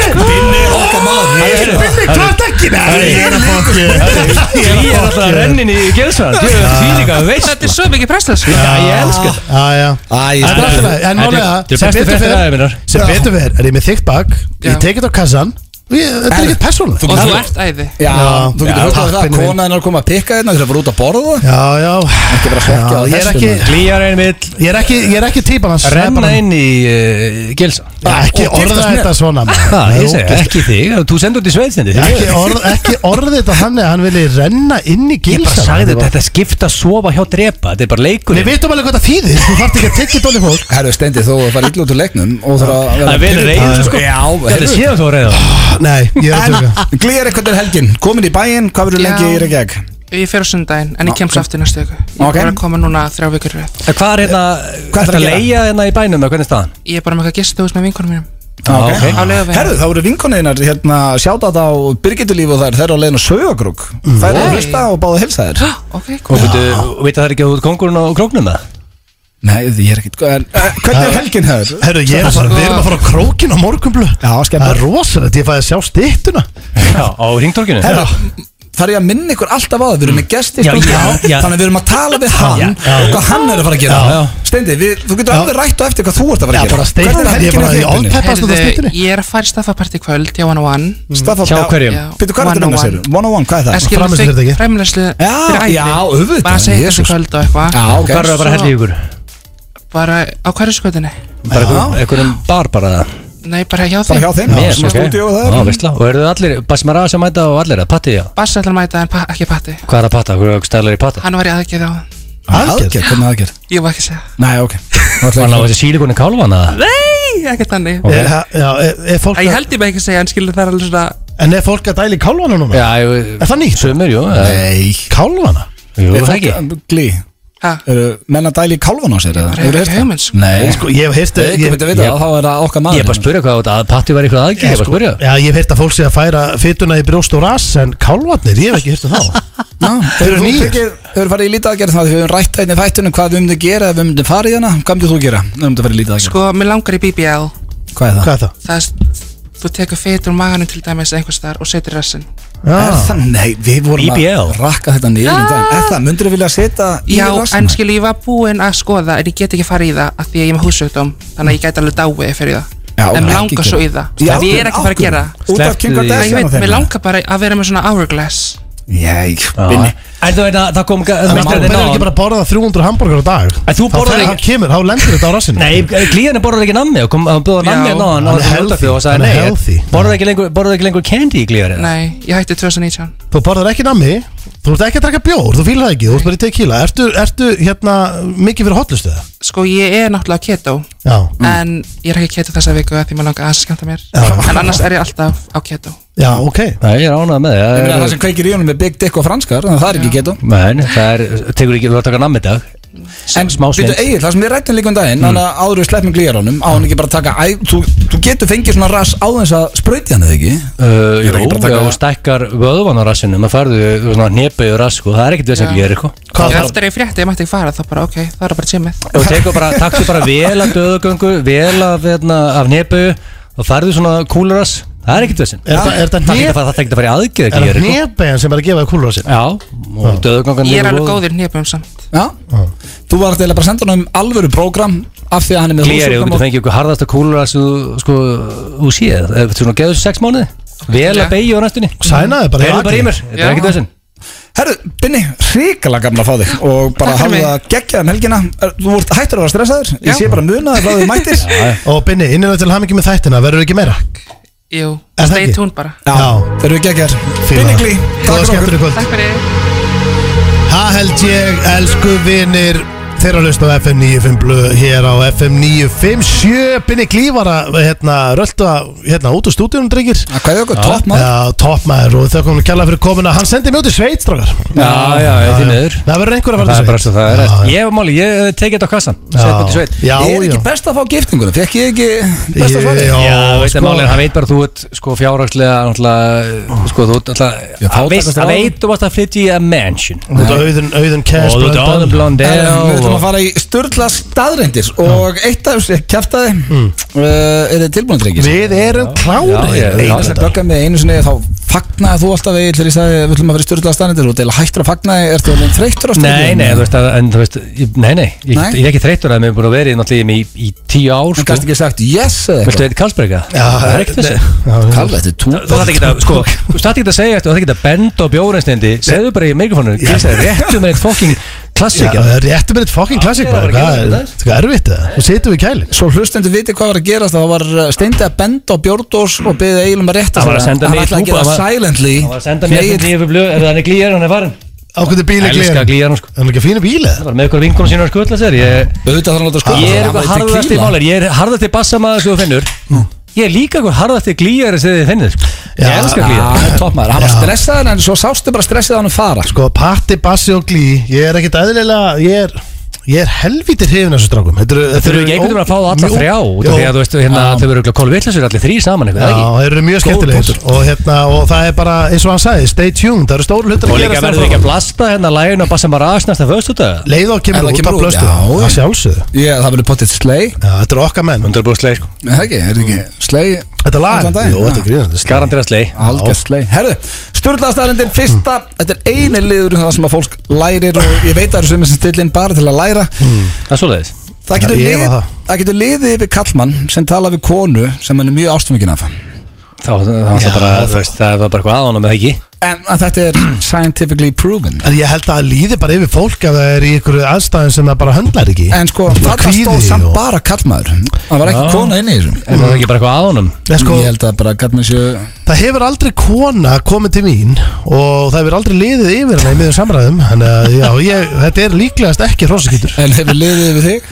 A: Okkar maður, ég er hérna.
C: Binni, hvað er ekki? Nei, ég er að fokki
B: Ég er alltaf að rennin í gelsvæðan Þú er
C: Ah.
B: því líka að veist
E: Þetta er svo mikið pressa sko
B: Já, ég elska það
C: Já, já
A: Æ,
C: En
A: ég-
C: náttúrulega, en
B: Þetta er-
C: málega
B: þetta er bestu fréttir ævinnar.
C: Sem betur fer, er ég með þykkt bak
E: Já.
C: Ég tekið á kassan Ég- Þetta er ekkert persónulegt
E: Og þú ert æði
A: Já,
C: Já.
A: þú getur
C: Já,
A: hugsað að
C: takk,
A: það
C: Binni minn.
A: Konaðin er að koma að pikka þérna Þú getur að fara út að borða það
C: Já, já
A: Ekki vera að hrekkja á
C: Já, Ég er
A: þessu,
C: ekki
A: maður.
B: Glýjarinn vill
C: Ég er ekki, ég er ekki típan hans
B: renna inn í uh, gelsa
C: Já, Ah, Ekki
A: Og giftast
C: orða
A: með.
C: þetta svona maður.
B: Það,
C: Nei,
B: ég segi,
C: ógeðslegt.
B: ekki þig Þú sendur út í sveiðsindi
C: ekki, orð, ekki orðið þetta þannig að hann vilji renna inn í
B: Ég bara
C: gilsa
B: sagði þetta, þetta skipta sofa hjá drepa Þetta er bara leikur
C: Við veitum alveg hvað það þýðir Þú þarft ekki að tekja dóli fólk
A: Herru, Steindi, þú farið illa út úr leiknum Og þú þarf að
B: Það er vel reyður sko
A: Já,
B: Þetta
A: herru
B: séu þú að reyða
C: Ah. Nei, ég er að tjóka
A: Glýjar eitthvað til helgin, komin í bæinn Hvað verður
E: Já.
A: lengi í Reykjavík?
E: Ég fer á sundaginn En ég kemst aftur næstu ykkur Ég
A: Ok.
E: er bara að koma núna þrjá vikur rétt
B: Hvað er hérna,
A: Hvað
B: hvað
A: ætlarðu
B: er
A: að
B: að
A: gera?
B: leia hérna í bænum eða Hvernig er staðan?
E: Ég er bara með eitthvað gistahús með vinkonum mínum
B: Ah, ok.
E: Á leiðaveginn
A: Herru, þá eru vinkoneinar hérna, Sjáta þetta á Birgitulíf og þær Þær eru á leiðin á Sauðagrúk Þær eru að hlusta og báða að hilsa þær
E: Ok,
B: Og
E: cool
C: Ah.
B: veitu- veit að það er ekki út kongurinn á króknum það?
A: Nei, ég er ekkit en, eh, Hvernig er helgin hér?
C: Herru, ég er að fara, við erum að fara á krókin á morgunblu
A: Já,
C: Það er
A: skemmur
C: rosalegt, ég fæði að sjá styttuna
B: Já, á ringtorkinu
A: Herra, þarf ég að minna ykkur alltaf á það Við erum með gesti
B: Já, já, já.
A: Þannig að við erum að tala við hann
B: já.
A: Og hvað hann er að fara að gera
B: Já, já.
A: Steindi, við, þú getur alveg rætt og eftir hvað þú ert að fara
C: Já,
A: að gera
C: bara styttan,
A: Hvernig er
C: ég
A: helgin
C: bara-
A: að
C: ég
A: þér? Binni?
C: Peppast þú á
E: Heyrðu,
C: styttunni?
E: ég er að fara í staffaparti kvöld Ég var á hann
A: Staff of-
B: Hjá
A: Já.
B: hverjum?
A: Býttu, hvað er þetta minna
B: oh
A: sér? 101, hvað er það?
C: Framleiðslu fyrirtæki.
E: Framlæslu
A: Já, já, auðvitað,
E: Bara að segja þessi
A: Jesus.
E: kvöld og eitthvað
A: Já, ok
B: Hvað er það bara að hella í ykkur?
E: Bara á hverju skotinni
B: Bara einhver- einhverjum bar bara það?
E: Nei, bara hjá þeim
A: Bara hjá þeim,
B: Mér,
A: sem að stúdíu og það
B: Já,
A: er.
B: veistla Og eru þið allir, Basmara sem mæta og allir það, Patti, já
E: Bassi ætlar að mæta en pa- ekki patti
B: Hvað er að patta, hverju stælar í patta?
E: Hann var í aðgerð á
A: Aðgerð, hvernig aðgerð?
E: Ég var ekki að segja
A: Nei, ok
B: Var hann á þessi sílikonu kálvana?
E: Nei, ekkert þannig
B: Ok.
C: Er, já, er, er fólk
E: Æ, Ég
C: að,
E: held ég með ekki að segja en skilur það er alveg svona
C: En er fólk að dæla í kálvana núna?
B: Já, ég,
C: Er það nýtt?
B: Sumir, jú eða-
A: Nei
C: Kálvana?
B: Jú, það ekki
A: Glí
E: ha,
A: Eru menn að dæla í kálvan á sér eða?
E: Það er
A: Hefurðu
E: ekki
A: heyrt
E: hugmynd sko.
A: Nei
C: Sko, ég hef heyrt
A: Ég
C: ég- sko,
A: veit að vita
B: ég-
A: það, þá er það okkar
B: Ég
A: maður hérna.
B: er bara að spurja hvað þetta að Patti var eitthvað aðgjöf Ég er bara að spurja
C: Já, ég hef heyrt að fólk sé að færa fytuna í brjóst og rass En kálvarnir, ég hef ekki heyrt um þá
A: Þau
C: eru
A: eru
C: nýir.
A: nýjir Þau eru farið í lítið aðgerð þannig að við höfum rætt einnig þættunum hvað við myndum gera ef við myndum farið hérna Hvað myndum þú gera? Við myndum farið í lítið aðgerð
E: Sko, mér langar í BBL
A: Hvað er það?
C: Hvað er það?
E: Það er, þú tekur fetur maganum til dæmis einhvers þar og setur rassin
A: Er
C: Já,
A: það? Nei, við vorum
B: BBL.
A: að rakka þetta niður um daginn Er það? Myndur þú vilja setja í
E: Já,
A: rassinn?
E: en skilur, ég var búin að skoða en ég get ekki farið í það af því að ég er með húsugdóm þannig að ég gæti alveg dáið fyrir það
A: Já,
E: en
A: ekki
E: mér langar svo í
A: gera.
E: það
A: Já,
E: en ég er ekki að fara að gera
A: af hverju? Út af
B: Slepptu
A: King
B: því.
E: það ég
A: Kardashian
E: veit,
A: og þeim
E: mér langar bara að vera með svona hourglass
A: Jæk,
B: Já.
A: Binni
B: En þú veit að það kom það
C: En maður
B: mestraði
C: verður ekki
B: náðan.
C: bara að borða 300 hambúrgar á dag
B: En þú borðar
C: ekki
B: ekki-
C: Þá kemur, þá lendur þetta á rassinu
B: Nei, klíðan borðar ekki nammi og kom að bjóða nammi hérna
E: Já.
B: að náðan
C: Hann
B: og það
C: er healthy.
B: var og
C: Hann
B: sagði
C: er healthy.
B: nei borðar ekki lengur borðar ekki lengur candy í klíðan
E: Nei, ég hætti 2019
C: Þú borðar ekki nammi, þú ert ekki að draka bjór, þú fýlar það ekki, þú ert bara í tequila Ertu, ertu hérna, mikið fyrir hotlustu það?
E: Sko, ég er náttúrulega keto
C: Já,
A: Mm.
E: en ég er ekki keto þessa viku af því mér langar aðeins að skemmta mér en annars er ég alltaf á keto
C: já, ok
B: Nei, ég er ánað með
A: Ég meina
B: það
A: það sem kveikir í honum er Big Dick og franskar en það er ekki getum
B: Men, það er, tekur ekki, þú ert að taka nammi í dag
A: En
B: smá
A: býttu
B: snið
A: Egil, það sem við rættum líka um daginn Þannig að áður við sleppum glýjarónum Á hann ekki bara að taka æ, þú, þú getur fengið svona rass á þess að spröyti hann eða ekki
E: eh,
B: Uh,
A: Ég er
B: Jú,
A: ekki bara að taka-
B: ef þú stækkar vöðvan á rassinu maður farðu þú svona hnepaði á rass sko, það er ekkert þess að
E: Já.
B: gera eitthvað
C: Hvað
E: Ég
C: þarf-
E: eftir að ég frétti, ég mætti ekki fara þá bara, ok, það er bara tímið
B: og tekur bara, taktu bara vel af döðugöngu vel af, hérna, af hnepaði og farðu svona kúlurass það er ekkert þess
C: Er það- er
B: það er
C: það hné-
B: ekkert að fara- það er ekkert að fara í aðgerð ekki
C: Er það
B: gera eitthvað
C: hnebegin sem er að gefa þér kúlur á sér?
B: Já, og döðugöngan
E: Ég er alveg góður nýjabum samt
A: Já, þú var eiginlega bara að senda hann um alvöru prógram Af því að hann er með
B: Gleri, þú
A: húsjúkdóm
B: getur
A: og-
B: fengið ykkur harðasta kúlurass sem þú sko, þú séð, Eh, þú svona geður þessu sex mánuði vel
E: Já.
B: að beigja á næstunni
C: Sænaði bara í
B: Heyrðu bara í
C: vagninn.
B: mér, þetta er
E: Já.
B: ekkert þess
A: Herru, Binni, hrikalega gamla fá þig Og bara
E: Takk fyrir
A: hafðu
E: mig.
A: það geggjað um helgina Er- Þú vart hættur að vera stressaður
E: Já.
A: Ég sé bara munaður frá því þú mættir
C: Og Binni, innilega til hamingi með þættina, verður ekki meira?
E: Jú,
C: Er það
E: stay
C: ekki?
E: tuned bara
A: Já,
C: Já.
A: þeir eru geggjaðir
C: Fíla
A: Binni
C: það.
A: Glý, takk
C: Góða
A: fyrir okkur
C: skemmtun í kvöld
E: Takk fyrir
C: Það held ég, elsku vinnir Þeirra hlust á FM 95 blöð Hér á FM 957 Binni Glífara, hérna, rölda Hérna, út úr stúdíunum, drengir
A: Að Hvað er okkur, topp maður?
C: Já, toppmaður og þau komum kjalla fyrir komuna Hann sendi mjög til Sveit, strákar
B: Já, já, já, því miður
C: Það verður einhver að fara
B: Það
C: til
B: er bara svo það er
C: Já, já.
B: Ég hef máli, ég eh, tekið þetta á kassan
C: Já.
B: Sett búið til sveit
C: Já,
A: Er
C: já
A: ekki best að fá giftinguna? Fekk ég ekki besta svarið?
C: Ég-
B: Já, veit að
C: sko.
B: málið, hann veit bara að þú ert sko fjárhagslega náttúrulega, sko þú ert náttúrulega hann veist-
A: fátækastur
B: hann
A: áður.
B: veit þú varst að flytja í a mansion
C: Þú ert auðun, auðun
B: og
C: cash
B: þú ert áður blond
A: Herra, um, Við ætlum að
B: og
A: fara í störla staðrendir og eitt af þessu kjæftaði mm. uh, er þið tilbúin drengir?
C: Við erum klárið
B: Já, ég-
A: Einu
B: já,
A: sem böggar með einu sinni þá fagnaði þú alltaf Egill, þegar ég sagði við ætlum að fara í störla staðrendir og deila hættur að fagnaði, ertu alveg þreyttur á
B: Nei, nei, þú
A: þú
B: veist að, en þú veist, ég- nei, nei, ég,
A: Nei.
B: ég er ekki þreyttur að við erum búin að vera í náttúrulega í, í tíu ár,
A: En
B: sko.
A: kannski ekki eh, sagt yes eða
B: Viltu
A: eitthvað
B: eitthvað Karlsberga? það er ekkert þessi.
A: Kalla þetta er tú
B: Þú þarf ekki að, sko, þú þarf ekki að segja eftir, þú þarf ekki að benda á bjóðrænstindi, segðu bara í mikrofónu, gilsa þér réttu með eitt fokking klassika.
C: Það er réttum með eitt fucking classic
B: Já, það er
C: bara.
B: ekki
C: Hvað
B: þetta.
C: er sko, erfitt það? Þú situm við kælin
A: Svo hlustendur viti hvað var að gerast þá var uh, steindi að benda á bjórdós og beðið Egilum að rétta
B: Hann var að
A: sig.
B: senda
A: hann
B: mig í
A: ætlaði að
B: klúbb,
A: gera
B: hann var-
A: silently
B: Það var að senda mér
A: Nei,
B: þetta nýju blöð, ef hann er glýjar, hann er farin.
C: Á hvernig bíl er
B: Elskar
C: glíðan?
B: glýjar hann, sko.
C: Það er ekki fínu bíl eða?
B: Það var með ykkur vinkunum sínur að skutla sér, ég...
A: auðvitað þarf hann að láta skoða
B: Ég
A: sig.
B: er
A: Hann var
B: eitthvað
A: í
B: harðast í
A: tequila.
B: málir, ég er harðast í bassamaður sem þú finnur Ég er líka eitthvað harðast í glýjari sem þið finnir sko. Ég
C: Já,
B: elskar
A: Já,
B: glýjar
A: hann er toppmaður, hann var
C: Já.
A: stressaður en svo sástu bara stressið að hann fara
C: Sko, patti, bassi og glí Ég er ekkert eðlilega Ég er, ég er helvítið hrifin af þessu strákum Þetta eru-
B: Þau
C: þetta
B: eru
C: eru
B: ekki einhvern veginn að fá það alla
C: mjög-
B: þrjá út
C: Jó.
B: af því að þú veist, hérna, þau eru eitthvað kólvillasur allir þrý saman eitthvað,
C: Já,
B: eða
C: þeir eru mjög
B: Góður
C: skemmtilegir og, hérna, og það er bara, eins og hann sagði, stay tuned Það eru stóru
B: ekki
C: hlutur
B: Og
C: að
B: líka
C: gera
B: verður ekki að blasta hérna lægin og bassa maður aðsnast að föstu þetta
C: Leið og
A: Er
C: kemur
A: það
C: út
A: kemur
C: á
A: út?
C: blöstu
A: Já,
C: Það
A: já.
C: sjálfsögðu
A: Ég, það verður potið slei
C: Já, þetta eru okkar menn
B: Undur búið sleið sko
A: Nei, Það ekki, er þetta ekki slei
C: Þetta er lag
A: Allan daginn,
C: Jú,
A: já.
C: þetta er grínandi
B: Garantir að sleið
A: Algjörð slei Herðu, sturðlaðstæðarindir fyrsta
C: Mm.
A: Þetta er eini liður um það sem að fólk lærir og ég veit að það eru sumir sem stilla inn bara til að læra
B: Það er svoleiðis
A: Það getur,
C: Já, Mm. ég
A: lið,
C: var það.
A: það getur liðið yfir kallmann sem tala við konu sem hann er mjög ástfangin af
B: þá, þá, þá
C: Já,
B: bara,
C: þá-
B: þú veist, það var bara eitthvað aðanum eða ekki
A: En að þetta er scientifically proven
C: En ég held að það líði bara yfir fólk ef það er í einhverju aðstæðum sem það bara höndlar ekki
A: En sko, þarna
C: kvíði
A: stóð samt
C: og-
A: bara kallmaður Það var ekki
B: Já.
A: kona inn í þessum
B: en það er ekki bara eitthvað aðanum
C: En sko,
A: Ég held að bara kallmaður séu
C: það hefur aldrei kona komið til mín og það hefur aldrei liðið yfir hana í miðjum samræðum Þannig að já, ég, þetta er líklegast ekki hrósakýtur
A: En hefur liðið yfið þig?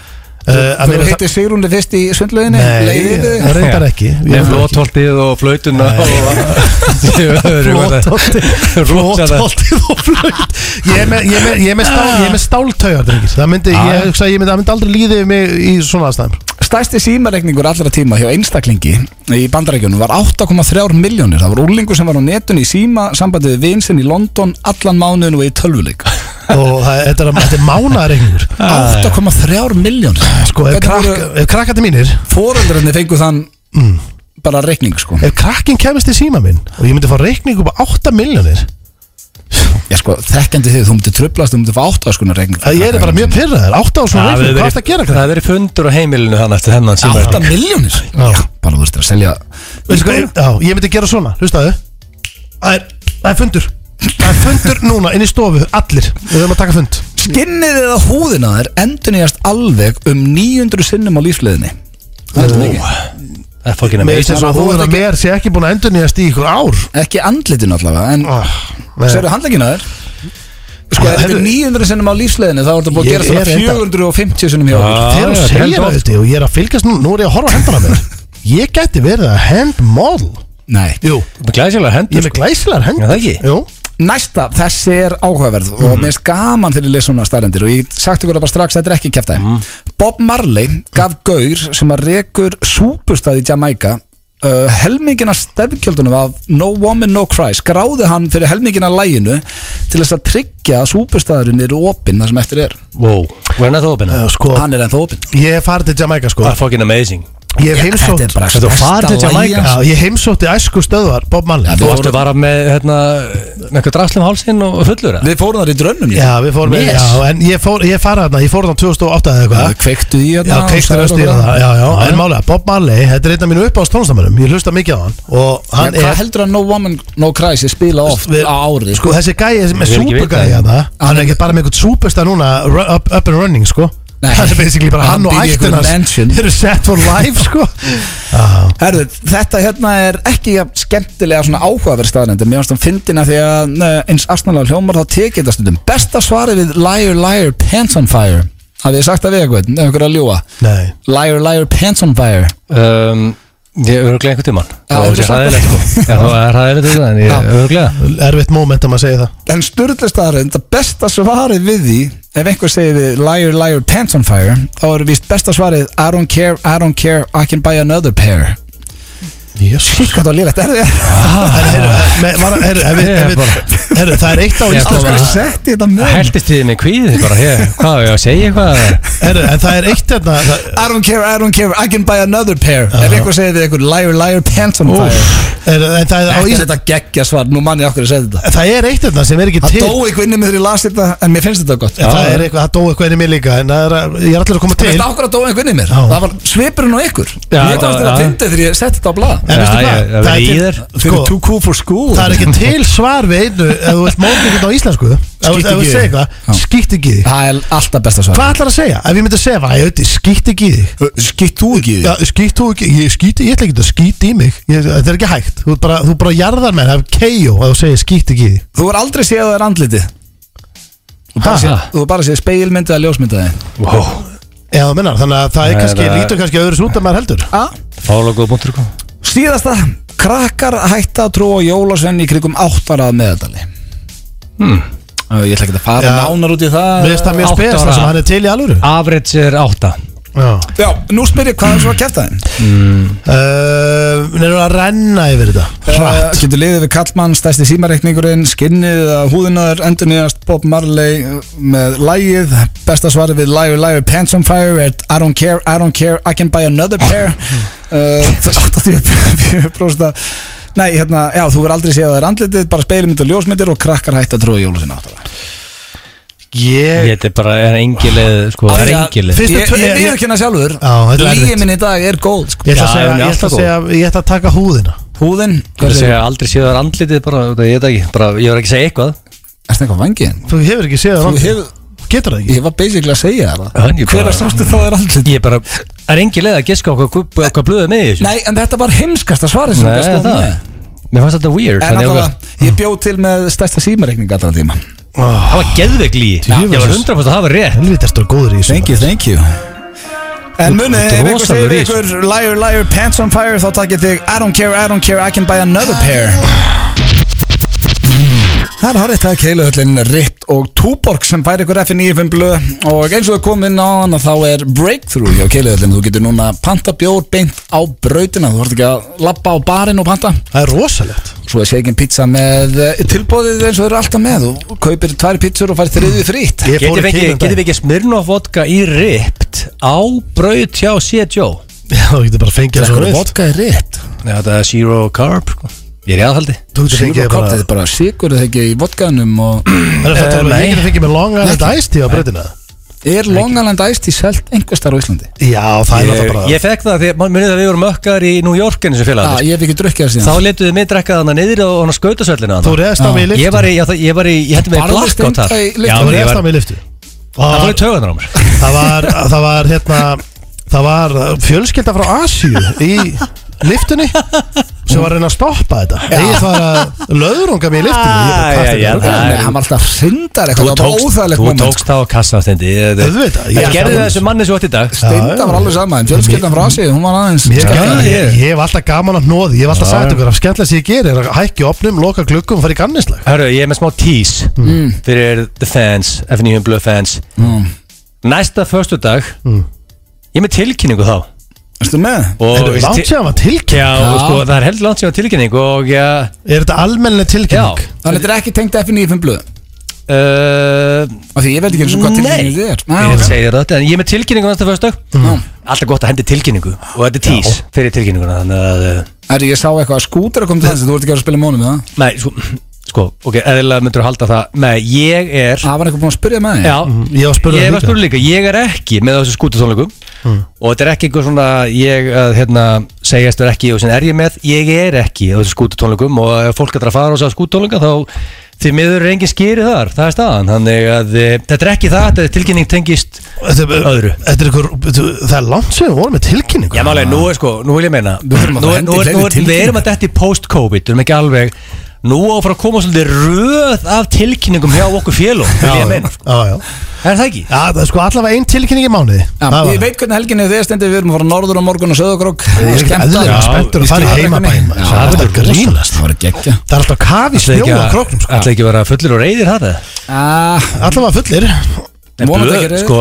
C: uh,
A: Þú hittir Sigrúnni fyrst í sundlauginni
C: Nei,
A: Leiðið þig?
C: reyndar ekki
B: Nei, flótholtið og flautuna og
C: Flótholtið og flögt Ég er með, ég er með, ég er með, stál, ég er með stáltaugar drengir. Það myndi,
A: Ah,
C: ég hugsa að ég myndi, það myndi aldrei líði yfir mig í svona aðstæðum
A: Stærsti símareikningur allra tíma hjá einstaklingi í bandarækjunum var 8,3 miljónir. Það var úlingur sem var á netun í síma sambandið við vinsinn í London allan mánuðin og í tölvuleik.
C: Og það, þetta er, þetta er mánaðarengur
A: 8,3 miljónir.
C: Sko, ef,
A: Hvernig
C: krak,
A: voru-
C: ef krakkandi mínir
A: Fóröldrunni fengu þann
C: Mm.
A: bara reikning sko.
C: Ef krakkin kemist í síma minn Og ég myndi fá reikning upp á 8 miljonir
A: Já sko, þekkjandi þig, þú myndir tröflast, þú myndir fá 8 skona reikning.
C: Það ég er bara mjög pyrraður 8 á svona reikning, hvað er það að gera
B: það
C: krakk?
B: er verið fundur á heimilinu þannig eftir þennan síma
A: 8 miljónir?
C: Já.
A: Já, bara þú veist að selja... Sko,
C: Veistu hvað, ég- Já, ég myndi gera svona, hlustaðu Það er, það er fundur Það er fundur núna inn í stofu, allir Við höfum að taka fund
A: Skinnið eða húðina þær endurnýjast alveg um 900 sinnum á lífsleðinni. Það er mikið.
B: það er fólkina
C: Mér
B: með
C: finnst þess að
A: þú
C: húðuna
A: ert ekki-
C: mér sé ekki búin að endur nýjast í ykkur ár
A: Ekki andlitin allavega, en...
C: Ah, nei.
A: Sérðu handleggina þér? Sko,
C: Já,
A: ef þetta
C: heyrðu.
A: er 900 sinnum á lífsleðinu þá er þetta búið að
C: Ég
A: gera
C: er
A: svona
C: reyndar-
A: 450 sinnum hjá okkur
C: Þegar
B: Já,
C: þú
B: já, þetta er
C: segir
B: heldur
C: það
B: oft.
C: þetta og ég er að fylgjast nú Nú er ég að horfa á hendana mér Ég gæti verið að hand model
A: Nei
C: Jú
B: glæsilega
C: Ég
B: hendur sko.
C: er með glæsilegar hendur
B: Já, það ekki?
C: Jú
A: Næsta, þessi er áhugaverð og
C: Mhm.
A: mér finnst gaman þegar ég les svona stælendir og ég sagt ykkur það bara strax, þetta er ekki kæftæði
C: Mhm.
A: Bob Marley gaf gaur sem að rekur súpustæði í Jamaica uh, helmingina stefnkjöldunum af No Woman No Cry skráði hann fyrir helmingina læginu til þess að tryggja að súpustæðurinn eru opinn það sem eftir er
B: wow, we're not open
C: Eh, Sko
A: Hann er ennþá opinn
C: Ég hef farið til Jamaica sko
B: það er fokkin amazing
C: Ég hef heimsótt
A: Þetta er bara
B: Ah, Þetta var farið til
A: stærsta
B: Jamaica.
A: lægin.
C: Já, ég heimsótti æsku stöðvar Bob Marley
A: Já,
B: þú varstu bara með hérna með eitthvað drasl um hálsinn og fullur eða?
A: Við fórum þar í drönnum líka.
C: Já, við fórum
A: Yes.
C: Já, en ég fór Ég farið þarna Ég fór þarna 2008 eða
A: Já,
C: eitthvað
A: kveiktu í
C: Já,
A: hérna
C: keistur östu í það, já, já, en málega, Bob Marley, þetta er einn af mínu uppáðs tónlistamönnum, ég hlusta mikið á hann og hann
A: Hvað
C: er,
A: heldur að No Woman No Cry sé spila oft
C: Við-
A: á ári
C: sko þessi gæi sem er
B: Ég vil ekki vita það.
C: supergæi hann hann er ekki bara með einhvern superstar núna ru- up, up and running sko
A: Nei.
C: hann er basically bara
A: Hann
C: hann og
A: býr í
C: ættin
A: einhverju
C: hans
A: mansion.
C: eru set for life sko
A: Herðu, þetta hérna er ekki jafn skemmtilega svona áhugaverð staðnend en mér finnst hann fyndina því að ne, eins astnalega hljómar þá tekið þetta stundum Besta svarið við Liar Liar Pants on Fire Hafið þið sagt það við eitthvað, ef ykkur er að ljúa
C: nei,
A: Liar Liar Pants on Fire
B: um, ég öruglega einhvern tíman
A: Já,
B: það
A: þú
B: er
A: sagði
B: ræðilegt sko Já, það er ræðilegt þetta en ég öruglega
C: erfitt moment að maður segja það
A: En styrlega staðarinn, það besta svarið við því Ef einhver segir við Liar Liar Pants on Fire Þá eru víst besta svarið I don't care, I don't care, I can buy another pair
C: Jesus.
A: Shit, hvað það var lélegt, er þið?
C: það er eitt á
B: Ég
C: íslensku
B: kom að-
A: Sett í þetta
B: það
A: mjög
B: heldist þið með kvíði bara hér hvað, á ég að segja eitthvað
C: Heyrðu, en það er eitt hérna það-
A: I don't care, I don't care, I can buy another pair Ef einhver segir þið einhver liar, liar, pants on fire
C: heyrðu, en það er
A: Þetta
C: á
A: er
C: íslensku
A: þetta geggja svar, nú mann ég okkur að segja þetta
C: það er eitt hérna sem er ekki
A: Það
C: til
A: dói ekki inni með þegar ég las þetta En mér finnst þetta gott
C: En það er eitthvað, það dó eitthvað inn í mig líka en það er, að- ég er allir að koma til
A: Þetta ákveður að dói einhvern í mér
C: Já.
A: Það var svipurinn á ykkur
B: Já,
A: Mér fannst þetta að
B: já, já.
A: fyndi þegar ég setti þetta á blað
C: En veistu
B: Já,
C: hvað?
B: ég- það verið
C: Það er
B: í
C: til-
B: þér.
C: sko,
A: Fyrir too cool for school
C: Það er ekki til svar við einu ef þú vilt móta ykkur á íslensku ef þú-
A: Skítt
C: ef þú
A: ekki í þig.
C: segir
A: Já.
C: eitthvað, skýtt ekki í þig
A: Það er alltaf besta svar
C: Hvað ætlar að segja? Ef ég myndi að segja, "Æ, Öddi, skýtt ekki í þig
A: Skitt þú ekki
C: Já, skýtt þú ekki, ég skýtt, ég ætla ekki að skýtt í mig ég, Þetta er ekki hægt, þú bara, þú bara jarðar mér af KO að þú segir skýtt ekki í þig
A: Þú er aldrei séð að það er andliti
C: Ha?
A: Þú er bara séð speilmyndið að ljósmyndaði
B: wow,
C: Já, þú mennar, þannig að það er
B: Nei,
C: kannski,
B: það-
C: lítur kannski öðru sút að maður heldur
A: Ah?
B: fálagu punktur kom
A: Síðasta, krakkar hætta að trúa á jólasvenn í krigum áttarað meðaldali hmm. Ég ætla ekki að fara
C: Já.
A: nánar út í það
C: Mér finnst það mjög
B: átta
C: spes
B: ára.
C: það sem hann er til í alvöru
B: average er 8
C: Já
A: Já, nú spyr ég hvað er svo að kæfta þeim
C: Uh, Hún er að renna yfir þetta
A: Uh, Getur liðið við kallmann, stæsti símareikningurinn, skinnið að húðinaður, endur nýjast Bob Marley uh, með lægið Besta svarið við lægur, lægur, pants on fire er I don't care, I don't care, I can buy another pair uh, Það er 84 prósta Nei, hérna, já, þú verður aldrei séð að það er andlitið, bara speilmyndir og ljósmyndir og krakkar hætt að trúa jólusin áttara
C: Ég
B: þetta er bara er engilið sko, það er engilið
C: Fyrstu
A: Ég
C: tvö-
A: ég
C: ég-
A: viðurkenna sjálfur
C: Já, þetta er
A: Líi
C: erfitt.
A: minn í dag er góð sko.
C: Ég
B: Já,
C: ætla að
B: hún
C: segja,
B: er
C: ég ætla
B: alltaf
C: að segja, ég ætla að taka húðina
A: húðin
B: Það
A: Hvað
B: segja
A: segir
B: aldrei séð þar andlitið bara, þetta ég veit ekki, bara, ég var ekki að segja eitthvað
A: Erstu eitthvað vangin?
C: Þú hefur ekki séð það
A: Þú
C: langt.
A: hefur
C: Getur það ekki
A: Ég var basically að segja það
B: Hann, ég bara-
A: Hver að sástu það er alls
B: Ég bara, það er engin leið að giska á hvað, gu- hvað blöðið með í þessu
A: Nei, en þetta var heimskasta svarið sem
B: Nei,
C: sko.
A: gast kom
B: það
A: með.
B: Mér fannst þetta weird
A: En
B: þannig að ég ákvað-
A: alltaf, ég bjóð til með stærsta símareikning allra tíma
C: Ó,
B: Það var geðveik lí Ég
C: Jesus.
B: var 100% að hafa rétt
C: Helvítast þú góður í þessu
A: Thank you, thank you En munið,
B: Þú ert
A: ef ykkur segir
B: rosalegur í
A: ykkur Liar, liar, pants on fire Þá takk ég þig I don't care, I don't care, I can buy another pair Það er horrið það er keiluhöllin Ritt og Túborg sem fær ykkur F95 blöð og eins og við komum inn á hana þá er breakthrough hjá keiluhöllin þú getur núna panta bjór beint á brautina þú þarf ekki að lappa á barinn og panta
C: Það er rosalegt
A: svo er shaken pizza með eh, tilboðið eins og þau eru alltaf með þú kaupir tvær pizzur og fær þriðið frýtt
C: Ég fór
B: Getið
C: í
B: við ekki,
C: Keilan
B: geti
C: daginn.
B: við ekki Smirnoff vodka í ript á braut hjá C.J.
C: Já, þú getur bara að fengja það svo
A: Drekkur
C: veist
A: vodka er rétt
B: Já, það er Zero Carb sko. Ég er í aðhaldi
C: Þú getur
A: Sigur
C: fengið
A: og kopp,
C: bara
A: þetta er bara sigur eða ekki í vodkanum og
C: Það er þetta alveg,
B: nei.
C: ég getur fengið með Long Island Ice Tea á breytina
A: er Long Island Ice Tea selt einhvers þar á Íslandi?
C: Já, það er
B: Ég,
C: náttúrulega bara Ah,
B: ég fekk það þegar, mann munið að við vorum ökkar í New York eins og
A: Já,
B: félag
A: Ah, ég hef ekki drukkið það
B: Þá
A: síðan
B: letuðu mig drekka þannig niður og hann skautasöllina
C: Þú reðast á mig í
B: Ég
C: liftu
B: var í, já, það- ég var í, ég hætti mig í
A: Barðist
B: blackout
A: enda
B: þar
A: í lyftu.
B: Já,
C: Þú
B: ég
C: reðast á
B: var-
C: mig í Ah.
B: Það
C: liftu
B: fór í
C: Og
B: taugarnar á mér
C: Það var, það var hérna Það var fjölskylda frá Asíu í liftunni sem var að reyna að stoppa þetta Egið það að löðrunga mig í liftunni Ég
B: Ah,
C: bara,
B: já,
C: hvað
B: já,
C: ertu að gera?
B: það
A: Nei,
B: er-
A: hann var alltaf syndar eitthvað, það var bara óþægilegt
B: þú
A: moment. sko.
B: tókst það á kassastendi
C: Auðvitað, ég-
B: Þetta gerði þessu manni svo átt í dag
A: Steinda var alveg sama, en fjölskyldan frá sig, hún var aðeins
C: Mér,
B: Já,
C: ja,
B: ég-
C: ég, ég hef alltaf gaman að hnóði Ég hef alltaf
B: Já.
C: sagt ykkur að skemmtilega sem ég ger er að hækki opnum, loka glukkum og fara í gannislag
B: Hörru, ég er með smá tease fyrir the fans, F9 Blue fans Næsta förstu dag
C: Mm.
B: Ég er með tilkynningu þá
A: Erstu með?
B: Og
C: Þetta er
B: veist,
C: langt
B: til-
C: séðan var tilkynning
B: Já, og sko, það er heldur langt sem að tilkynning og já,
C: Er þetta almennileg
B: já
C: tilkynning?
A: Þannig þetta er ekki tengt F95 blöð
B: uh,
A: Af því ég veit ekki eins og hvað tilkynningu þið er
B: Nei, ég segir þetta, en ég er með tilkynningu næsta fyrstu mm. Alltaf gott að hendi tilkynningu og þetta er tís fyrir tilkynninguna Þannig að, uh,
A: Það er ég sá eitthvað að skútur að koma til þess Þú ert ekki að vera að spila mónum með það
B: nei, sko, sko, ok, eðlilega myndur að halda það Nei, ég er,
A: Það var eitthvað búin að spyrja með því
B: já,
C: Ég var spurður
B: Ég var
C: líka. Mm.
B: spurður líka, ég er ekki með á þessu skútutónleikum og þetta er ekki eitthvað svona ég að hérna, segjast er ekki og sem er ég með, ég er ekki á þessu skútutónleikum og ef fólk ætlar að fara á þessu skútutónleika þá því miður er engin skýri þar, það er staðan þannig að e, þetta er ekki það, þetta er tilkynning tengist
C: Þetta er-
B: Öðru.
C: Þetta er ykkur, það er langt séðan við vorum með tilkynningu
B: Já málega, nú er sko, nú vil ég meina nú,
A: þurfum að
B: nú,
A: fá hendi
B: nú,
A: fleiri
B: nú, Við
A: tilkynningar.
B: erum að detti post-covid, við erum ekki alveg Nú á að fara að koma svolítið röð af tilkynningum hjá okkur félum, vil ég meina sko.
C: Já, já
B: Er það ekki?
C: Já, það er sko allavega ein tilkynning í mánuði
A: Já,
C: Það var-
A: Ég veit hvernig helginni þið stendur Við erum að fara norður á morgun og söðukrok Það
C: Ég er ekki eðlilega spenntur að fara í heimabæn maður. Það er alltaf grínast
A: Það var geggja
C: Það er alltaf kafi
B: Ætla ekki
C: snjóa á
B: að-
C: króknum sko.
B: ætla ekki að vera fullir og reyðir það það?
A: Ah,
C: Allavega fullir
B: En
A: Vonandi
B: blöð,
A: ekki reyður.
B: sko,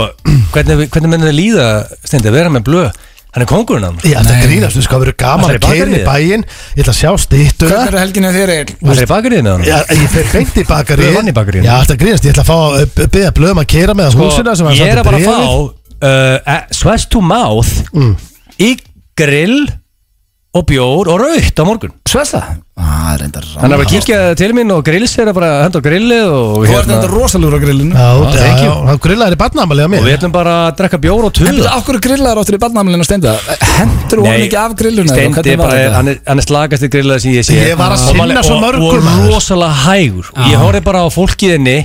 B: hvernig, hvernig mennir þið líða Steindi, að vera með blöð Hann er kongurinn hann
C: Já, þetta er grínast, þú sko, það verður gaman
B: Ætlarðu
C: að
B: í
C: keira inn í
B: bakaríið?
C: bæinn Ég ætla að sjá stýttuna
A: Hvernig er helginni þér er?
B: Það er bakarið með hann
C: Já, ég fer beint í bakaríð
B: Blöð vann í bakaríið.
C: Já, þetta er grínast, ég ætla að fá að byggja blöðum að keira með á húsina sem
B: Sko, Ég er
C: sent
B: að bara
C: bréfið.
B: fá uh, Sweats to mouth Í grill Og bjór og raukt á morgun
A: Svelta? Ah, reyndar
B: Hann er bara að kíkja til mín og grills er að bara henda á grillið og,
A: Þú ert enda
B: hérna,
A: rosalegur á grillinu
C: Já,
B: Já,
C: já,
B: thank
C: já,
B: you.
C: það grillaður í barnaamali á
B: og
C: mér
B: við ætlum bara að drekka bjór og tuða
A: Akkur grillaður áttur í barnamælinu og steinda Hendur hún ekki af grillinu? eða
B: Steindi
A: hvernig var
B: bara, er,
A: þetta?
B: hann er, hann er slagast í grillaði sem ég sé
C: Ég var að
B: Og
C: sinna
B: maður-
C: svo
B: og-
C: mörgum,
B: Og
C: maður.
B: rosalega hægur Og ég horfði bara á fólkið henni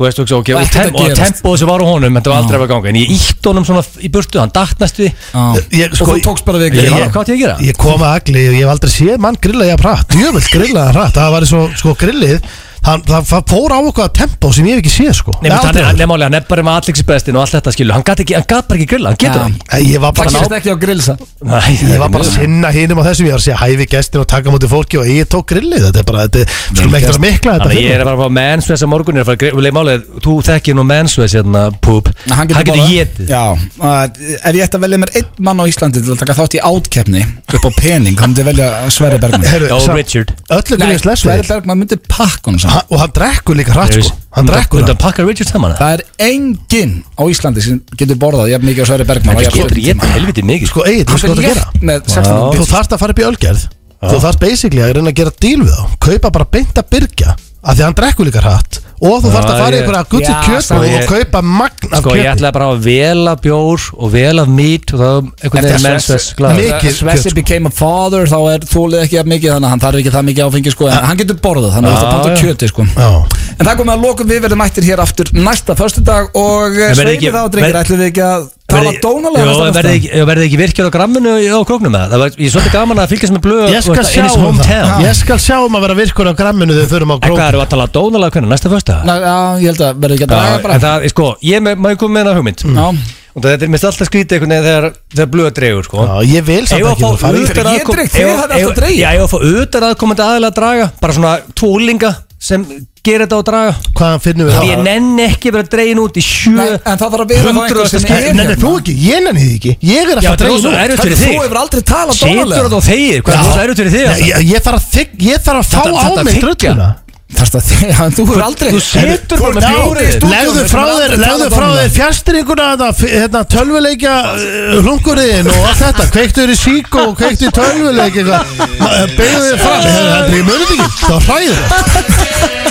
B: Þú veist þú ekki,
A: Og
B: ok, og,
A: ekkert að
B: tem og
A: gerast.
B: tempoð sem var á honum Þetta var aldrei að vera ganga En ég ítt honum svona í burtu, hann datt næstu því
A: Já. Ah.
C: Ég,
A: Og
C: sko,
A: þú tókst bara við
B: Ég,
A: grillinu?
B: hvað átti ég að gera?
C: Ég kom að agli og ég hef aldrei séð mann grilla ég að prætt Djöfell grilla að prætt Það var svo, sko, grillið Það, það, það fór á okkur tempo sem ég hef ekki séð, sko
B: Nei,
C: Aldrei.
B: menn, hann er nefnilega, hann er bara með alliksbestin og allt þetta skilu Hann gat ekki, hann gat bara ekki grilla, hann getur
A: Já.
B: það ekki
C: Nei, Ég var
A: Það
C: bara
A: gerist ekki á grillsa
B: Nei,
C: Ég var bara að sinna hinum á þessum, ég var að segja hæfi gestin og taka mútið fólki og ég tók grillið, þetta er bara, þetta er, skulum ekkert að mikla þetta um-
B: Þannig að ég er
C: fyrir.
B: að fara á mensvess að morgun er að fara að grilla, og leið málið, þú þekkir nú mensvess hérna, púp, hann getur
A: bara-
B: getið
A: Já, uh, ef ég ætti að velja mér einn mann á Íslandi til að taka þátt í átkeppni upp á pening, þá myndi ég velja Sverre Bergman
B: Já,
C: Herru, samt-
B: Richard
C: öllu
A: Nei,
C: grillið
A: Sverre
C: slesvið
A: Bergman myndi pakka hún saman
C: og hann drekkur líka hratt, sko, hann drekkur
B: Undan
C: það.
B: pakkar Richard saman eða?
A: Það er enginn á Íslandi sem getur borðað jafn mikið á Sverre Bergman
B: Hann
A: á jafn
B: getur
A: stuttum tíma.
B: getið helviti mikið
C: Sko, eigið, þú
A: Hann
C: sko
A: fer
C: þetta gera.
A: létt með 16
C: Þú þarft að fara upp í ölgerð, þú þarft basically að reyna að gera díl við þá, kaupa bara beint að byrja, af því að hann drekkur líka hratt og þú þarft að
B: Já,
C: fara í
B: ég-
C: einhverja guttu
A: Já,
C: kjötbúð
B: sko,
C: og
B: ég-
C: kaupa magn af
B: Sko ég
C: kjötbúð
B: ætlaði bara að vela bjór og vela mít og það var
A: Eftir
B: einhvern veginn
A: að
B: mennsvers
A: Svessi-
B: glaður.
C: Mikið
A: Þegar Svessi
C: kjöt, sko.
A: became a father þá er þólið ekki að mikið þannig að hann þarf ekki það mikið áfengi sko en hann getur borðað, þannig að það
B: Já,
A: panta
B: já.
A: kjöti sko
C: Já.
A: En það komið að lokum, við verðum mættir hér aftur næsta föstudag og eh,
B: En verði
A: sveimi
B: ekki-
A: þá drengir,
B: verði-
A: ætlum við ekki að tala dónalega
B: Jó,
A: næsta
B: en verði
A: föstudag?
B: ekki, verði ekki virkjur á gramminu í- á kóknum með það var, Ég er svolítið gaman að fylgjast með blöð
C: Ég skal sjá um það Ég skal sjá um að vera virkur á gramminu þegar við förum á
B: En hvað
C: krók
B: eru að tala dónalega hvernig, næsta fyrsta?
A: Næ, Já, ég held að verði ekki að draga
B: En
A: bara
B: það, er, sko, ég með- má ég koma með það hugmynd
A: Já,
B: Og þetta er mest alltaf skrítið einhvern veginn þegar, þegar blöð dregur sko.
C: Já, ég vil samt
B: Ef
C: ekki
B: að
C: þú
B: fá
C: fara í
A: utan-
B: utan
A: Ég
B: aðkom-
A: dreg, þið
B: ef-
A: hafði alltaf
B: ef-
A: dregið.
B: Já, ég að fá utan aðkomandi aðalega að draga Bara svona tólinga sem gerir þetta á draga
C: Hvaðan finnum við
B: Því Ég
C: það?
B: nenni ekki að vera dregin út í sjö
A: Nei, en það þarf að vera þá einhver sem
B: skipti.
A: er hérna.
C: Nei, nei, þú ekki, ég nenni því ekki Ég
B: hérna. Já,
C: er að fara
B: þetta er
C: dregið
B: rosa
C: út.
B: erfitt
A: Þú
B: fyrir þig
A: hefur aldrei talað
B: Setur
A: dónalega
B: þetta á þegið, hvað er
C: Já.
B: það erfitt fyrir þig
C: Nei,
B: alltaf?
C: ég- Ég þarf að þig- ég þarf að fá
B: Þetta-
C: á
B: þetta
C: mig
B: þiggja.
C: drulluna
A: Þarst að þið, já, en þú hefur aldrei
B: Þú setur bara
A: Þú-
B: með
A: Já,
B: bjórið.
A: stúdíóinu,
C: Legðu frá
A: hefur
C: þér,
A: aldrei
C: legðu
A: talað
C: frá
A: dónalega.
C: þér fjastringuna þetta, f- hérna, tölvuleikja uh, hlungurinn og allt þetta kveiktu þér í sík og kveiktu í tölvuleik beigðu þér fram, Heyrðu, það er mjög mjög ekki það var hræður